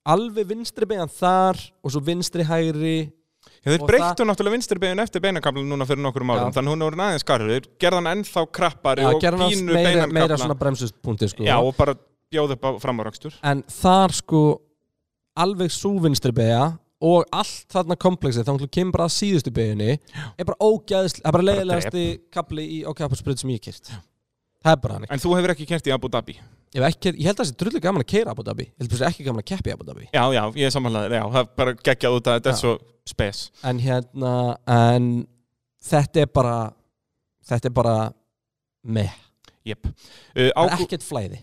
[SPEAKER 1] alveg vinstri beigjan þar og svo vinstri hægri
[SPEAKER 2] þeir
[SPEAKER 1] Og
[SPEAKER 2] breyttu náttúrulega vinstri beginn eftir beinakamlan núna fyrir nokkrum árum
[SPEAKER 1] Já.
[SPEAKER 2] þannig hún er orðin aðeins skarður gerða hann ennþá krappari
[SPEAKER 1] Já,
[SPEAKER 2] og
[SPEAKER 1] gerði hann
[SPEAKER 2] pínu
[SPEAKER 1] meira, meira svona
[SPEAKER 2] beinakamlan
[SPEAKER 1] bremsuspunkti sko.
[SPEAKER 2] já, og bara bjóð upp á framarakstur
[SPEAKER 1] en þar sko alveg svo vinstri beigja og allt þarna kompleksið þá hann kemur bara að síðustu beigjunni er bara ógæðsli, það er bara leiðilegasti kapli í okkaparspröð sem ég hef kýrt það er bara hann
[SPEAKER 2] en þú hefur ekki kert í Abu Dhabi
[SPEAKER 1] Ég, hef ekki, ég held að það sé drullu gaman að keira Abu Dhabi Ég held að það sé ekki gaman að keppi Abu Dhabi
[SPEAKER 2] já, já, ég er samanlega já, það er bara geggjað út að þetta er
[SPEAKER 1] Já.
[SPEAKER 2] svo spes
[SPEAKER 1] En hérna, en þetta er bara Þetta er bara með
[SPEAKER 2] jep uh,
[SPEAKER 1] Það er
[SPEAKER 2] ágú...
[SPEAKER 1] ekkert flæði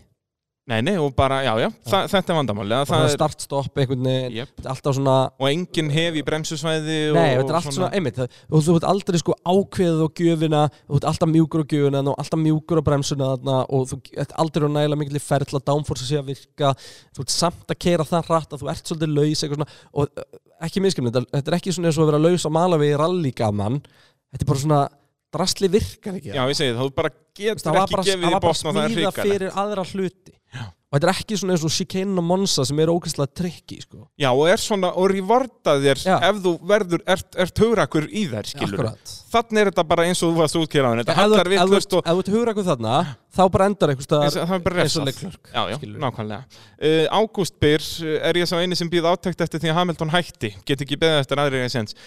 [SPEAKER 2] nei, nei, og bara, já, já, Þa, þetta er vandamáli
[SPEAKER 1] Það
[SPEAKER 2] það
[SPEAKER 1] er
[SPEAKER 2] er
[SPEAKER 1] startstopp einhvern veginn
[SPEAKER 2] Jep.
[SPEAKER 1] Þetta er Alltaf svona
[SPEAKER 2] og enginn hef í bremsusvæði og,
[SPEAKER 1] Nei, þetta er allt svona, einmitt það, og Þú veit aldrei sko ákveðið á gjöfina Þú veit alltaf mjúkur á gjöfina og alltaf mjúkur á bremsuna þarna og þú ert aldrei á nægilega mikil í ferla downforce að sé að virka Þú veit samt að keira það hratt að þú ert svolítið laus eitthvað svona og uh, ekki miskimni, þetta, þetta er ekki svona eins og að vera laus að mala við rallygaman Þetta er bara svona drasli virkar ekki
[SPEAKER 2] Já, ég segi það, þú bara
[SPEAKER 1] Þú veist, það
[SPEAKER 2] getur
[SPEAKER 1] var
[SPEAKER 2] ekki
[SPEAKER 1] bara,
[SPEAKER 2] gefið
[SPEAKER 1] það
[SPEAKER 2] í
[SPEAKER 1] var bara
[SPEAKER 2] botn og það er
[SPEAKER 1] smíða
[SPEAKER 2] hrikalegt.
[SPEAKER 1] fyrir aðra hluti Já. og þetta er ekki svona eins og Chicane og Monza sem eru ógæslega trikki sko.
[SPEAKER 2] Já, og er svona, og revarda þér
[SPEAKER 1] Já.
[SPEAKER 2] ef þú verður, ert, ert hugrakur í þær, skilur
[SPEAKER 1] akkurat
[SPEAKER 2] Þannig er þetta bara eins og þú varst útkýraðan Þetta
[SPEAKER 1] Ef þú-
[SPEAKER 2] hallar
[SPEAKER 1] ef þú ert-
[SPEAKER 2] vittlust og
[SPEAKER 1] ef þú ert hugrakuð þarna þá bara endar einhvers
[SPEAKER 2] eins og- það er
[SPEAKER 1] staðar
[SPEAKER 2] bara
[SPEAKER 1] eins og
[SPEAKER 2] refsað.
[SPEAKER 1] leiklörk
[SPEAKER 2] Já, já, nákvæmlega. Uh, Ágúst Byr, uh, er ég sá eini sem býð átækt eftir því að Hamilton hætti? Get ekki beðið eftir aðri reynsins.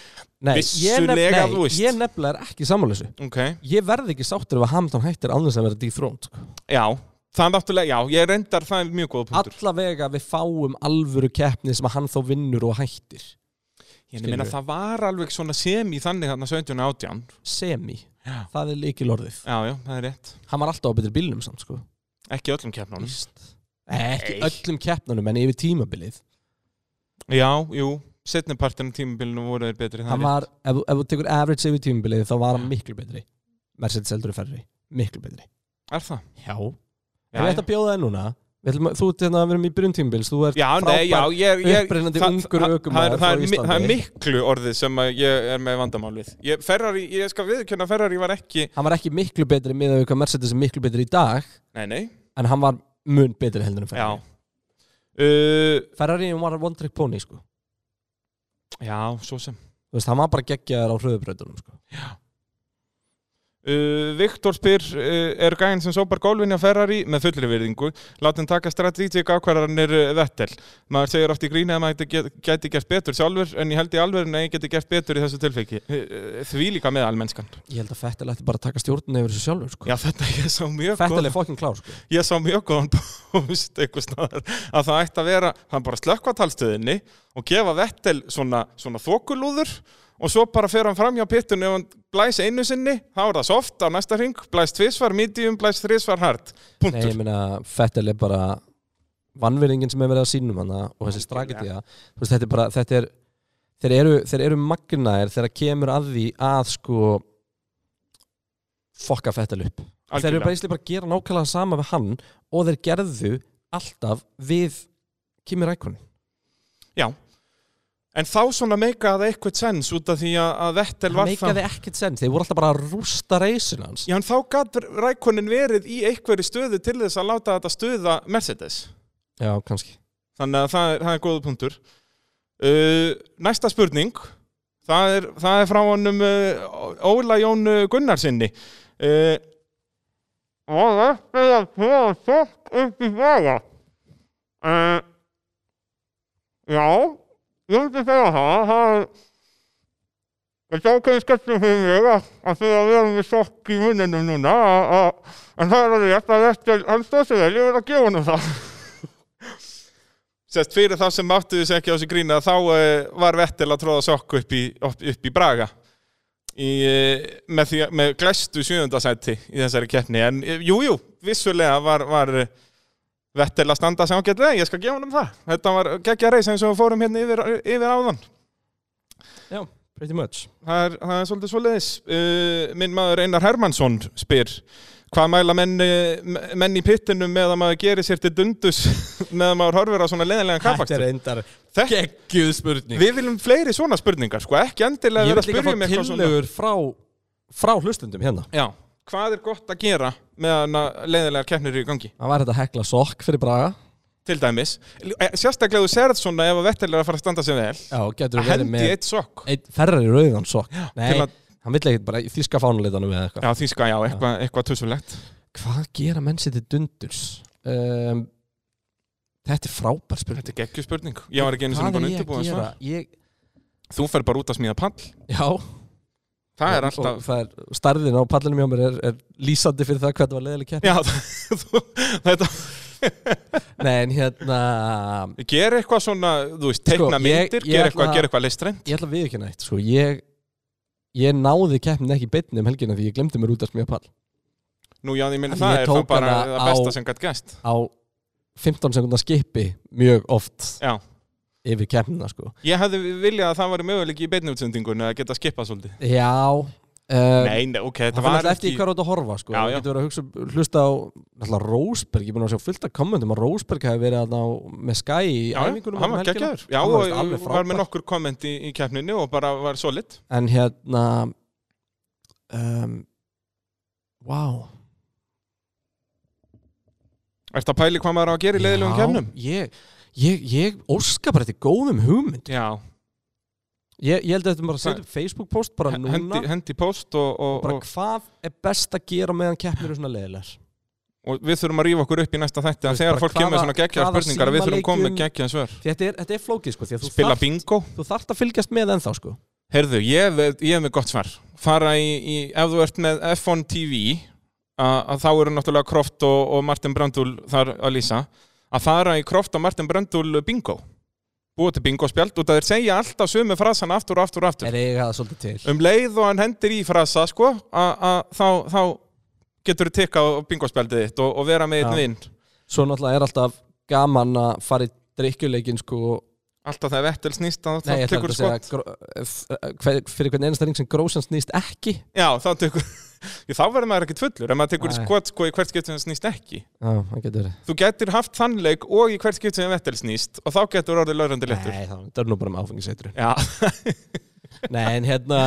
[SPEAKER 1] nei, ég, nef,
[SPEAKER 2] Vissulega, þú
[SPEAKER 1] nei,
[SPEAKER 2] veist.
[SPEAKER 1] ég nefnilega er ekki sammálusu
[SPEAKER 2] Ok,
[SPEAKER 1] ég verð ekki sáttur ef að Hamilton hættir án þess að vera dethroned sko.
[SPEAKER 2] já, það er náttúrulega, já, ég reyndar það er mjög góða punktur.
[SPEAKER 1] allavega við fáum alvöru keppni sem að hann þá vinnur og hættir
[SPEAKER 2] Ég meina,
[SPEAKER 1] skilurðu.
[SPEAKER 2] það var alveg svona sem í þannig þarna 17 og 18.
[SPEAKER 1] semi,
[SPEAKER 2] Já.
[SPEAKER 1] það er líkil orðið
[SPEAKER 2] Já, já, það er rétt.
[SPEAKER 1] hann var alltaf á betri bílnum samt sko
[SPEAKER 2] Ekki í öllum keppnunum.
[SPEAKER 1] Víst. Nei, ekki
[SPEAKER 2] Nei.
[SPEAKER 1] öllum keppnunum en yfir tímabilið
[SPEAKER 2] Já, jú, setni partin tímabilinu voru þeir betri. það er
[SPEAKER 1] hann
[SPEAKER 2] rétt.
[SPEAKER 1] var, ef, þú- ef þú tekur average yfir tímabilið þá var hann miklu betri Mercedes heldur er ferri, miklu betri
[SPEAKER 2] Er það?
[SPEAKER 1] já,
[SPEAKER 2] Já,
[SPEAKER 1] en við
[SPEAKER 2] já.
[SPEAKER 1] ætlum að bjóða það núna Við ætlum, að- þú ert hérna að vera með í byrjun tímbils þú ert
[SPEAKER 2] Já,
[SPEAKER 1] frábær
[SPEAKER 2] nei, já, ég, ég
[SPEAKER 1] upprennandi
[SPEAKER 2] það-
[SPEAKER 1] ungur
[SPEAKER 2] það-
[SPEAKER 1] ökumaður
[SPEAKER 2] það er- það er
[SPEAKER 1] frá
[SPEAKER 2] mi-
[SPEAKER 1] Íslandi.
[SPEAKER 2] Það er miklu orðið sem að ég er með vandamálið ég, Ferrari, ég skal viðkjönda Ferrari var ekki
[SPEAKER 1] hann var ekki miklu betri með að við hvað Mercedes er miklu betri í dag
[SPEAKER 2] Nei, nei,
[SPEAKER 1] en hann var mun betri heldur en
[SPEAKER 2] já
[SPEAKER 1] Ferrari
[SPEAKER 2] uh,
[SPEAKER 1] Ferrari var one trick pony sko
[SPEAKER 2] Já, svo sem
[SPEAKER 1] þú veist, hann var bara geggjaður á hröðubröðunum sko.
[SPEAKER 2] Uh, Viktor spyr, uh, er gæinn sem sópar gólfinni á Ferrari með fullri virðingu látum taka strategík ákvarðanir uh, Vettel, maður segir oft í gríni að maður gæti, gæti gert betur sjálfur en ég held í alveg að ég geti gert betur í þessu tilfeki uh, uh, því líka með almennskan
[SPEAKER 1] ég held að Fettel ætti bara að taka stjórnun yfir þessu sjálfur sko.
[SPEAKER 2] Já, þetta ég sá mjög
[SPEAKER 1] Fettel er fokkin klár sko.
[SPEAKER 2] ég sá mjög góðan post einhvers staðar að það ætti að vera hann bara slökkva talstöðinni og gefa Vettel svona, svona þokulúður og svo bara fer hann fram hjá pittunni og hann blæs einu sinni, þá er það soft á næsta hring, blæs tvisvar medium, blæs þrisvar hard,
[SPEAKER 1] Nei,
[SPEAKER 2] punktur
[SPEAKER 1] ég meina, Fettel er bara vannverðingin sem er verið að sínum hana og þessi
[SPEAKER 2] Algjörlega.
[SPEAKER 1] strategiða þú veist, þetta er bara, þetta er þeir eru, þeir eru magnaðir þegar kemur að því að sko fokka Fettel upp þeir eru
[SPEAKER 2] Algjörlega.
[SPEAKER 1] bara ísli bara að gera nákvæmlega það sama við hann og þeir gerðu alltaf við Kimi Rækonin
[SPEAKER 2] Já, en þá svona meikaði eitthvað sens út af því að- að Vettel
[SPEAKER 1] það
[SPEAKER 2] var
[SPEAKER 1] meikaði ekkert sens, þeir voru alltaf bara að rústa reysin hans
[SPEAKER 2] Já, en þá gat rækonin verið í einhverju stöðu til þess að láta þetta stöða Mercedes
[SPEAKER 1] já, kannski
[SPEAKER 2] Þannig að það er, það er góða punktur. Uh, næsta spurning, það er, það er frá honum uh, Óla Jón Gunnarsinni. Uh,
[SPEAKER 6] og eftir að koma sótt upp í vega. Uh, já, ég myndi segja það, það er þetta ákveðin skellum fyrir mig að, að því að við erum við sokk í munninum núna, að, að, en það er alveg rétt að eftir hann stóð sér vel, ég vil að gefa hann það.
[SPEAKER 2] sest fyrir þá sem áttu þessi ekki á þessu grína þá uh, var Vettel að tróða sokku upp í, upp, upp í Braga í, uh, með, því, með glæstu sjöfundasæti í þessari keppni. En eh, jú, jú, vissulega var, var eh, Vettel að standa sem ágætlega, ég skal gefa honum það. Þetta var geggja reis eins og við fórum hérna yfir, yfir áðan.
[SPEAKER 1] já, pretty much
[SPEAKER 2] það er, það er svolítið svoleiðis. Uh, minn maður Einar Hermansson spyr hvað mæla menn, eh, menn í pittinum með að maður gerir sér til dundus með að maður horfir á svona leðilegan
[SPEAKER 1] þetta er
[SPEAKER 2] kaffakstur.
[SPEAKER 1] endar
[SPEAKER 2] Þetta-
[SPEAKER 1] geggjuð spurning
[SPEAKER 2] Við viljum fleiri svona spurningar, sko, ekki endilega
[SPEAKER 1] ég
[SPEAKER 2] vera að
[SPEAKER 1] vil líka
[SPEAKER 2] spyrja
[SPEAKER 1] fá
[SPEAKER 2] um eitthvað svona.
[SPEAKER 1] tillögur frá, frá hlustundum hérna
[SPEAKER 2] Já, hvað er gott að gera meðan að leðilegar keppnir eru í gangi?
[SPEAKER 1] það var þetta að hekla sokk fyrir Braga
[SPEAKER 2] Til dæmis, Eh, sérstaklega þú serð svona ef að Vettel er að fara að standa sig vel,
[SPEAKER 1] já, getur
[SPEAKER 2] að
[SPEAKER 1] verið
[SPEAKER 2] hendi
[SPEAKER 1] með
[SPEAKER 2] eitt sokk.
[SPEAKER 1] einn ferrari rauðan sokk nei,
[SPEAKER 2] til að-
[SPEAKER 1] hann vill ekkert bara þíska fánuleitanum eða eitthvað
[SPEAKER 2] Já, því já, eitthvað, eitthvað tussulegt.
[SPEAKER 1] hvað gera menn sér til dundurs um, þetta er frábær spurning
[SPEAKER 2] Þetta er geggju spurning. Ég var ekki einu sinni búin að
[SPEAKER 1] ég
[SPEAKER 2] undirbúa
[SPEAKER 1] að gera
[SPEAKER 2] svona.
[SPEAKER 1] ég,
[SPEAKER 2] Þú fer bara út að smíða pall.
[SPEAKER 1] já, og-
[SPEAKER 2] Það er alltaf...
[SPEAKER 1] og það er, starðin á pallinum hjá mér er, er lýsandi fyrir það hvað þetta var leðileg keppni
[SPEAKER 2] Já, þú, þetta
[SPEAKER 1] nei, en hérna
[SPEAKER 2] Ger eitthvað svona, þú veist, teikna
[SPEAKER 1] Sko, ég-
[SPEAKER 2] myndir
[SPEAKER 1] ég
[SPEAKER 2] Ger
[SPEAKER 1] ætla-
[SPEAKER 2] eitthvað, ger eitthvað listrænt
[SPEAKER 1] ég ætla að við ekki nætt sko, ég, ég náði keppnin ekki beinni um helgina því ég glemdi mér út að smíða pall
[SPEAKER 2] Nú já, ég minna
[SPEAKER 1] En
[SPEAKER 2] það
[SPEAKER 1] ég
[SPEAKER 2] er þá
[SPEAKER 1] tók
[SPEAKER 2] bara
[SPEAKER 1] hana
[SPEAKER 2] það besta
[SPEAKER 1] á-
[SPEAKER 2] sem gætt gæst
[SPEAKER 1] á 15 sekundar skipi mjög oft
[SPEAKER 2] Já,
[SPEAKER 1] yfir keppnina sko.
[SPEAKER 2] ég hefði viljað að það væri möguleik í beinútsendingun að geta skipað svolítið
[SPEAKER 1] Já um,
[SPEAKER 2] Nei, nei, ok, þetta
[SPEAKER 1] það var
[SPEAKER 2] var
[SPEAKER 1] alltaf eftir
[SPEAKER 2] ekki
[SPEAKER 1] í hvað þú ert að horfa sko.
[SPEAKER 2] Já,
[SPEAKER 1] Það
[SPEAKER 2] já.
[SPEAKER 1] getur verið að hugsa, hlusta á alltaf Rósberg, ég er búin að sjá fullt af kommentum að Rósberg hefði verið að ná með Sky í
[SPEAKER 2] Já,
[SPEAKER 1] æfingunum
[SPEAKER 2] hann
[SPEAKER 1] um
[SPEAKER 2] var
[SPEAKER 1] helgina.
[SPEAKER 2] geggjaður Já,
[SPEAKER 1] Hann veist
[SPEAKER 2] og
[SPEAKER 1] alveg
[SPEAKER 2] var með
[SPEAKER 1] frábær.
[SPEAKER 2] nokkur komment í, í keppninu og bara var solid
[SPEAKER 1] En hérna um, wow.
[SPEAKER 2] Ertu að pæli hvað maður á að gera í leiðilegum kemnum?
[SPEAKER 1] ég, ég, ég óska bara þetta góðum hugmynd
[SPEAKER 2] Já,
[SPEAKER 1] ég, ég held að þetta bara að setja upp Facebook post bara núna
[SPEAKER 2] hendi, hendi post og, og,
[SPEAKER 1] bara
[SPEAKER 2] og,
[SPEAKER 1] hvað er best að gera meðan keppnir eru svona leiðilegar
[SPEAKER 2] og við þurfum að rífa okkur upp í næsta þætti
[SPEAKER 1] Þú
[SPEAKER 2] en
[SPEAKER 1] veist,
[SPEAKER 2] þegar
[SPEAKER 1] bara
[SPEAKER 2] fólk kemur með
[SPEAKER 1] hvaða-
[SPEAKER 2] svona geggjaðar
[SPEAKER 1] hvaða
[SPEAKER 2] spurningar við þurfum að koma með
[SPEAKER 1] símaleikjum-
[SPEAKER 2] geggjaðar svör
[SPEAKER 1] Því þetta er, þetta er flókið sko því að þú
[SPEAKER 2] Spila
[SPEAKER 1] þarft-
[SPEAKER 2] bingo
[SPEAKER 1] þú þarft að fylgjast með ennþá sko
[SPEAKER 2] Herðu, ég, hef- ég hef með gott svar fara í, í ef þú ert með F1 TV að, að þá eru náttúrulega Croft og, og Martin Brandúl þar að lýsa að fara í Croft og Martin Brandúl bingo búið til bingo spjald út að þeir segja alltaf sömu frasan aftur og aftur og aftur
[SPEAKER 1] er eiga það svolítið til
[SPEAKER 2] um leið og hann hendir í frasa sko, að, að, þá, þá getur þú tikkað á bingo spjaldið þitt og, og vera með einn
[SPEAKER 1] Já.
[SPEAKER 2] vinn
[SPEAKER 1] svo náttúrulega er alltaf gaman að fara í drikkjuleikin sko
[SPEAKER 2] alltaf það er vettel snýst þá
[SPEAKER 1] nei ég ætla
[SPEAKER 2] tekur
[SPEAKER 1] að
[SPEAKER 2] þú
[SPEAKER 1] segja
[SPEAKER 2] skott
[SPEAKER 1] gró- eh, hver- fyrir hvern einasta ring sem grósan snýst ekki
[SPEAKER 2] já, þá tekur Jú, þá verður maður ekkert fullur ef maður tekur
[SPEAKER 1] Nei.
[SPEAKER 2] skott sko í hvert skiptum það snýst ekki
[SPEAKER 1] já það getur verið.
[SPEAKER 2] þú getur haft þannleik og í hvert skipt sem Vettel snýst og þá getur orðið laurandi léttur
[SPEAKER 1] nei það það er nú bara með áfengiseitrun
[SPEAKER 2] Já,
[SPEAKER 1] nei en hérna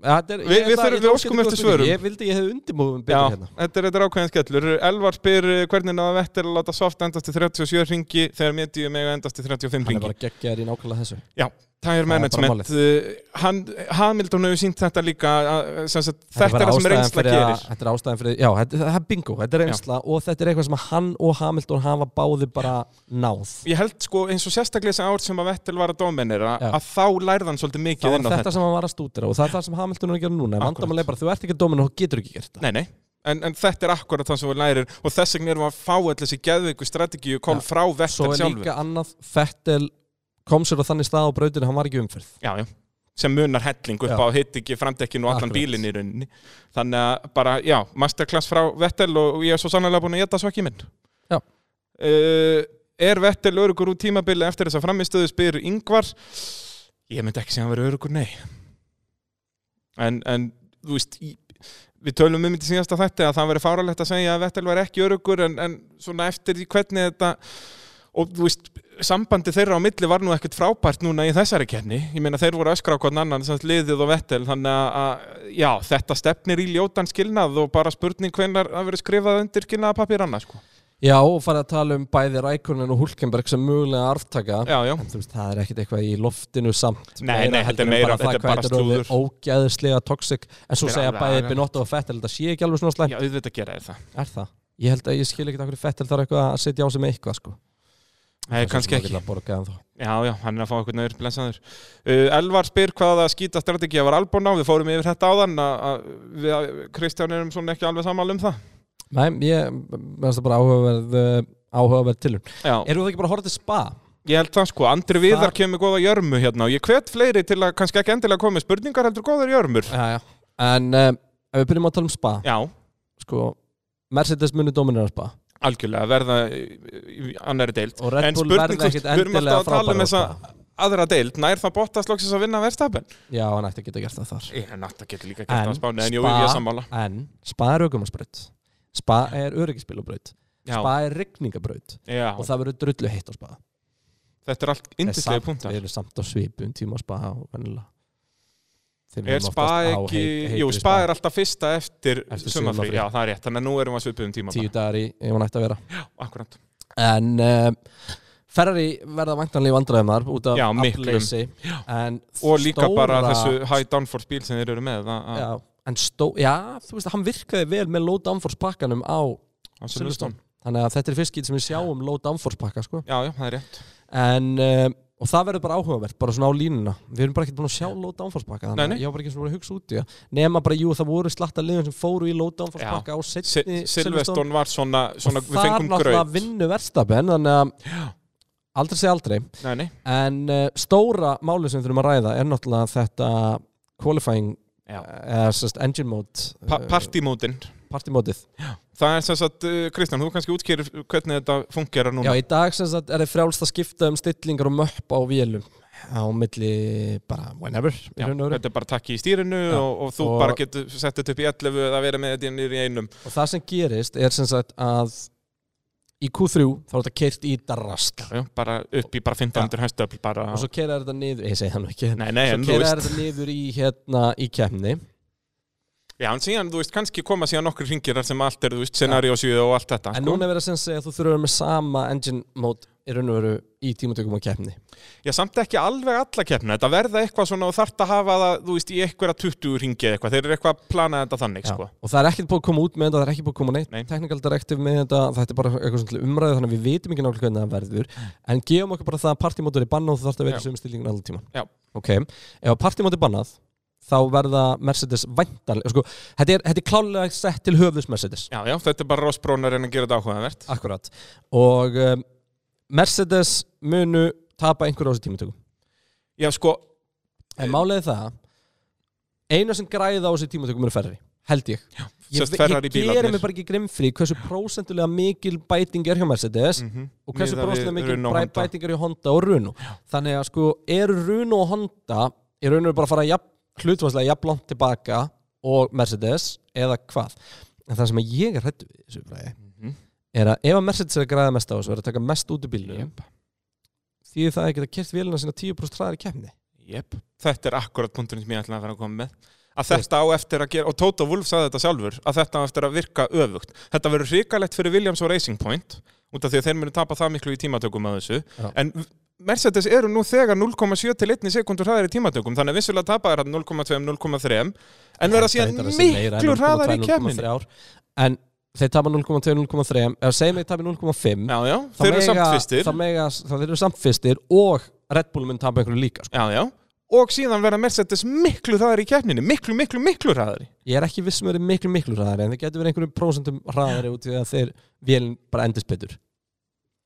[SPEAKER 1] ja, þetta er- ég
[SPEAKER 2] Við-
[SPEAKER 1] ætla-
[SPEAKER 2] við þurfum-
[SPEAKER 1] ég
[SPEAKER 2] við
[SPEAKER 1] ætla
[SPEAKER 2] óskum
[SPEAKER 1] að geta
[SPEAKER 2] eftir
[SPEAKER 1] góð spurning.
[SPEAKER 2] svörum.
[SPEAKER 1] ég vildi ég hefði undimóðum
[SPEAKER 2] já,
[SPEAKER 1] betur hérna
[SPEAKER 2] þetta er, þetta er ákveðin skellur Elvar spyr eh, hvernig náða Vettel að láta soft endast í 37 ringi þegar Medium eiga endast í 35
[SPEAKER 1] hann er
[SPEAKER 2] ringi
[SPEAKER 1] bara geggjaður í nákvæmlega þessu
[SPEAKER 2] Já, tire
[SPEAKER 1] bara
[SPEAKER 2] management
[SPEAKER 1] málið.
[SPEAKER 2] eh, hann, Hamilton hefur sínt þetta líka að, sem sagt,
[SPEAKER 1] Þetta
[SPEAKER 2] þetta er
[SPEAKER 1] bara
[SPEAKER 2] það sem
[SPEAKER 1] ástæðan
[SPEAKER 2] reynsla
[SPEAKER 1] fyrir að-
[SPEAKER 2] gerir
[SPEAKER 1] Þetta er ástæðan fyrir, já, þetta, það er bingo, þetta er reynsla og þetta er eitthvað sem að hann og Hamilton hafa báði bara náð.
[SPEAKER 2] Ég held sko eins og sérstaklega þessi ár sem að Vettel var að dominera
[SPEAKER 1] Já.
[SPEAKER 2] að þá lærði hann svolítið
[SPEAKER 1] Það
[SPEAKER 2] mikið
[SPEAKER 1] var
[SPEAKER 2] inn á
[SPEAKER 1] þetta,
[SPEAKER 2] þetta
[SPEAKER 1] sem hann var að stúdira og það er það sem Hamilton er að gera núna.
[SPEAKER 2] Akkúrat.
[SPEAKER 1] Vandamál er bara, þú ert ekki að dóminu og þú getur ekki gert það.
[SPEAKER 2] Nei, nei En, en þetta er akkurat það sem við lærir og þess vegna erum við að fá allir þessi geðveiku strategíu kól
[SPEAKER 1] Já.
[SPEAKER 2] frá
[SPEAKER 1] Svo
[SPEAKER 2] Vettel
[SPEAKER 1] er
[SPEAKER 2] sjálfu
[SPEAKER 1] líka annað, Fettel kom sér á þannig stað á brautinu, hann var ekki í umferð.
[SPEAKER 2] já, já. sem munar helling upp
[SPEAKER 1] Já.
[SPEAKER 2] á hitt ekki framdekkinu og allan
[SPEAKER 1] Akkurat.
[SPEAKER 2] bílinn í rauninni þannig að bara, já, masterclass frá Vettel og ég er svo sannlega búin að geta svakki minn
[SPEAKER 1] Já.
[SPEAKER 2] uh, Er Vettel örugur úr tímabili eftir þess að framistöðu spyr yngvar Ég myndi ekki segja að hann verið örugur, nei en, en þú veist í, við tölum um í síðasta þætti að það verið fáralegt að segja að Vettel var ekki örugur en, en svona eftir því hvernig þetta og þú veist, sambandi þeirra á milli var nú ekkert frábært núna í þessari kenni ég meina þeir voru að öskra á hvern annan sem sagt liðið og vettel þannig að, að já, þetta stefnir í ljótan skilnað og bara spurning hvenar að vera skrifað undir skilnaða papíranna sko.
[SPEAKER 1] Já, og farið að tala um bæði Rækonin og Hulkenberg sem mögulega arftaka.
[SPEAKER 2] já, já,
[SPEAKER 1] En þú veist, það er ekkit eitthvað í loftinu samt.
[SPEAKER 2] Nei, nei, þetta er
[SPEAKER 1] heldur en
[SPEAKER 2] meira-
[SPEAKER 1] bara það
[SPEAKER 2] þetta er
[SPEAKER 1] hvað
[SPEAKER 2] bara
[SPEAKER 1] þetta orðið Ógæðislega toxic, en svo
[SPEAKER 2] Þetta er
[SPEAKER 1] segja
[SPEAKER 2] alveg
[SPEAKER 1] bæði
[SPEAKER 2] agalegt.
[SPEAKER 1] Benotto og Fettel, þetta sé ekki alveg svona slæmt.
[SPEAKER 2] já, auðvitað gera þeir það
[SPEAKER 1] Er það? Ég held að ég skil ekkert okkur fettil þar eitthvað að setja á sig með eitthvað sko.
[SPEAKER 2] Nei,
[SPEAKER 1] Það er svo sem
[SPEAKER 2] kannski ekki,
[SPEAKER 1] maður getur að borga en þá.
[SPEAKER 2] já, já, hann er að fá eitthvað nöður blessaður. Uh, Elvar spyr hvaða skýta strategið var albúin á, við fórum yfir þetta áðan að, að við að Kristján erum svona ekki alveg sammála um það
[SPEAKER 1] Nei, ég, mér finnst það bara áhugaverð, uh, áhugaverð tilum.
[SPEAKER 2] já.
[SPEAKER 1] Eru það ekki bara að horfa til spa?
[SPEAKER 2] Ég held það sko, Andri Viðar
[SPEAKER 1] Það-
[SPEAKER 2] kemur góða jörmu hérna og ég hvet fleiri til að kannski ekki endilega koma með spurningar heldur góðar jörmur.
[SPEAKER 1] Já, já. En um, ef við byrjum að tala um spa,
[SPEAKER 2] Já,
[SPEAKER 1] sko, Mercedes muni dominera spa.
[SPEAKER 2] algjörlega, verða í- í annari deild.
[SPEAKER 1] Og Red
[SPEAKER 2] en
[SPEAKER 1] Bull
[SPEAKER 2] spurning,
[SPEAKER 1] verða
[SPEAKER 2] þú veist,
[SPEAKER 1] ekkit
[SPEAKER 2] við erum alltaf
[SPEAKER 1] endilega
[SPEAKER 2] að tala um
[SPEAKER 1] frábærar á
[SPEAKER 2] þessa aðra deild, nær það bóttast loksins að vinna verðstapin?
[SPEAKER 1] Já, hann ætti að geta gert það þar.
[SPEAKER 2] Ég er nátt að geta líka gert það
[SPEAKER 1] En
[SPEAKER 2] að spáni, en jú, ég er sammála.
[SPEAKER 1] en spa er augumarsbraut. Spa er öryggispilubraut.
[SPEAKER 2] Já,
[SPEAKER 1] Spa er rigningabraut.
[SPEAKER 2] já
[SPEAKER 1] Og það verður drullu heitt á spa.
[SPEAKER 2] þetta er allt
[SPEAKER 1] En
[SPEAKER 2] yndislega
[SPEAKER 1] samt-
[SPEAKER 2] punktar.
[SPEAKER 1] Við erum samt á svipum tíma á spa og vennilega. Þeim
[SPEAKER 2] Er
[SPEAKER 1] erum oftast
[SPEAKER 2] spa
[SPEAKER 1] á
[SPEAKER 2] ekki,
[SPEAKER 1] heit-
[SPEAKER 2] jú,
[SPEAKER 1] heitri
[SPEAKER 2] spa er alltaf fyrsta eftir,
[SPEAKER 1] Eftir
[SPEAKER 2] eftir
[SPEAKER 1] sumarfrí.
[SPEAKER 2] já, það er rétt, þannig að nú erum við að svipa um tíma.
[SPEAKER 1] tíu dagar í, ef hann ætti að vera
[SPEAKER 2] Akkurat.
[SPEAKER 1] en uh, Ferrari verða vantanlega vandræðum þar út af
[SPEAKER 2] Já, miklum.
[SPEAKER 1] afleysi en
[SPEAKER 2] Og líka bara
[SPEAKER 1] stóra-
[SPEAKER 2] þessu high downforce bíl sem þeir eru með. að- að-
[SPEAKER 1] já, en stó, já, þú veist að hann virkaði vel með low downforce pakkanum á
[SPEAKER 2] á Silverstone.
[SPEAKER 1] Silverstone þannig að þetta er fyrst skýt sem við sjáum low downforce pakka sko.
[SPEAKER 2] Já, já, það er rétt.
[SPEAKER 1] en uh, og það verður bara áhugavert, bara svona á línuna við erum bara ekkert búin að sjá low downforce pakka
[SPEAKER 2] Nei,
[SPEAKER 1] þannig
[SPEAKER 2] nei.
[SPEAKER 1] að ég var bara ekki svona búin að hugsa út í það nema bara, jú, það voru slatta liðum sem fóru í low downforce
[SPEAKER 2] Já.
[SPEAKER 1] pakka á setni Silverstone
[SPEAKER 2] Silveston var svona, svona
[SPEAKER 1] og
[SPEAKER 2] við
[SPEAKER 1] þar
[SPEAKER 2] fengum
[SPEAKER 1] náttúrulega
[SPEAKER 2] gröð
[SPEAKER 1] vinnu verstapen þannig að aldrei segja aldrei
[SPEAKER 2] nei, nei.
[SPEAKER 1] En uh, stóra máli sem við þurfum að ræða er náttúrulega þetta qualifying eh,
[SPEAKER 2] Já.
[SPEAKER 1] eða sérst engine mode
[SPEAKER 2] Pa
[SPEAKER 1] eh,
[SPEAKER 2] partímótin
[SPEAKER 1] party mótið.
[SPEAKER 2] það er sem sagt, uh, Kristján, þú kannski útskýrir hvernig þetta fungerar
[SPEAKER 1] Já,
[SPEAKER 2] núna
[SPEAKER 1] í dag sem sagt er það frjálst að skipta um stillingar og möpp á vélum á milli bara whenever í
[SPEAKER 2] Já,
[SPEAKER 1] raun og veru.
[SPEAKER 2] þetta er bara takki í stýrinu
[SPEAKER 1] Já.
[SPEAKER 2] og, og þú
[SPEAKER 1] Og-
[SPEAKER 2] bara getur sett þetta upp í 11 eða verið með þetta niður í einum
[SPEAKER 1] og það sem gerist er sem sagt að í Q3 þá er þetta keirt í darrast
[SPEAKER 2] já, bara upp í bara 500 hestöfl bara,
[SPEAKER 1] og svo keira þetta niður, ég segi það nú ekki
[SPEAKER 2] nei, nei,
[SPEAKER 1] svo
[SPEAKER 2] en þú
[SPEAKER 1] keira
[SPEAKER 2] veist
[SPEAKER 1] þetta niður í hérna í kemni
[SPEAKER 2] Já, en síðan, þú veist, kannski koma síðan nokkur ringir þar sem allt er, þú veist, scenariósvíð og allt þetta
[SPEAKER 1] En
[SPEAKER 2] sko.
[SPEAKER 1] núna er verið að sem segja að þú þurfur að vera með sama engine mode í raun og veru í tímatökum og keppni
[SPEAKER 2] Já, samt ekki alveg alla keppna Þetta verða eitthvað svona og þarft að hafa það, þú veist, í einhverja 20 ringi eða eitthvað Þeir eru eitthvað að plana þetta þannig,
[SPEAKER 1] Já.
[SPEAKER 2] sko
[SPEAKER 1] Og það er ekkert búið að koma út með þetta, það er ekki búið að koma neitt
[SPEAKER 2] Nei.
[SPEAKER 1] Technical directive með þetta, þetta er bara eitthvað svona til umræðu Þannig að við vitum ekki nákvæmlega hvernig það verður En gefum okkur bara það að partímótor er bannað og þú þarfst að vera
[SPEAKER 2] Já.
[SPEAKER 1] í sömu stillingun allan tíman
[SPEAKER 2] Já.
[SPEAKER 1] Ok, ef að partímótor er bannað þá verða Mercedes væntanlega sko, þetta, er, þetta er klálega sett til höfðus Mercedes
[SPEAKER 2] Já, já, þetta er bara rosbrónar en að gera þetta áhugavert
[SPEAKER 1] Akkurat Og um, Mercedes munu tapa einhverju á þessu tímatökum
[SPEAKER 2] Já, sko,
[SPEAKER 1] En málega það Einu sem græða á þessu tímatökum eru ferri Held ég Já, Ég,
[SPEAKER 2] sérst Ferrari
[SPEAKER 1] ég gerir
[SPEAKER 2] bílarnir.
[SPEAKER 1] mig bara ekki grimm fyrir hversu prósentulega mikil bæting er hjá Mercedes og hversu
[SPEAKER 2] Mm. Miðað við
[SPEAKER 1] prósentulega mikil
[SPEAKER 2] Renault og
[SPEAKER 1] bræ-
[SPEAKER 2] Honda.
[SPEAKER 1] bæting er hjá Honda og Runo Þannig að sko, eru Runo og Honda er Runo bara að fara jafn, hlutvarslega jafn langt tilbaka og Mercedes eða hvað En það sem ég er hrættu við þessu fræði
[SPEAKER 2] Mhm.
[SPEAKER 1] er að ef að Mercedes er að græða mest á þessu og er að taka mest út úr bílnum yep. því það er ekki að kert vélina sína 10% hraðar í kemni
[SPEAKER 2] Jep. þetta er akkurat punkturinn sem ég ætlaði að vera að koma með að þetta á eftir að gera, og Tóta Wolf sagði þetta sjálfur, að þetta á eftir að virka öfugt þetta verður hrikalegt fyrir Williams og Racing Point út af því að þeir munu tapa það miklu í tímatökum að þessu,
[SPEAKER 1] Já.
[SPEAKER 2] en Mercedes eru nú þegar 0,7 til 1 sekundur hraðar í tímatökum, þannig að vissulega tapa er 0,2, 0,3 en verða síðan
[SPEAKER 1] Reyndar að sé meira en
[SPEAKER 2] miklu hraðar í
[SPEAKER 1] 0,2,
[SPEAKER 2] kemmin
[SPEAKER 1] 0,3 ár. En þeir tapa 0,2, 0,3 Ef segjum þeir tapa 0,5
[SPEAKER 2] Já, já,
[SPEAKER 1] þá
[SPEAKER 2] þeir eru
[SPEAKER 1] mega-
[SPEAKER 2] samt fyrstir
[SPEAKER 1] þá mega- þá þeir eru samt fyrstir og Red Bull mun tapa einhverju líka sko.
[SPEAKER 2] Já, já, og síðan verða Mercedes miklu hraðar í kemminni, miklu, miklu, miklu hraðar
[SPEAKER 1] Ég er ekki vissum að þeir eru miklu miklu hraðari en þeir getur verið einhverjum prósentum hraðari út í að þeir vélin bara endist betur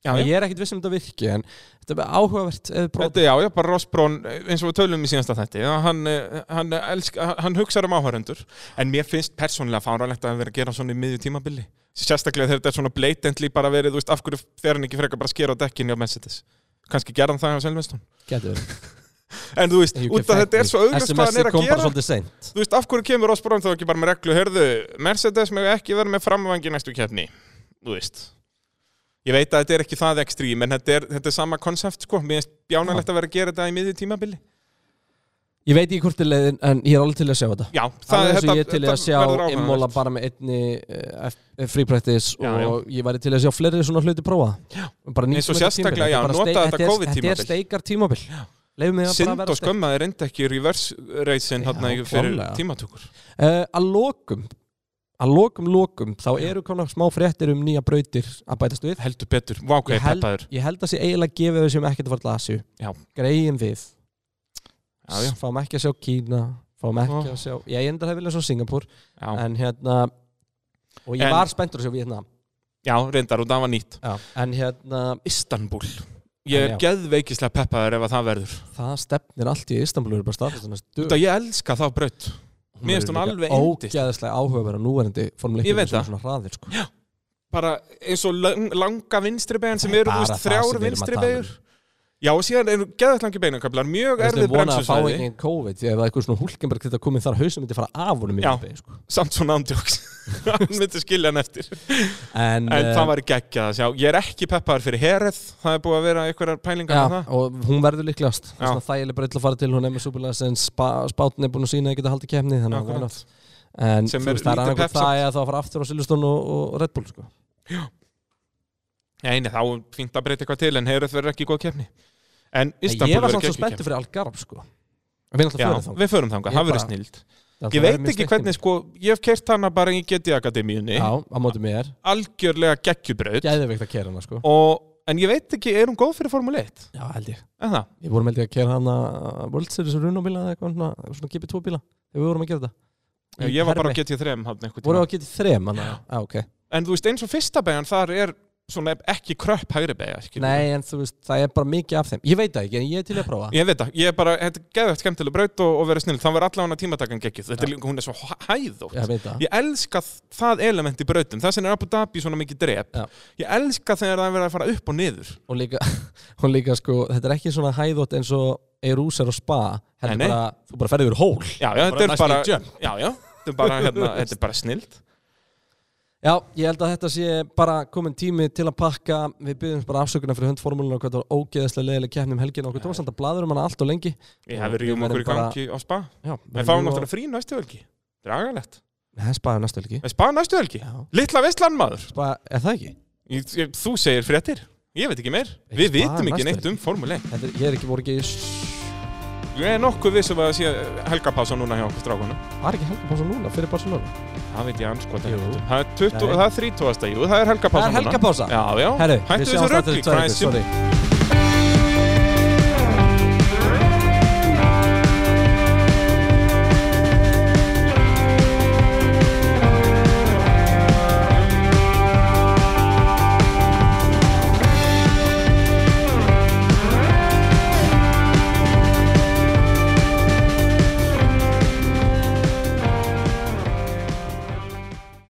[SPEAKER 2] Já,
[SPEAKER 1] Ég er ekkit vissum að þetta virki en þetta er bara áhugavert ef þeir prófa
[SPEAKER 2] Þetta, já, já, bara Ross Brown, eins og við tölum í síðansta þætti, já, hann, eh, hann, elsk, hann hugsar um áhörendur, en mér finnst persónulega fáralegt að vera að gera svona í miðju tímabili. Sérstaklega þegar þetta er svona blatantly bara verið, þú veist, af hverju fer hann ekki frekar bara að skera á dekkinu á Mercedes. Kannski gerðan það á Selveston.
[SPEAKER 1] Getur verið.
[SPEAKER 2] En þú veist,
[SPEAKER 1] You can
[SPEAKER 2] út af
[SPEAKER 1] thank
[SPEAKER 2] þetta er
[SPEAKER 1] me.
[SPEAKER 2] svo auglust hvað hann
[SPEAKER 1] SMS-ið
[SPEAKER 2] er að
[SPEAKER 1] kom bara
[SPEAKER 2] gera.
[SPEAKER 1] svolítið seint
[SPEAKER 2] Þú veist, af hverju kemur Ross Brown þá ekki bara með reglu, heyrðu, Mercedes með ekki vera með framvangi í næstu keppni, þú veist. Ég veit að þetta er ekki það ekstrím, en þetta er, þetta er sama konsept, sko. Mér finnst bjánalegt að vera að gera þetta í miðju tímabili.
[SPEAKER 1] Ég veit ekki hvort er leiðin en ég er alveg til að sjá þetta
[SPEAKER 2] Já,
[SPEAKER 1] Það er eins og
[SPEAKER 2] þetta-
[SPEAKER 1] ég er til í að
[SPEAKER 2] þetta verður
[SPEAKER 1] sjá
[SPEAKER 2] áhugavert.
[SPEAKER 1] Immola bara með einni uh, fríprættis
[SPEAKER 2] Já,
[SPEAKER 1] og ég væri til í að sjá fleiri svona hluti prófa já. bara nýtt
[SPEAKER 2] Eins og
[SPEAKER 1] svona
[SPEAKER 2] sérstaklega,
[SPEAKER 1] tímabil.
[SPEAKER 2] já,
[SPEAKER 1] er bara
[SPEAKER 2] nota
[SPEAKER 1] steik-
[SPEAKER 2] þetta
[SPEAKER 1] er-
[SPEAKER 2] COVID-tímabil.
[SPEAKER 1] Þetta er steikar tímabil Leifum við að bara
[SPEAKER 2] Synd
[SPEAKER 1] vera
[SPEAKER 2] og skömm að þeir reynda ekki reverse racing
[SPEAKER 1] Já,
[SPEAKER 2] hérna í- fyrir
[SPEAKER 1] klárlega.
[SPEAKER 2] tímatökur
[SPEAKER 1] uh, Að lokum að lokum lokum þá eru konar smá fréttir um nýja brautir að bætast við
[SPEAKER 2] Heldur betur, vákvæði
[SPEAKER 1] ég, held,
[SPEAKER 2] peppaður
[SPEAKER 1] ég held að sé eiginlega gefið þessum ekkert að fara til Asju
[SPEAKER 2] Já.
[SPEAKER 1] greiðum við
[SPEAKER 2] Já, já,
[SPEAKER 1] fáum ekki að sjá Kína fáum ekki
[SPEAKER 2] Ó.
[SPEAKER 1] að sjá já, ég enda það vilja svo Singapur
[SPEAKER 2] já,
[SPEAKER 1] en hérna og ég
[SPEAKER 2] En-
[SPEAKER 1] var spenntur að sjá Vietnam
[SPEAKER 2] já reyndar og það var nýtt
[SPEAKER 1] já. en hérna
[SPEAKER 2] Istanbul Ég er
[SPEAKER 1] En já.
[SPEAKER 2] geðveikislega peppaður ef að það verður
[SPEAKER 1] Það stefnir allt í Istanbul eru bara staðfæst þannig að
[SPEAKER 2] Þetta ég elska þá braut mér finnst hún alveg yndisleg.
[SPEAKER 1] Ógæðislega áhugaverð og núverandi formuleik
[SPEAKER 2] Ég veit það.
[SPEAKER 1] Svona hraðir sko
[SPEAKER 2] Bara eins og lang, langa vinstri bein sem eru, þú
[SPEAKER 1] Bara
[SPEAKER 2] veist,
[SPEAKER 1] það sem
[SPEAKER 2] þrjár
[SPEAKER 1] við erum að
[SPEAKER 2] vinstri
[SPEAKER 1] tala um.
[SPEAKER 2] beigur Já, og síðan eru geðveiklangi beinakablar Mjög
[SPEAKER 1] Þess vegna
[SPEAKER 2] erfið
[SPEAKER 1] er vonað að fá
[SPEAKER 2] bremsusvæði
[SPEAKER 1] engin COVID Því að ef það er eitthvað svona húlkenberg þetta komið þar hausum myndi fara af honum í
[SPEAKER 2] Já.
[SPEAKER 1] miðbæ, sko.
[SPEAKER 2] Samt svona andjóks Hann myndi skilja hann eftir
[SPEAKER 1] En,
[SPEAKER 2] En
[SPEAKER 1] eh,
[SPEAKER 2] það var geggjað að sjá Ég er ekki peppaður fyrir herið Það er búið að vera einhverjar pælingar með
[SPEAKER 1] Já,
[SPEAKER 2] það
[SPEAKER 1] og hún verður líklegast Það
[SPEAKER 2] Já.
[SPEAKER 1] er svona þægileg bara að fara til Hún er með súpilega en spa, spátn er búin að sína að geta haldið kemni Þannig að
[SPEAKER 2] Akkurat.
[SPEAKER 1] það er En
[SPEAKER 2] Sem
[SPEAKER 1] þú
[SPEAKER 2] er
[SPEAKER 1] veist það er
[SPEAKER 2] lítið
[SPEAKER 1] annað
[SPEAKER 2] pepsamt.
[SPEAKER 1] það er að það fara aftur á Silveston og, og Red Bull sko.
[SPEAKER 2] Nei, nei, þá er fínt að breyta eitthvað til en heyrðu verður ekki góð keppni En
[SPEAKER 1] En Ég
[SPEAKER 2] Istanbul
[SPEAKER 1] var
[SPEAKER 2] verður
[SPEAKER 1] samt
[SPEAKER 2] ekki
[SPEAKER 1] svo spenntur
[SPEAKER 2] keppni
[SPEAKER 1] fyrir Algarve sko. Við erum alltaf
[SPEAKER 2] Já,
[SPEAKER 1] fyrir þá
[SPEAKER 2] við förum þangað,
[SPEAKER 1] Ég
[SPEAKER 2] það verður
[SPEAKER 1] bara-
[SPEAKER 2] snild Ég veit ekki hvernig, sko, ég hef kert hana bara í GT Akademíunni
[SPEAKER 1] Já, á móti mér
[SPEAKER 2] Algjörlega geggjubraut
[SPEAKER 1] Gæðveikt að kera hana sko
[SPEAKER 2] og, En ég veit ekki, er hún góð fyrir Formule 1?
[SPEAKER 1] Já, held ég
[SPEAKER 2] En það,
[SPEAKER 1] Við vorum held ég að kera hana uh, World Series runobíla eða eitthvað svona, svona GP2 bíla Þegar við vorum að gera þetta
[SPEAKER 2] ég var bara á GT3 hafði einhvern
[SPEAKER 1] Vorum við
[SPEAKER 2] tíma
[SPEAKER 1] að geta þrem hana Já, ok
[SPEAKER 2] En þú veist, eins og fyrsta beigjan þar er svona ekki kröpp hægri beigja
[SPEAKER 1] Nei, en þú veist, það er bara mikið af þeim Ég veit það ekki, en ég er til í að prófa
[SPEAKER 2] Ég veit það, ég er bara, þetta er geðvægt skemmtileg braut og, og verið snill, þannig verður allavega tímatakan geggjuð Þetta er líka, hún er svo hæ- hæðótt
[SPEAKER 1] Ég veit það
[SPEAKER 2] Ég elska það element í brautum Það sem er Abu Dhabi svona mikið drep
[SPEAKER 1] Já.
[SPEAKER 2] Ég elska þegar það er verið að fara upp og niður
[SPEAKER 1] Og líka, og líka sko, þetta er ekki svona hæðótt eins og Eirús er á spa Heldur
[SPEAKER 2] Nei, nei.
[SPEAKER 1] bara, þú bara ferði yfir hól
[SPEAKER 2] Já, já, þetta er
[SPEAKER 1] næstu
[SPEAKER 2] bara
[SPEAKER 1] í jump.
[SPEAKER 2] Já, já, þetta er bara, hérna, þetta er bara snild
[SPEAKER 1] Já, ég held að þetta sé bara komin tími til að pakka Við byggjum bara afsökunar fyrir höndformúluna og hvað það var ógeðislega leiðileg keppnum helgin og okkur tókst að blaðurum hana allt og lengi
[SPEAKER 2] Ég hef
[SPEAKER 1] Við
[SPEAKER 2] rjúm
[SPEAKER 1] verðum
[SPEAKER 2] okkur í
[SPEAKER 1] bara-
[SPEAKER 2] gangi á spa
[SPEAKER 1] Já,
[SPEAKER 2] En fáum náttúrulega frí næstu helgi Dragalett
[SPEAKER 1] Það er spaðið næstu helgi
[SPEAKER 2] Er Spa næstu helgi?
[SPEAKER 1] Já.
[SPEAKER 2] Litla Vestland maður
[SPEAKER 1] Spa, er það ekki?
[SPEAKER 2] Ég- ég- Þú segir fréttir Ég veit ekki meir
[SPEAKER 1] Ekki
[SPEAKER 2] Við
[SPEAKER 1] Spa
[SPEAKER 2] vitum
[SPEAKER 1] næstu
[SPEAKER 2] ekki neitt
[SPEAKER 1] helgi.
[SPEAKER 2] um formule 1
[SPEAKER 1] Þetta er, ég er ekki voru ekki s-
[SPEAKER 2] Ég er nokkuð vissum að það sé helgapása núna hjá okkur strákunum
[SPEAKER 1] Var ekki helga pása núna fyrir Barcelona?
[SPEAKER 2] Það veit ég anskot
[SPEAKER 1] Jú.
[SPEAKER 2] Það er 20
[SPEAKER 1] Nei.
[SPEAKER 2] það er 30. Jú, það er helgapása
[SPEAKER 1] Það er helgapása?
[SPEAKER 2] Já, já
[SPEAKER 1] Herru,
[SPEAKER 2] Hættu þessu röggli
[SPEAKER 1] eftir tvær vikur, sorry